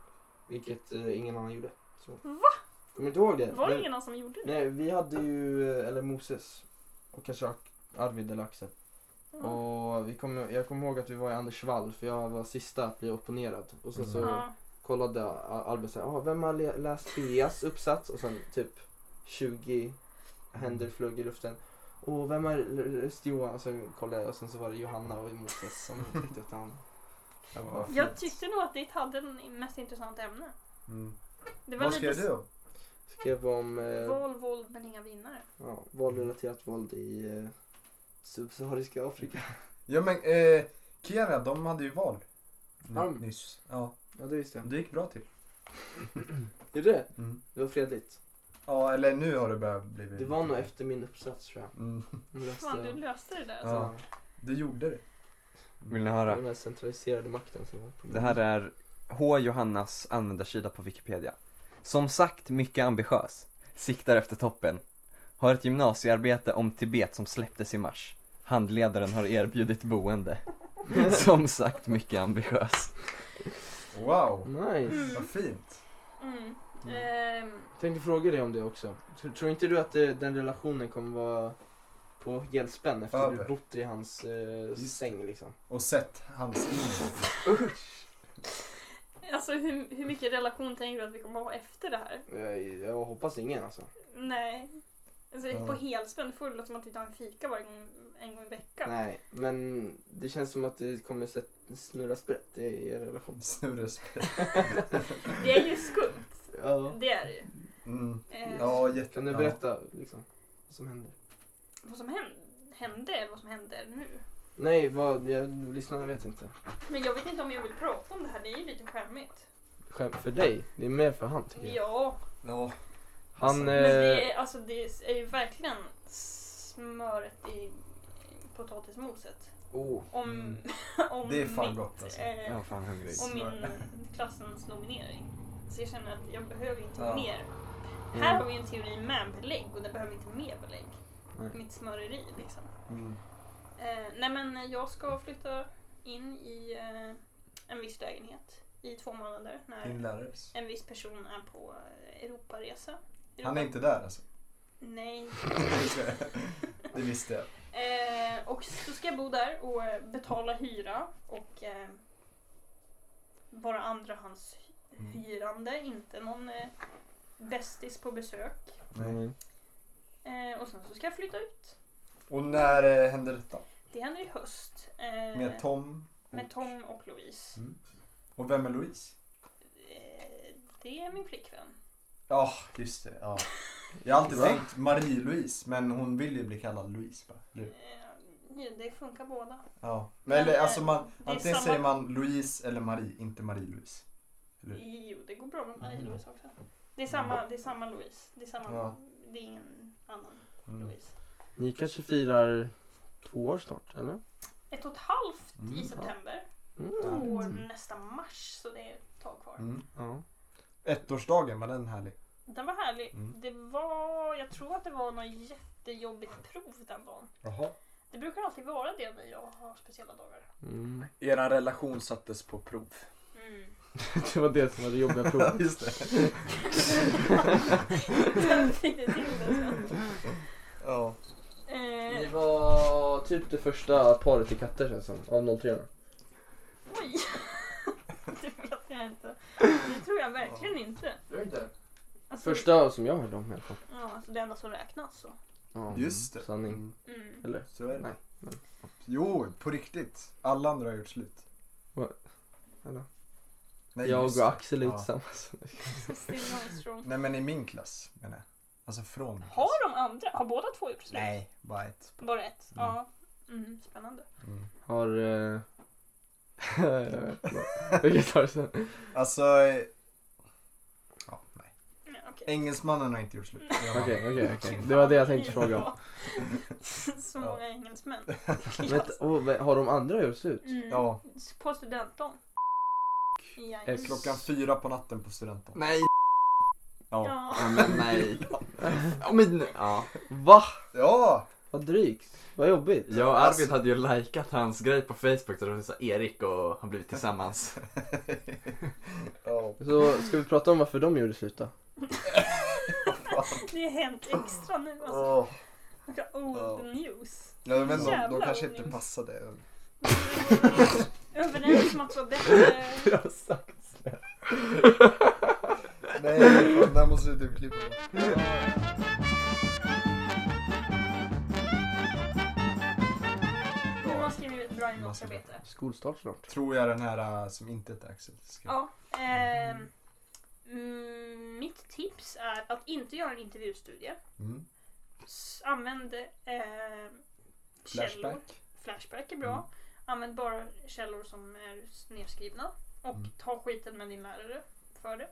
Vilket eh, ingen annan gjorde. Så.
Va?
Kommer du inte ihåg det?
Var det
Vi-
ingen annan som gjorde det?
Nej, vi hade ju, eh, eller Moses. Och kanske Ak- Arvid eller Axel.
Ja.
Och vi kom, jag kommer ihåg att vi var i Anders Wall för jag var sista att bli opponerad. Och sen så
Ja.
kollade Al- Albin såhär, ah, vem har le- läst Beas uppsats? Och sen typ 20 händer flög i luften. Och vem har l- läst Johan? Och sen kollade jag och sen så var det Johanna och Moses
(laughs)
som tyckte att han... Jag bara,
Jag tyckte nog att ditt hade den mest intressanta ämne.
Mm.
Det var
Vad skrev
lite
du om?
skrev om
s-
eh,
val, våld men inga vinnare.
ja, våldrelaterat våld i eh, subsahariska Afrika.
Ja men eh, Kenya, de hade ju val. Ny-
Mm.
Nyss. Ja.
Ja, det visste jag.
Det gick bra till.
Gjorde det?
Mm.
Det var fredligt.
Ja eller nu har det börjat bli...
Det var nog efter min uppsats tror jag.
Mm.
Jag läste-
Fan, du löste det där.
Ja.
alltså.
Du gjorde det.
Vill ni höra?
Den här centraliserade makten som var
Det här är H. Johannas användarsida på Wikipedia. Som sagt, mycket ambitiös. Siktar efter toppen. Har ett gymnasiearbete om Tibet som släpptes i mars. Handledaren har erbjudit boende. Som sagt, mycket ambitiös.
Wow!
Nice.
Vad fint.
Mm.
Mm.
Ehm,
Jag tänkte fråga dig om det också. Tror, tror inte du att eh, den relationen kommer vara på helspänn efter
Över.
du bott i hans eh,
det.
säng liksom?
Och sett hans in.
alltså hur, hur mycket relation tänker du att vi kommer ha efter det här?
Jag, jag hoppas ingen alltså.
Nej. Alltså,
Ja.
På helspänn full låter som att vi tar en fika varje gång, en gång i veckan.
Nej, men det känns som att det kommer sätt- snurra sprätt i
(laughs)
er relation.
Snurres.
(laughs) Det är ju skumt.
Ja.
Det är det ju.
Mm.
Eh,
Ja, jätte...
Kan du berätta liksom, vad som händer?
Vad som hän- hände eller vad som händer nu.
Nej, vad, jag, lyssnarna vet inte.
Men jag vet inte om jag vill prata om det här. Det är ju lite skämmigt.
Skämt för dig, det är mer för han tycker jag.
Ja,
Ja.
Han,
men det
eh,
är, alltså, det är ju verkligen smöret i i potatismoset.
oh,
Om,
Mm.
(laughs) om
Det är fan
mitt,
gott, alltså.
eh,
Jag var fan hungrig.
om min klassens nominering. Så jag känner att jag behöver inte
Ja. Mm.
mer. Här har vi en teori med belägg och det behöver inte mer belägg.
Nej.
Mitt smöreri liksom.
Mm.
Eh, nej men jag ska flytta in i eh, en viss lägenhet i två månader
Din
när
lärares.
en viss person är på eh, Europaresa.
Han är inte där alltså. (laughs)
Nej.
det visste jag.
Eh, och så ska jag bo där och eh, betala hyra och eh, vara
Mm.
andrahandshyrande, inte någon eh, bästis på besök.
Mm.
Nej.
Eh, och sen så ska jag flytta ut.
Och när eh, hände detta?
Det händer i höst. Eh,
Med Tom?
med Tom och Louise.
Och vem är Louise?
Eh, det är min flickvän.
Ja, just det. Ja. Jag har alltid tänkt Marie-Louise, men hon vill ju bli kallad Louise bara. eller hur?
Eh, det funkar båda.
Ja.
Men,
Men, eller,
eh,
alltså man,
det är
antingen
samma-
säger man Louise eller Marie, inte Marie-Louise. Eller?
Jo, det går bra med Marie-Louise också. Det är samma, det är samma Louise. Det är, samma,
Mm. Ja.
det är ingen annan
Mm.
Louise.
ni kanske firar två år snart, eller?
Ett och ett halvt i
Mm.
september.
Ja.
År nästa mars, så det är ett tag kvar.
Mm.
Ja.
Ettårsdagen, var den härlig?
Den var härlig.
Mm.
Det var, jag tror att det var något jättejobbigt prov den dagen.
Jaha.
Det brukar alltid vara det när jag har speciella dagar.
Mm. (laughs)
Eran relation sattes på
(laughs)
prov.
Mm.
Det var det som var det jobbiga
(laughs) Ja, (laughs)
provet.
just det.
jag fick det till det sen.
Ja.
Ni
Eh,
var typ det första paret i katter känns som, av 03
oj! (laughs) det vet jag inte. Det tror jag verkligen inte. Alltså,
Första som jag hörde om i alla fall.
Ja, alltså det enda som räknas så.
Ja,
Just det.
Sanning.
Mm.
Mm.
Eller?
Så är
Nej,
det.
men-
Jo, på riktigt. Alla andra har gjort slut.
Eller?
Nej,
jag
just
och
det.
Axel är
Ja.
tillsammans.
(laughs) Still Nordstrom.
(laughs) Nej men i min klass menar jag. Alltså från min klass.
Har de andra, har båda två gjort slut?
Nej, bara ett.
Bara ett?
Mm.
Ja. Mm, spännande.
Mm.
Har...
(laughs)
Eh... (laughs) jag vet inte. Vi kan ta det sen.
Alltså... eh, Ja, nej.
Ja, okej. taket.
Engelsmannen har inte gjort slut.
Okej,
(laughs)
okej, okej. Det var det jag tänkte fråga
(laughs)
om.
Så
(laughs)
många engelsmän.
Men, och, men har de andra gjort slut?
Mm.
Ja.
På studentdagen. Jajamän.
Ex-
Klockan fyra på natten på studenten.
Nej!
Ja.
Ja.
Ja, men nej.
Mm.
(laughs)
Ja, men, ja. Va?
Ja! (laughs)
Vad drygt. Vad jobbigt.
Jag och Arvid hade ju likat hans grej på Facebook där det sa Erik och han blivit tillsammans.
ja.
Så ska vi prata om varför de gjorde slut då?
Det har hänt extra nu alltså.
Åh.
Vilka Old
Ja.
news.
Jag vet inte, de, de
Jävlar,
kanske
vad
inte
ni-
passade.
Vi var Överens om att det var bättre.
Nej, den där måste du typ klippa bort.
Nu
Ja,
har skrivit ett
(laughs)
bra inlåtsarbete.
Skolstart snart.
Tror jag den här äh, som inte heter Axel skrev.
Ja. ehm, mm, mitt tips är att inte göra en intervjustudie.
Mm.
S- Använd eh, källor.
Flashback.
Flashback är bra.
Mm.
Använd bara källor som är nedskrivna. Och
Mm.
ta skiten med din lärare för det.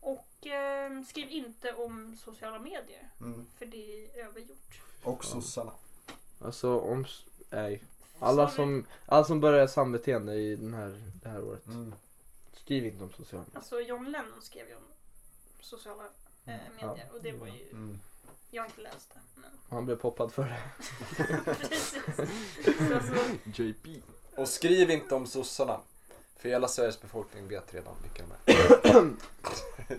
Och ehm, skriv inte om sociala medier.
Mm.
För det är övergjort.
Och sossarna.
Alltså om... s- Nej. Alla
Sorry.
som, alla som börjar sambeteende i den här, det här året.
Mm.
Skriv inte om sociala medier.
Alltså John Lennon skrev ju om sociala eh, medier och det var ju,
Mm.
jag har inte läst det. Men
Han blev poppad för det.
precis. Så, alltså,
JP.
Och skriv inte om sossarna. För hela Sveriges befolkning vet redan vilka de är.
eh,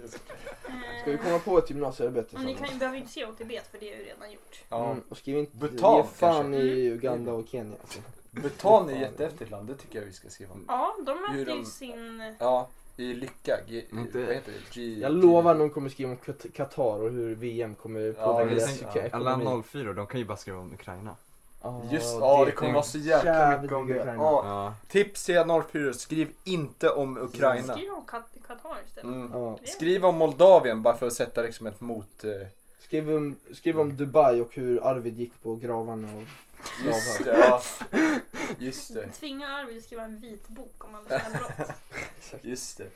Ska vi komma på ett gymnasiearbete
och ni kan, behöver ju inte se OTB för det är ju redan gjort.
Ja.
Mm, och skriv inte...
Bhutan,
ge fan
kanske.
i Uganda och Kenya. Alltså.
Bhutan är ett jättehäftigt land, det tycker jag vi ska skriva om.
Ja, de
Hur
mötte
de-
ju sin...
Ja, i Lycka. G-
Inte-
Vad heter det? G-
Jag lovar någon kommer skriva om Kat- Qatar och hur VM kommer påverka
men
deras
sen-
ek-
ja.
ekonomi.
Alla 04 de kan ju bara skriva om Ukraina.
Ja,
Just ja, det kommer vara så jäkla
jävligt
mycket om
mycket
det.
Ukraina.
Ja,
Ja.
tips till 04, skriv inte om Ukraina.
Skriv om Kat- Qatar istället.
Mm.
Ja.
Det-
Skriv om Moldavien bara för att sätta liksom ett mot... eh,
Skriv, om, skriv om Dubai och hur Arvid gick på gravarna och
Just det,
slavar.
ja. Just det,
Tvinga Arvid att skriva en vit bok om alla sina brott.
just det.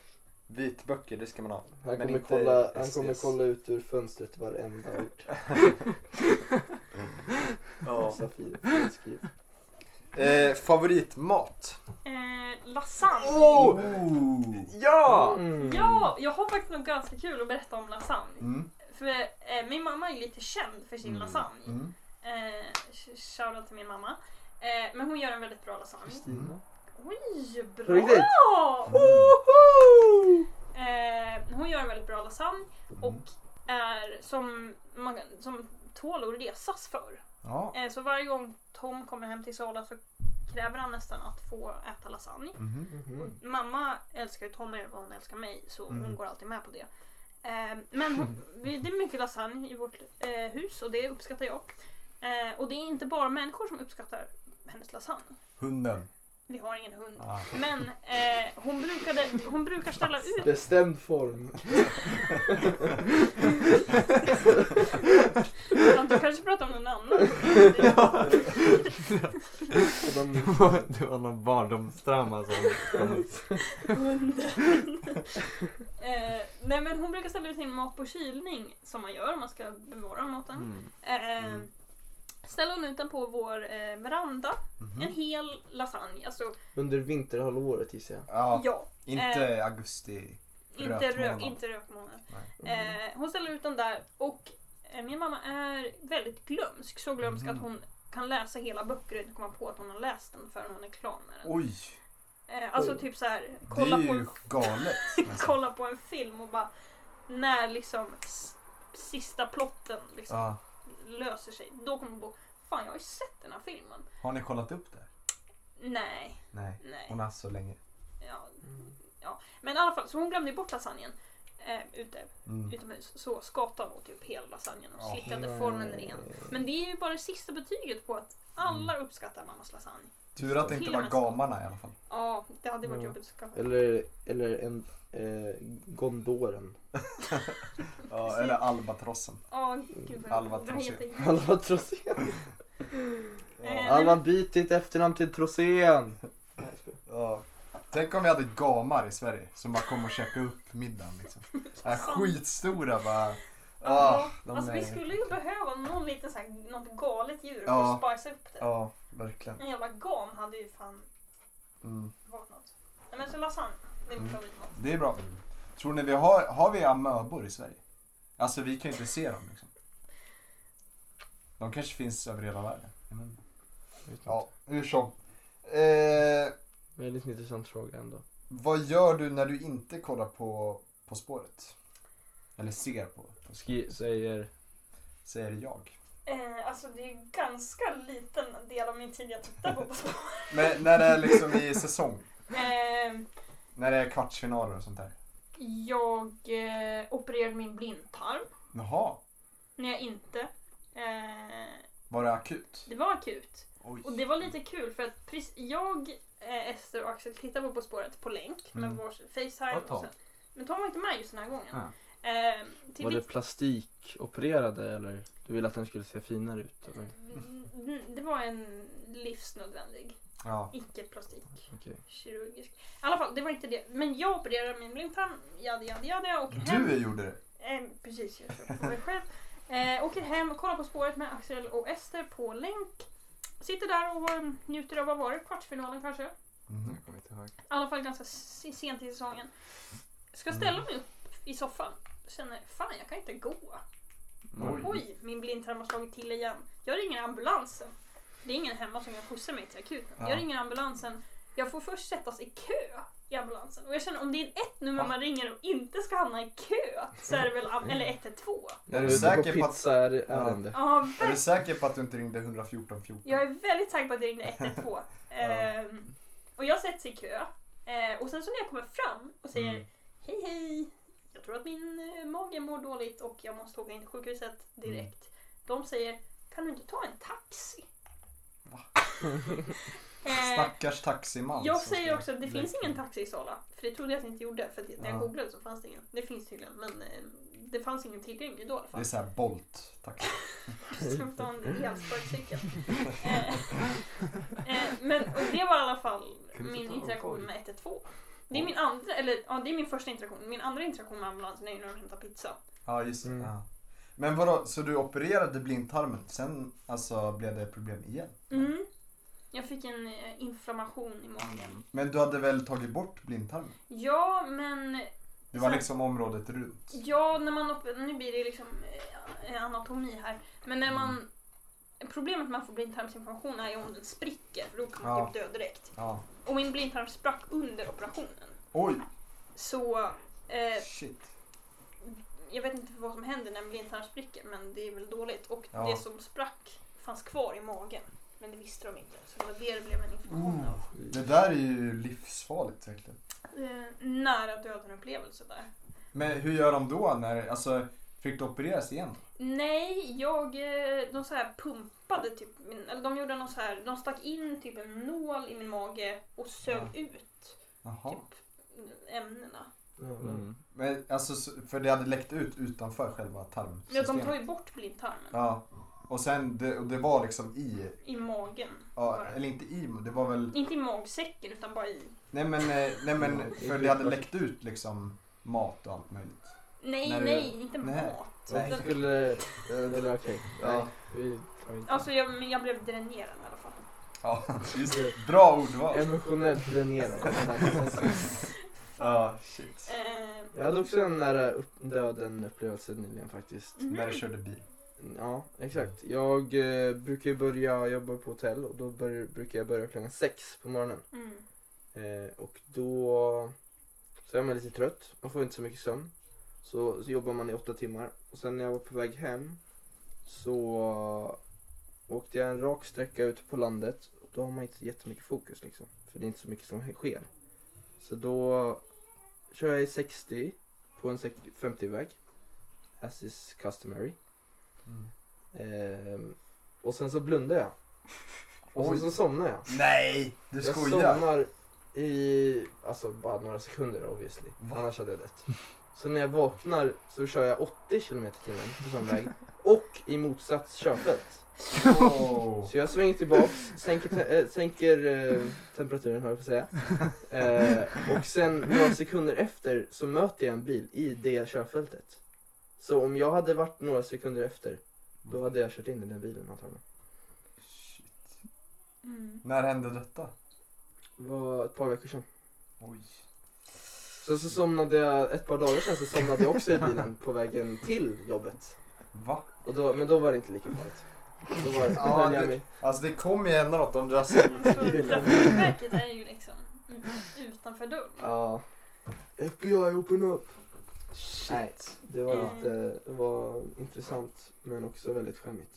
Vitböcker, det ska man ha.
Han
Men
kommer,
inte
kolla, han
SS.
kommer kolla ut ur fönstret varenda ord.
Ja.
Safir, finskriv.
Eh, favoritmat?
Eh, lasagne.
Oh! Ja!
Mm.
Ja, jag har faktiskt något ganska kul att berätta om lasagne.
Mm.
För eh, min mamma är lite känd för sin
Mm.
lasagne.
Mm.
Eh, sh- shoutout till min mamma. Eh, men hon gör en väldigt bra lasagne.
Stina.
Oj,
På riktigt?
bra! Mm. Eh, hon gör en väldigt bra lasagne och är som, man, som tål att resas för.
Ja.
Eh, så varje gång Tom kommer hem till Sala så kräver han nästan att få äta lasagne.
Mhm.
Mhm.
Mamma älskar ju Tom mer än vad hon älskar mig så hon
Mm.
går alltid med på det. Eh, men hon, vi- det är mycket lasagne i vårt eh, hus och det uppskattar jag. Eh, och det är inte bara människor som uppskattar hennes lasagne.
Hunden.
Vi har ingen hund.
Ah.
Men eh, hon, brukade, hon brukar ställa ut...
Bestämd form.
Du kanske pratar om någon annan?
Och de,
Det var- det var någon barndomstrauma
alltså.
som kom upp.
Hunden. eh, nej men hon brukar ställa ut sin mat på kylning som man gör om man ska bevara maten.
Mm.
Eh, Ställer hon ut den på vår eh, veranda.
Mm.
En
Mhm.
hel lasagne. Alltså
under vinterhalvåret gissar jag.
Ja,
ja, eh.
inte augusti.
inte, rök,
Rökmånad.
inte rökmånad. Eh, hon ställer ut den där och eh, min mamma är väldigt glömsk. Så glömsk
Mm.
att hon kan läsa hela böcker och inte komma på att hon har läst den förrän hon är klar med den.
Oj,
Eh, alltså typ så här,
det
kolla
är
på
ju
en (laughs)
galet. alltså. nästan.
kolla på en film och bara när liksom s- sista plotten liksom
Ja.
löser sig. Då kommer man på, fan jag har ju sett den här filmen.
Har ni kollat upp det?
Nej,
Nej,
nej.
hon har haft så länge.
Ja, ja. Men i alla fall, så hon glömde ju bort lasagnen. Eh, ute,
Mm.
utomhus. Så skatade åt typ hela lasagnen och
Ja.
slickade formen ren. Men det är ju bara det sista betyget på att alla
Mm.
uppskattar mammas lasagne.
Tur att det inte var gamarna i alla fall.
Ja, det hade varit
Ja.
jobbigt att skaffa.
Eller, eller en eh, Gondoren.
Ja, eller albatrossen.
Ja, gud vad
Alva
det här är
Trosén.
jätte-
Alva Trosén.
Eh, nej,
Alva
men-
byt ditt efternamn till Trosén.
(laughs)
Ja. Tänk om vi hade gamar i Sverige som bara kom och käkade upp middagen. Liksom. Är skitstora bara.
Ja,
Ah, de
alltså
är...
vi skulle ju behöva någon liten så här, något galet djur
Ja.
för att spicea upp det.
Ja, verkligen.
En jävla gam hade ju fan
Mm.
varit något. Nej men så lasagne, det är min
Mm.
favoritmat.
Det är bra. Tror ni vi har, har vi amöbor i Sverige? Alltså vi kan ju inte se dem liksom. De kanske finns över hela världen. Men, ja, hur som. Eh,
Väldigt intressant fråga ändå.
vad gör du när du inte kollar på På spåret? Eller ser på?
Ski- säger...
Säger jag.
Eh, alltså det är ju ganska liten del av min tid jag tittar på På spåret.
(laughs) Men när det är liksom i säsong?
eh,
När det är kvartsfinaler och sånt där?
Jag eh, opererade min blindtarm
Jaha,
när jag inte. Eh,
var det akut?
det var akut.
Oj.
Och det var lite kul för att precis, jag, eh, Ester och Axel tittade på På spåret på länk med
Mm.
vår Facetime.
Och Tom.
Och sen, men Tom var inte med just den här gången.
Ah.
Eh, till
Var det
mitt,
plastikopererade eller? Du ville att den skulle se finare ut? Eller?
Mm, det var en livsnödvändig
Ja.
icke-plastik.
Okej.
Kirurgisk. I alla fall, det var inte det. Men jag opererade min blindtarm, jada jada jada. Och hem.
Du gjorde det?
Eh, precis, jag kör på mig själv. Eh, åker hem, kollar på spåret med Axel och Ester på länk. Sitter där och eh, njuter av, vad var det, kvartsfinalen kanske? I
Mhm.
Jag kommer inte ihåg.
alla fall ganska s- sent i säsongen. Ska ställa
Mm.
mig upp i soffan. Känner, fan jag kan inte gå. Oj, min blindtarm har slagit till igen. Jag ringer ambulansen. Det är ingen hemma som kan skjutsa mig till akuten.
Ja.
Jag ringer ambulansen. Jag får först sättas i kö i ambulansen. Och jag känner om det är ett nummer
Va?
man ringer och inte ska hamna i kö så är det väl
(laughs)
am- eller 112.
Är du
Ute på
säker på att-
pizza är det
Ja.
ärende.
Ja,
Är du
verkligen.
säker på att du inte ringde 114 14?
Jag är väldigt säker på att
(laughs)
det ringde 112. Ehm, och jag sätts i kö. Eh, och sen så när jag kommer fram och säger
Mm.
hej hej, jag tror att min eh, mage mår dåligt och jag måste åka in till sjukhuset direkt.
Mm.
De säger, kan du inte ta en taxi? (laughs) eh,
Stackars taximan.
jag
som ska-
säger också att det finns
direkt-
ingen taxi i Sala. För det trodde jag att ni inte gjorde. För att när jag
Ja.
googlade så fanns det ingen. Det finns tydligen men eh, det fanns ingen tillgänglig då i alla
Det är
fall.
såhär Bolt. Tack.
Som ta en elsparkcykel. Eh, eh, Men och det var i alla fall
Kan du
min
ta en
interaktion
korg?
med 112. Det är min andra, eller ja det är min första interaktion. Min andra interaktion med ambulansen är ju när de hämtar pizza.
Ja, just det.
Mm.
Ja. Men vadå, så du opererade blindtarmen, sen alltså blev det problem igen?
Mm. Jag fick en eh, inflammation i
Mm.
magen.
Men du hade väl tagit bort blindtarmen?
Ja men
Det var
Så-
liksom området runt.
Ja, när man, op- nu blir det liksom eh, anatomi här. Men när man,
Mm.
problemet med att få blindtarmsinflammation är ju om den spricker, för då kan man
Ja.
typ dö direkt.
Ja.
Och min blindtarm sprack under operationen.
Oj,
Så eh,
shit.
jag vet inte vad som händer när en blindtarm spricker, men det är väl dåligt. Och
Ja.
det som sprack fanns kvar i magen. Men det visste de inte, så det var det det blev en inflammation
Oh.
av.
Det där är ju livsfarligt verkligen.
Eh, nära döden-upplevelse där.
Men hur gör de då när, alltså, fick du opereras igen?
Nej, jag, eh, de så här pumpade typ, min- eller de gjorde något så här, de stack in typ en nål i min mage och sög
Ja.
ut typ
Jaha.
ämnena.
Mm.
Men alltså, så- för det hade läckt ut utanför själva
Ja, de
tarmsystemet?
tar ju bort blindtarmen
Ja. Och sen, det, och det var liksom i,
i magen.
ja,
bara.
eller inte i, men det var väl
Inte i magsäcken utan bara i...
Nej men, eh, nej
Ja,
men
det
för
är
det hade
klart.
läckt ut liksom mat och allt möjligt.
Nej,
När du-
nej, inte
Nej.
mat.
Nej,
Utan-
skulle... Eller okej.
Ja.
Nej, vi tar inte.
Alltså jag, men jag blev dränerad i alla fall.
Ja, just det. (laughs) Bra ordval.
Emotionellt dränerad.
Ja, shit.
Eh,
Jag hade också en nära upp- döden upplevelse nyligen faktiskt.
Mhm.
När du körde bil.
Mm.
Ja, exakt. Jag eh, brukar ju börja jobba på hotell och då bör, brukar jag börja klockan sex på morgonen.
mm.
Eh, och då så är man lite trött, man får inte så mycket sömn. Så, så jobbar man i åtta timmar. Och sen när jag var på väg hem så åkte jag en rak sträcka ute på landet. Och då har man inte jättemycket fokus liksom. För det är inte så mycket som sker. Så då kör jag i 60 på en 50-väg. As is customary.
Mm.
Ehm, och sen så blundar jag. Och sen så somnar jag.
Nej! Du
Jag
skojar?
somnar i, alltså bara några sekunder obviously.
Va?
Annars hade jag dött.
Så när jag vaknar så kör jag 80 km timmen på
(laughs)
sån väg. Och i motsats körfält.
(laughs) Oh.
Så jag svänger tillbaks, sänker, te- äh, sänker eh, temperaturen höll jag på att säga. Eh, och sen några sekunder efter så möter jag en bil i det körfältet. Så om jag hade varit några sekunder efter, då hade jag kört in i den bilen antagligen.
(laughs)
Mm.
När hände detta?
Det var ett par veckor sedan.
Oj.
Sen så somnade jag, ett par dagar sedan så somnade jag också i bilen på vägen till jobbet.
Va?
Och då, men då var det inte lika farligt. Då var det, då
Ja,
höll jag
det-
mig.
Alltså det kommer ju hända något om du har sett
Alltså, Trafikverket är ju liksom ut- utanför dörren.
Ja. FBI open up!
Shit.
Nej, det var,
Mm.
lite, det var intressant men också väldigt skämmigt.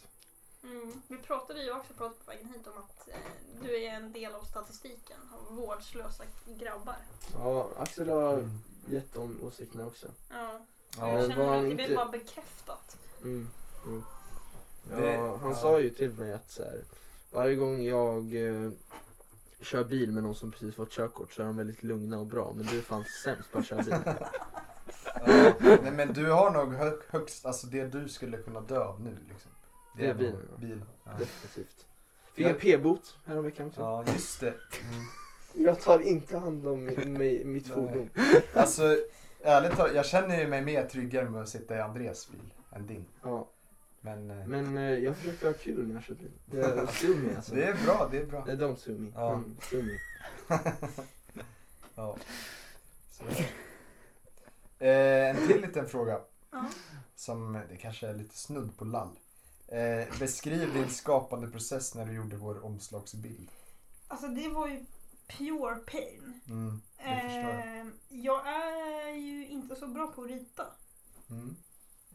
Mm. Vi pratade ju också pratade på vägen hit om att eh, du är en del av statistiken av vårdslösa grabbar.
Ja, Axel har
Mm.
gett de åsikterna också.
Ja.
Ja,
jag
var
känner att
han
det
inte-
blev bara bekräftat.
Mm. Mm.
Det-
Ja, han
ja.
sa ju till mig att så här, varje gång jag eh, kör bil med någon som precis fått körkort så är de väldigt lugna och bra men du är fan sämst på att köra bil.
Ja, nej men du har nog hö- högst, alltså det du skulle kunna dö av nu liksom.
Det är
nog
bilen, ja.
bilen. Ja.
Definitivt. Fick en p-bot häromveckan också.
ja just det. Mm.
Jag tar inte hand om mi- mi- mitt
Nej.
fordon.
Alltså ärligt talat, jag känner ju mig mer tryggare med att sitta i Andres bil än din.
Ja,
Men, eh,
men eh, jag försöker ha kul när jag kör bil. Det är (laughs) sue me alltså.
det är bra, det är bra.
Nej, don't sue me.
Ja.
Men sue me.
Ja. Så. Eh, en till liten fråga.
Ja.
Som eh, det kanske är lite snudd på lall. Eh, beskriv din skapande process när du gjorde vår omslagsbild.
Alltså det var ju pure pain.
Mm. Det förstår jag.
Eh, jag är ju inte så bra på att rita.
Mm.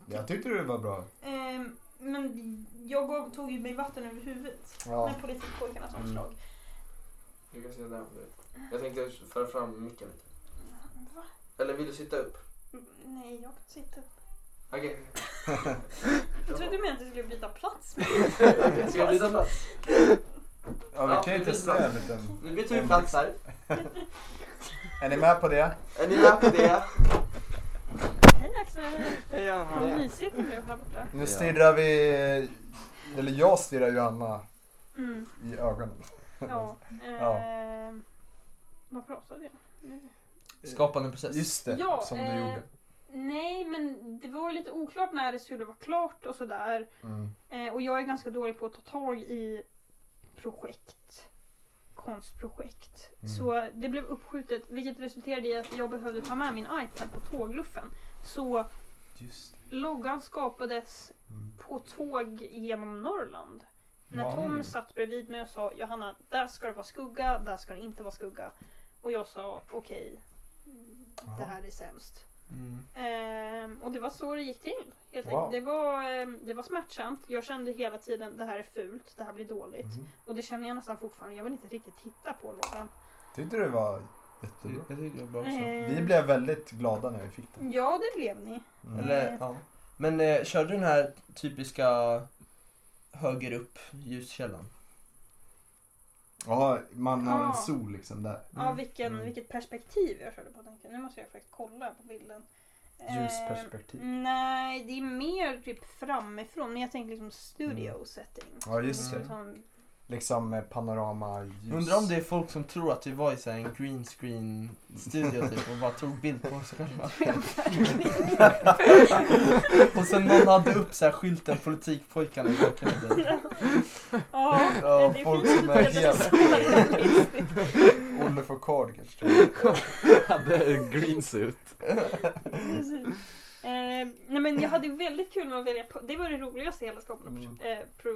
Jag tyckte det var bra.
Eh, men jag gav, tog ju mig vatten över huvudet.
Ja.
Med politikpojkarnas
Mm.
omslag.
Du kan sitta där om du vill. Jag tänkte föra fram micken lite.
Va?
Eller vill du sitta upp?
Nej, jag kan sitta upp.
Okej.
(laughs) Jag trodde du menade att du skulle byta plats med
(laughs) Ska jag byta plats?
Ja, vi
Ja,
kan ju
det är
testa
bra.
en liten.
Nu byter vi plats här.
Är ni med på det?
Är ni med på det?
(laughs) Hej Axel!
Hej
Vad mysigt det blev här borta.
Nu stirrar vi, eller jag stirrar Johanna
Mm,
i ögonen.
ja.
Ja.
Eh, vad pratade jag? Nu.
Skapande process.
Just det,
Ja,
som du
eh,
gjorde.
Nej, men det var lite oklart när det skulle vara klart och sådär.
Mm.
Eh, och jag är ganska dålig på att ta tag i projekt. Konstprojekt.
Mm.
Så det blev uppskjutet vilket resulterade i att jag behövde ta med min iPad på tågluffen. Så
Just det.
loggan skapades
Mm.
på tåg genom Norrland. När
Ja.
Tom satt bredvid mig och sa Johanna, där ska det vara skugga, där ska det inte vara skugga. Och jag sa okej, det
Ja.
här är sämst.
Mm.
Ehm, och det var så det gick till. Helt
Wow.
enkelt. det, var, ehm, det var smärtsamt. Jag kände hela tiden det här är fult, det här blir dåligt.
Mm.
Och det känner jag nästan fortfarande. Jag vill inte riktigt titta på lådan.
Tyckte det var jättebra.
Ehm,
Vi blev väldigt glada när vi fick den.
Ja, det blev ni.
Mm.
Eller, ja. Men eh, körde du den här typiska höger upp ljuskällan?
Ja, man har
Ja.
en sol liksom där.
Ja, vilken,
Mm.
vilket perspektiv jag körde på. Tänkte. jag. Nu måste jag faktiskt kolla på bilden. Ehm,
Ljusperspektiv.
Nej, det är mer typ framifrån. Men jag tänker liksom studio setting.
Mm. Ja, just (laughs)
Liksom
det.
sån-
Liksom eh, panorama ljus.
Undrar om det är folk som tror att det var i så här en green screen studio typ och bara tog bild på oss och (laughs) kanske
(laughs)
bara... Och sen någon hade upp så här skylten politikpojkarna i bakgrunden.
Ja,
Ja,
det
folk
finns
som
ju
är
bilder
helt-
som är realistiskt.
Olle Foucault kanske. tror jag.
Hade green suit.
Precis. Eh, nej men jag hade väldigt kul med att välja, po- det var det roligaste i hela skapande
Mm.
pro- eh, pro,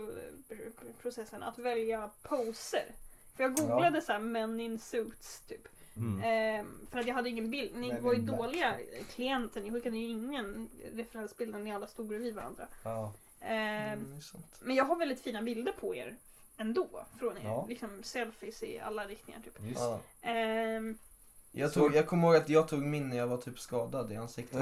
pro, pro, processen, att välja poser. För jag googlade så här men in suits typ.
Mm.
Eh, för att jag hade ingen bild, ni
Men
var ju
in black.
dåliga klienter, ni skickade ju ingen referensbild när ni alla stod bredvid varandra.
Ja.
Eh,
Mm,
Men jag har väldigt fina bilder på er ändå, från er.
Ja.
Liksom selfies i alla riktningar
(laughs)
typ.
Just.
Ja.
Ehm,
Jag,
Så-
tog, jag kommer ihåg att jag tog min när jag var typ skadad i ansiktet.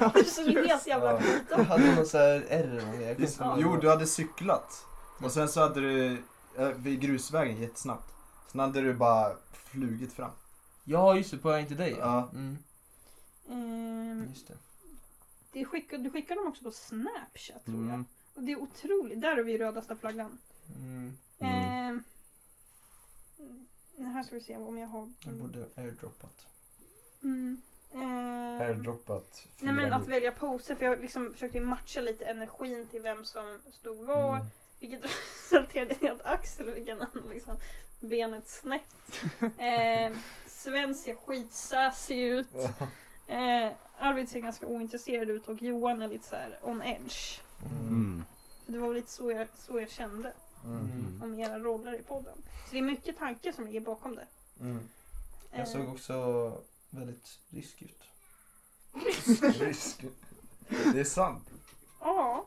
och (laughs) du såg helt jävla
Ja.
skit
Jag hade någon så här ärr eller någonting. Jag kommer
Just,
inte ihåg.
jo, du hade cyklat. Och sen så hade du, eh, vid grusvägen jättesnabbt. Sen hade du bara flugit fram.
Ja just det, på vägen till dig.
Ja.
Mm.
Ehm,
Just det.
det skickar, du skickar dem också på Snapchat tror jag.
Mm.
Och det är otroligt. Där har vi rödaste flaggan.
Mm.
Ehm, här ska vi se om jag har...
Jag borde airdroppat.
Mm. Ehm,
Airdroppat.
Nej men att välja poser för jag liksom försökte ju matcha lite energin till vem som stod var.
Mm.
Vilket (laughs) resulterade i att Axel fick en annan, liksom, benet
(laughs)
snett. Eh, Sven ser skitsassig ut. Eh, Arvid ser ganska ointresserad ut och Johan är lite så här on edge.
Mm.
Det var väl lite så jag, så jag kände
Mm.
om era roller i podden. Så det är mycket tankar som ligger bakom det.
Mm.
Eh,
Jag såg också väldigt rysk ut.
Risk. Det är sant.
Ja,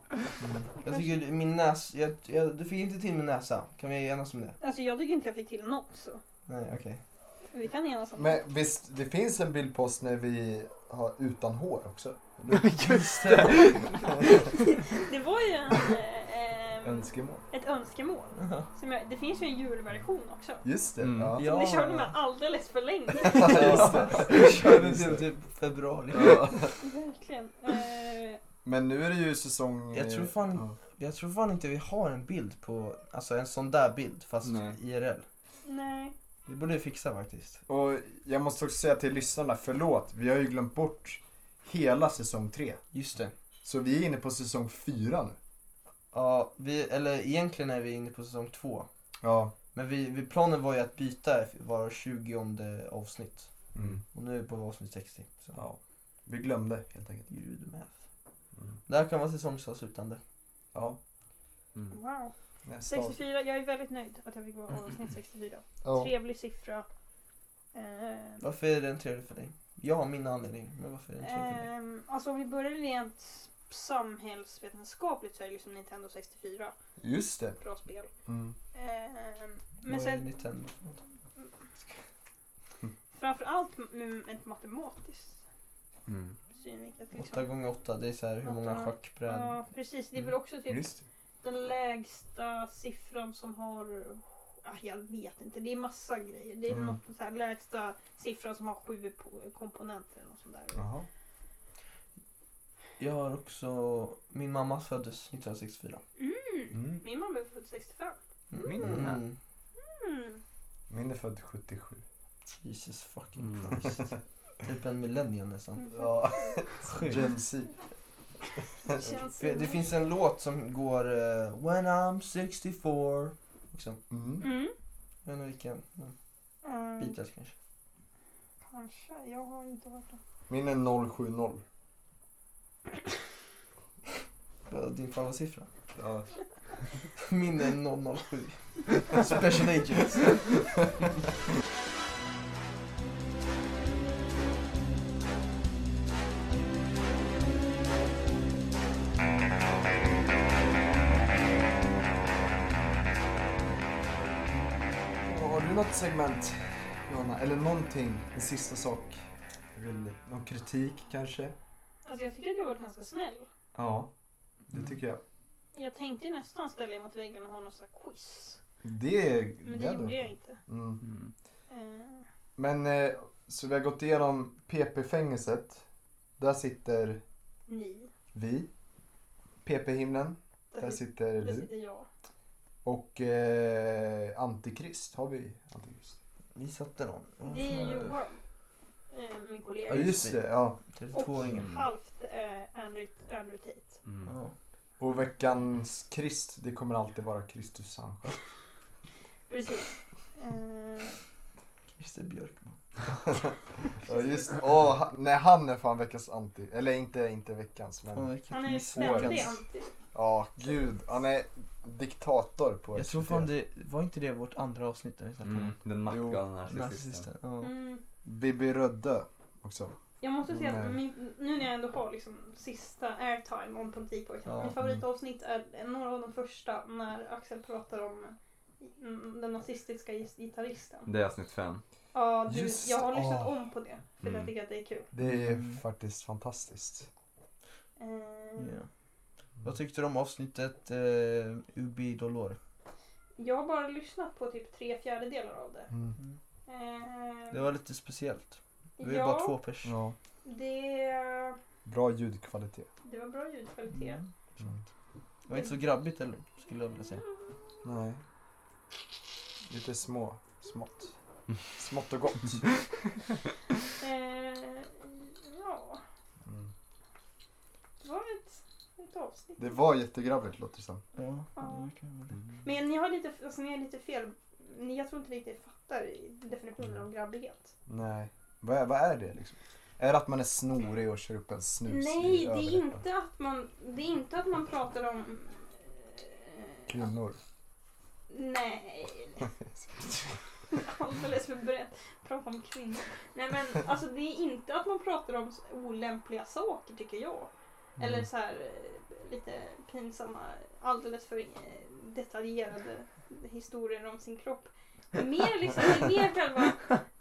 Jag tycker min näsa, jag, jag, du fick inte till min näsa. Kan vi enas om det?
alltså jag tycker inte jag fick till något så.
Nej, okej.
(laughs)
Vi kan enas
(laughs)
om det.
Men visst, det finns en bild på oss när vi har utan hår också.
(laughs) Just det!
Det var ju en, eh, ehm,
Önskemål.
ett önskemål. Som jag, det finns ju en julversion också.
Just det.
Mm.
Ja.
Ja.
Det körde man alldeles för länge.
Just det.
(laughs) Vi körde till typ februari.
(laughs) Verkligen. Eh,
Men nu är det ju säsong...
Jag tror fan-
Ja.
Jag tror fan inte vi har en bild på, alltså en sån där bild fast
Nej.
IRL.
nej.
Det borde vi fixa faktiskt.
Och jag måste också säga till lyssnarna, förlåt, vi har ju glömt bort hela säsong tre.
Just det.
Så vi är inne på säsong fyra nu.
Ja, vi, eller egentligen är vi inne på säsong två.
Ja.
Men vi, vi, planen var ju att byta var 20 avsnitt. Och nu är vi på avsnitt 60. Så.
ja. Vi glömde helt enkelt.
You do the math.
Mm.
Det här kan vara säsongsavslutande.
Ja.
Mm.
Wow.
Nästa år.
64, jag är väldigt nöjd att jag fick
Mm.
vara avsnitt 64.
Ja.
Trevlig siffra. Eh,
Varför är den trevlig för dig? Jag har min anledning, men varför är den trevlig för dig?
ehm, alltså om vi börjar rent samhällsvetenskapligt så är det liksom Nintendo 64.
Just det.
Bra spel.
Mm.
Ehm, men
Vad är
sen Liksom.
Nintendo för något?
framförallt med ett matematiskt
Mm.
synvinkel.
Åtta
Liksom.
gånger åtta, det är så här hur många
Åtta.
schackbrädor.
Ja precis, det är väl också
Mm.
typ
Just det.
Den lägsta siffran som har... Ah, jag vet inte, det är massa grejer. Det är
Mm.
något så här, lägsta siffran som har sju po- komponenter eller något sånt där.
Jaha.
Jag har också, min mamma föddes 1964.
Mm.
Mm.
Min mamma är född 65.
Min
Mm.
Mm.
Min är född 77.
Jesus fucking
Mm.
Christ. typ en millennium
Mm.
nästan.
Ja. Gen Z. (laughs)
Det känns...
För Det finns en låt som går eh, When I'm 64. Också.
Mm.
Mm.
Jag vet inte vilken. men
Mm.
Beatles kanske.
Kanske, jag har inte hört det.
Min är 070.
Vad är Din favoritsiffra? (laughs)
Ja.
Min är
(laughs)
007. Special Agents.
Har du något segment, Johanna? Eller någonting? En sista sak? Jag Vill, någon kritik kanske?
Alltså jag tycker att du har varit ganska snäll.
Ja, det tycker jag.
Jag tänkte ju nästan ställa er mot väggen och ha någon sån här quiz.
Det är...
Men det gjorde jag inte.
Mm.
Mm.
Eh,
Men eh, så vi har gått igenom PP-fängelset. Där sitter
ni.
vi. PP-himlen. Där sitter
där
du.
sitter jag.
Och eh, Antikrist. Har vi Antikrist?
Vi satte någon.
Det är Johan. Eh, min kollega.
Ja, just det. Ja.
32-åringen.
halvt eh, Andrew, Andrew Tate.
Mm.
Ja.
Och veckans krist, det kommer alltid vara Kristus han själv.
Precis. Eh,
Typ Christer Björkman.
Ja, just Åh, han, nej, han är fan veckans anti. Eller inte, inte veckans,
Fan,
men...
vilket
han är ju
misslyckande.
ständig anti.
Ja, gud. Han är diktator på
Jag tror fan det, var inte det vårt andra avsnitt där vi snackade
Mm.
om
Den maktgalna narcissisten.
narcissisten? Ja.
Mm.
Bibi Rödde också.
Jag måste säga att
Nej.
min, nu när jag ändå har liksom sista airtime om politikpojkarna.
Ja, Mm.
Mitt liksom- favoritavsnitt är några av de första när Axel pratar om mm, den nazistiska gis- gitarristen.
Det är avsnitt fem.
Ja, du,
Just-
jag har lyssnat
ah.
om på det. För
Mm.
jag tycker att det är kul.
Det är
Mm.
faktiskt fantastiskt.
Eh,
Ja. Vad tyckte du om avsnittet eh, Ubi Dolor?
Jag har bara lyssnat på typ tre fjärdedelar av det.
Mm.
Eh,
Det var lite speciellt. Vi var ju
ja,
bara två pers.
Ja.
Det,
Bra ljudkvalitet. Mm.
det var bra ljudkvalitet.
Det var inte så grabbigt eller skulle jag vilja säga.
Nej. Lite små, smått.
Mm.
Smått och gott.
(laughs)
Eh, ja,
Mm.
det var ett, ett avsnitt.
Det var jättegrabbigt låter det som.
Ja,
Mm. Ja.
det kan jag väl.
Men ni har lite, alltså, ni är lite fel. Ni, jag tror inte riktigt fattar definitionen av grabbighet.
Nej. Vad är, vad är det liksom? Är det att man är snorig och kör upp en snus
Nej,
i
det är,
överläppen?
inte att man, det är inte att man pratar om... eh,
Kvinnor.
Nej. (laughs) Alldeles för brett. Prata om kvinnor. Nej men alltså det är inte att man pratar om så- olämpliga saker tycker jag. Eller så här eh, lite pinsamma, alldeles för eh, detaljerade historier om sin kropp. Mer liksom, det är mer själva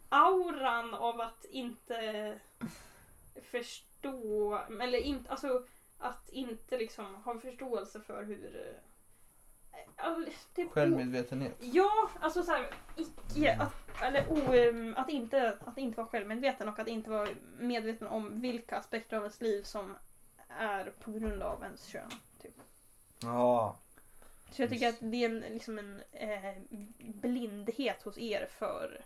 auran av att inte förstå, eller inte, alltså att inte liksom ha förståelse för hur... eh, Alltså, det är
Självmedvetenhet.
Ja, alltså så här, icke,
Mm.
att, eller o, um, att, inte, att inte vara självmedveten och att inte vara medveten om vilka aspekter av ens liv som är på grund av ens kön.
Ja.
Så jag tycker att det är en- liksom en eh, blindhet hos er för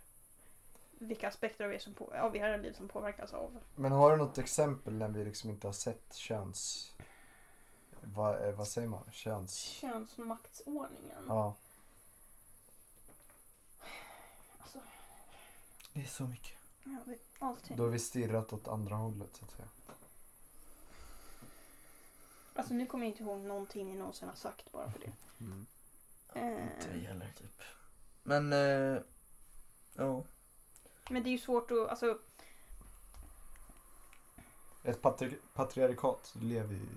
vilka aspekter av, er som på, av era liv som påverkas av.
Men har du något exempel när vi liksom inte har sett köns... Vad, eh, vad säger man? Köns...
Könsmaktsordningen.
Ja.
Alltså,
Det är så mycket.
ja, det, allting.
Då har vi stirrat åt andra hållet så att säga.
Alltså nu kommer jag inte ihåg någonting ni någonsin har sagt bara för det.
Inte
Eh,
gäller typ. Men, eh, ja.
men det är ju svårt att, alltså
Ett patri- patriarkat lever vi i.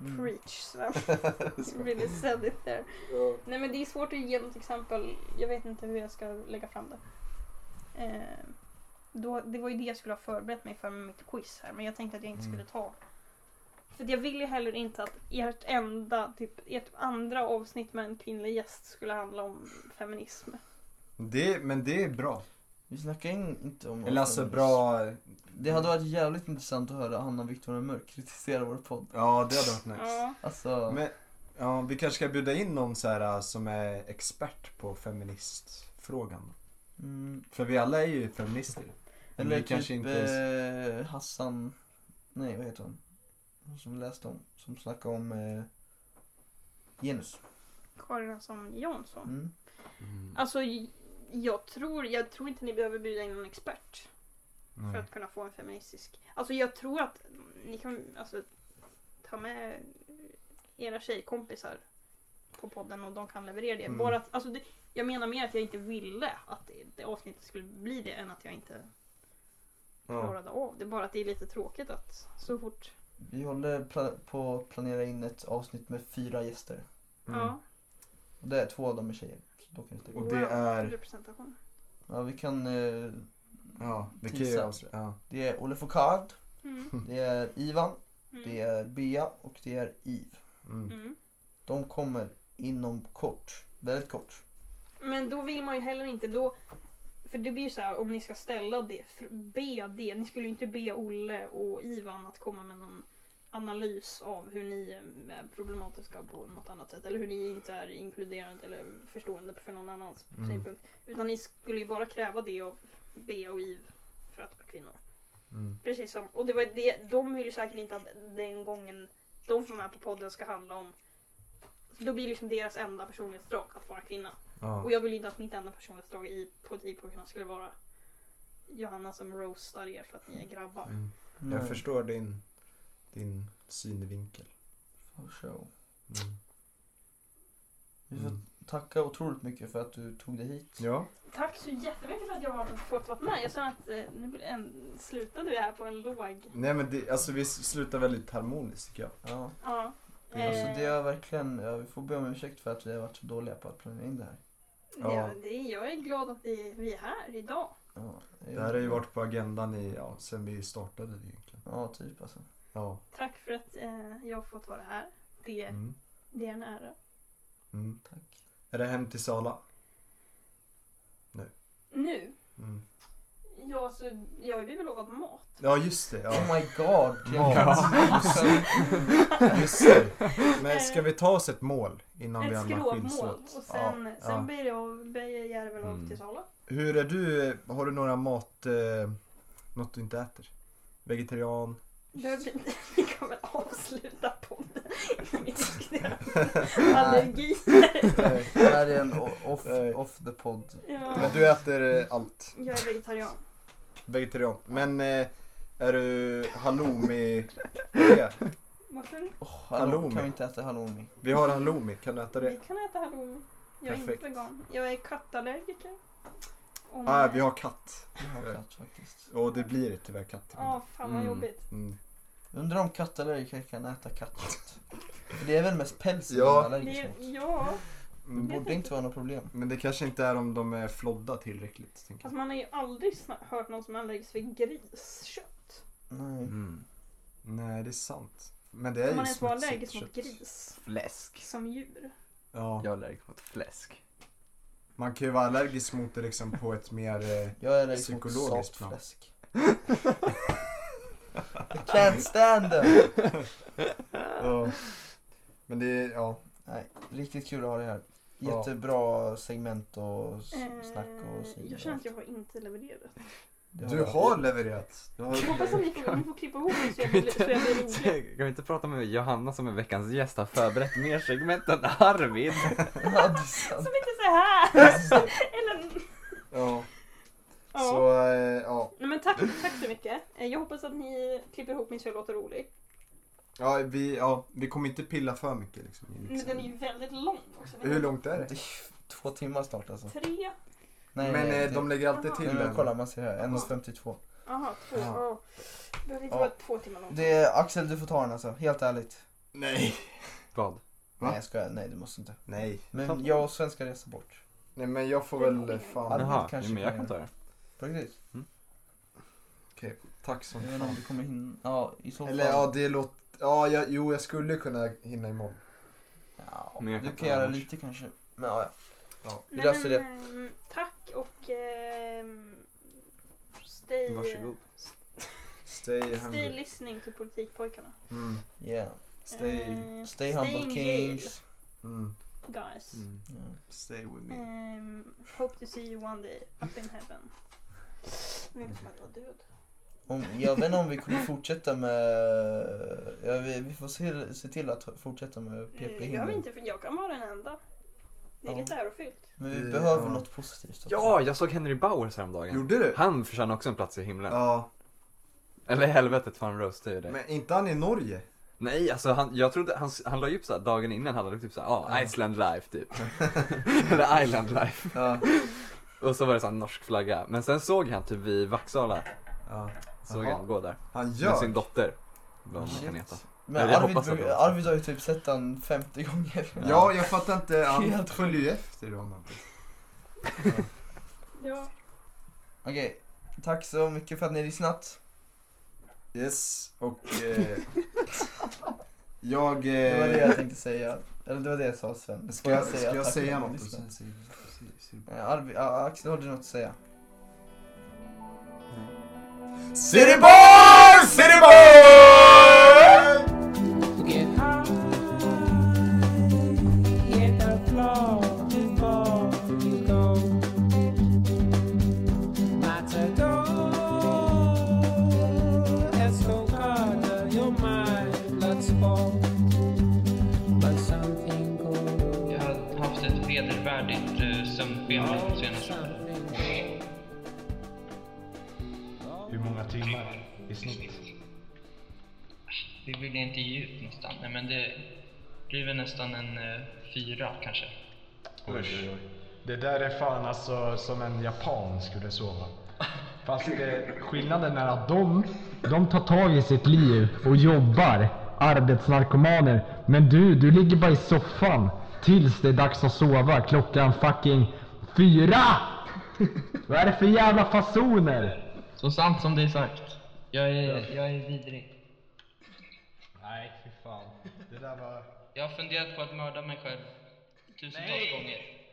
Mm.
Preach. So. (laughs) really said it there. Nej men det är svårt att ge något exempel. Jag vet inte hur jag ska lägga fram det. Eh, då, det var ju det jag skulle ha förberett mig för med mitt quiz här men jag tänkte att jag inte
Mm.
skulle ta. För jag vill ju heller inte att ert enda, typ ert andra avsnitt med en kvinnlig gäst skulle handla om feminism.
Det, men det är bra.
Vi snackar in inte om...
Eller alltså bra...
Det hade varit jävligt intressant att höra Hanna Victoria Mörk kritisera vår podd.
Ja, det hade varit nice.
Ja.
Alltså,
Men, ja, vi kanske ska bjuda in någon så här, eh, som är expert på feministfrågan.
mm,
För vi alla är ju feminister. Men
eller
vi
typ
kanske inte ens-
eh, Hassan... Nej, vad heter hon? Hon som vi läste om. Som snackade om eh, genus.
Karin Hansson Jansson.
Mm.
Alltså j- jag tror, jag tror inte ni behöver bjuda in någon expert. för
Nej.
att kunna få en feministisk... Alltså jag tror att ni kan alltså, ta med era tjejkompisar på podden och de kan leverera det.
Mm.
Bara att, alltså det, jag menar mer att jag inte ville att det, det avsnittet skulle bli det än att jag inte
Ja.
klarade av det. Bara att det är lite tråkigt att så fort...
Vi håller pla- på att planera in ett avsnitt med fyra gäster.
Mm.
Ja,
Och det är två av dem är tjejer. Så då kan det
Och det är...
representation.
Ja, vi kan... Eh,
Ja, vi kan ju
Tillsatt.
avslöja. Ja.
det är Olle Focard,
Mm.
det är Ivan,
Mm.
det är Bea och det är Iv.
(laughs) Mm.
Mm.
De kommer inom kort. Väldigt kort.
Men då vill man ju heller inte då... För det blir ju så här om ni ska ställa det, fr- be det. Ni skulle ju inte be Olle och Ivan att komma med någon analys av hur ni är problematiska på något annat sätt. Eller hur ni inte är inkluderande eller förstående för någon annans
Mm.
synpunkt. Utan ni skulle ju bara kräva det av Bea och Iv för att vara kvinnor.
Mm.
Precis som, och det var ju det, de vill ju säkert inte att den gången de som är med på podden ska handla om... Då blir liksom deras enda personlighetsdrag att vara kvinna.
Ja.
Och jag vill inte att mitt enda personlighetsdrag i politikbokarna skulle vara Johanna som roastar er för att ni är grabbar.
Mm. Jag förstår din, din synvinkel.
For show.
Mm.
Vi får
Mm.
tacka otroligt mycket för att du tog dig hit.
Ja.
Tack så jättemycket för att jag har fått vara med. Jag känner att eh, nu blir det en, slutade vi här på en låg...
Nej men det, alltså vi slutar väldigt harmoniskt tycker jag.
Ja.
Ja.
Mm.
Alltså
Eh,
det är verkligen, ja, vi får be om ursäkt för att vi har varit så dåliga på att planera in det här.
ja.
ja.
det, jag är glad att vi, vi är här idag.
Ja,
Det här har ju varit på agendan i, ja, sen vi startade egentligen.
Ja, typ alltså.
Ja.
Tack för att eh, jag har fått vara här. Det,
Mm.
det är en ära.
Mm.
Tack.
Är det hem till Sala?
Nu,
Mm.
Ja, så jag har ju lovat mat.
Ja, just det.
Oh
Ja.
my
(laughs)
god.
Ja. (laughs)
(laughs)
Just Alltså, det. Men ska vi ta oss ett mål innan vi
Ett
andra skiljs
skrovmål.
åt?
Och sen,
Ja,
sen
ja.
blir det av Beijerjärvel av
Mm.
till Sala.
Hur är du? Har du några mat... Eh, något du inte äter? Vegetarian?
Det blir, (laughs) vi kommer avsluta
(laughs)
podden med allergi.
Det här är en o- off,
Nej.
off the pod.
Ja,
Men du äter eh, allt?
jag är vegetarian.
Vegetarian. Men eh, är du halloumi?
Varför?
Oh,
Halloumi.
halloumi. Kan vi inte äta halloumi?
Vi har halloumi, kan du äta det?
Vi kan äta halloumi. Jag är
Perfekt.
inte vegan. Jag är kattallergiker. Om-
Ah, vi har katt.
Vi har katt faktiskt.
Och det blir tyvärr katt.
Ja, fan vad
Mm.
jobbigt.
Mm.
Undrar om kattallergiker kan äta kattkött. För det är väl mest pälsen
Ja.
man är allergisk
Det,
mot.
ja,
Det
Mm.
borde inte vara något problem.
Men det kanske inte är om de är flodda tillräckligt. Tänker jag.
fast man har ju aldrig sna- hört någon som är allergisk för griskött.
Nej.
Mm.
Nej, det är sant. Men det är
Kan
ju
man ens vara
smutsigt
allergisk mot
kött.
gris
Fläsk.
som djur?
Ja.
Jag är allergisk mot fläsk. (laughs)
Man kan ju vara allergisk mot det liksom på ett mer... Eh,
Jag är allergisk mot
Psykologiskt plan.
sapfläsk. I can't stand them!
ja. Men det är, ja.
Nej, riktigt kul att ha det här.
Ja.
Jättebra segment och s- snack
Eh,
och
jag känner att jag har inte levererat.
Det
Du har levererat. Du har...
Jag hoppas att ni får, ni får klippa ihop det så
(laughs)
jag blir, så jag blir rolig.
Kan vi inte prata med Johanna som är veckans gäst har förberett mer segment än Arvid?
Ja, det är sant.
Som inte så här! Eller...
Ja.
Ja.
Så, eh, ja.
Nej, men tack, tack så mycket. Eh, Jag hoppas att ni klipper ihop min så jag låter rolig.
Ja, vi, ja. Vi kommer inte pilla för mycket liksom. i
Men den är ju väldigt lång också.
Hur långt är
Det är
det?
ju två timmar snart alltså.
Tre?
Nej,
Men
nej,
eh, de lägger alltid
Aha.
Nej,
till
men
en.
kolla, man ser här. 1.52.
Jaha, två.
Ja.
Ja. Behöver inte
Ja.
vara två timmar lång.
Det är, Axel, du får ta den alltså. Helt ärligt.
Nej.
Vad?
Va?
Nej, jag skojar. Nej, du måste inte.
Nej.
Men jag och Sven ska resa bort.
Nej men jag får väl eh, fan.
Arvid
Jaha,
kanske
men jag
kan
kan ta det.
På riktigt.
Tack som
Jag vet inte om
fan.
vi kommer hinna. Ja, i så fall.
Eller ja, det låter... Ja, jag, jo jag skulle kunna hinna imorgon.
Ja,
Men jag
du
kan
kan
ta
göra
annars.
lite kanske. Men ja, ja. Vi
Nej,
löser
men, ehm, Tack och... ehm, stay...
Varsågod.
Stay
Stay
hungry.
listening till politikpojkarna.
Mm.
Yeah.
Stay...
Eh,
Stay
in
humble
jail,
kings.
Mm.
Guys.
Mm.
Ja.
Stay with me.
Ehm, hope to see you one day up in heaven. Nu är det som att jag är död.
Om, jag vet inte om vi kommer fortsätta med... Ja, vi, vi får se, se till att fortsätta med pp
Eh, Jag, vet
himlen
inte, för jag kan vara den enda. Det är
Ja.
lite ärofyllt.
Men vi
Ja.
behöver något positivt också.
Ja, jag såg Henry Bowers häromdagen.
Mm. Gjorde du?
Han förtjänar också en plats i himlen.
Ja.
Eller helvetet för han roastade ju det.
Men inte han i Norge?
Nej, alltså han, jag trodde, han, han la ju upp såhär dagen innan, han hade typ såhär, ja,
Ja.
Iceland life
(laughs)
typ. (laughs) Eller Island life.
Ja.
(laughs) Och så var det såhär norsk flagga. Men sen såg han typ vid Vaxala,
ja.
såg
Jaha.
han gå där.
Han
Med
gör?
sin dotter. Vad man
Shit.
kan heta.
Men
Ja, jag
Arvid,
hoppas att
brukar-
det också.
Arvid har ju typ sett den 50 gånger.
Ja, jag fattar inte. Han
Helt
följer ju efter honom.
Ja.
Okej, tack så mycket för att ni har lyssnat.
Yes, och...
(laughs)
Eh, jag... Eh,
Det var det jag tänkte säga. Eller det var det jag sa Sven.
Ska jag, ska jag
tack för
säga
att ni har
något? Och
lyssnat?
sen säger du- säger- säger du-
Eh, Arvid, ja, Axel, har du något att säga?
City boy! City boy!
Get high, hit the floor before you go. Matador, Escocada, your mind, let's go. But something good.
Jag har haft ett vedervärdigt eh, sömnben de senaste
something
Hur många timmar i snitt?
Det vill jag inte ge ut nästan. Nej, men det blir väl nästan en eh, fyra kanske.
Det där är fan alltså som en japan skulle sova. Fast det, skillnaden är att de, de tar tag i sitt liv och jobbar. Arbetsnarkomaner. Men du, du ligger bara i soffan tills det är dags att sova. Klockan fucking fyra! Vad är det för jävla fasoner?
Så sant som det är sagt. Jag är, jag är vidrig.
Nej, fy fan. Det där var...
Jag har funderat på att mörda mig själv tusentals gånger.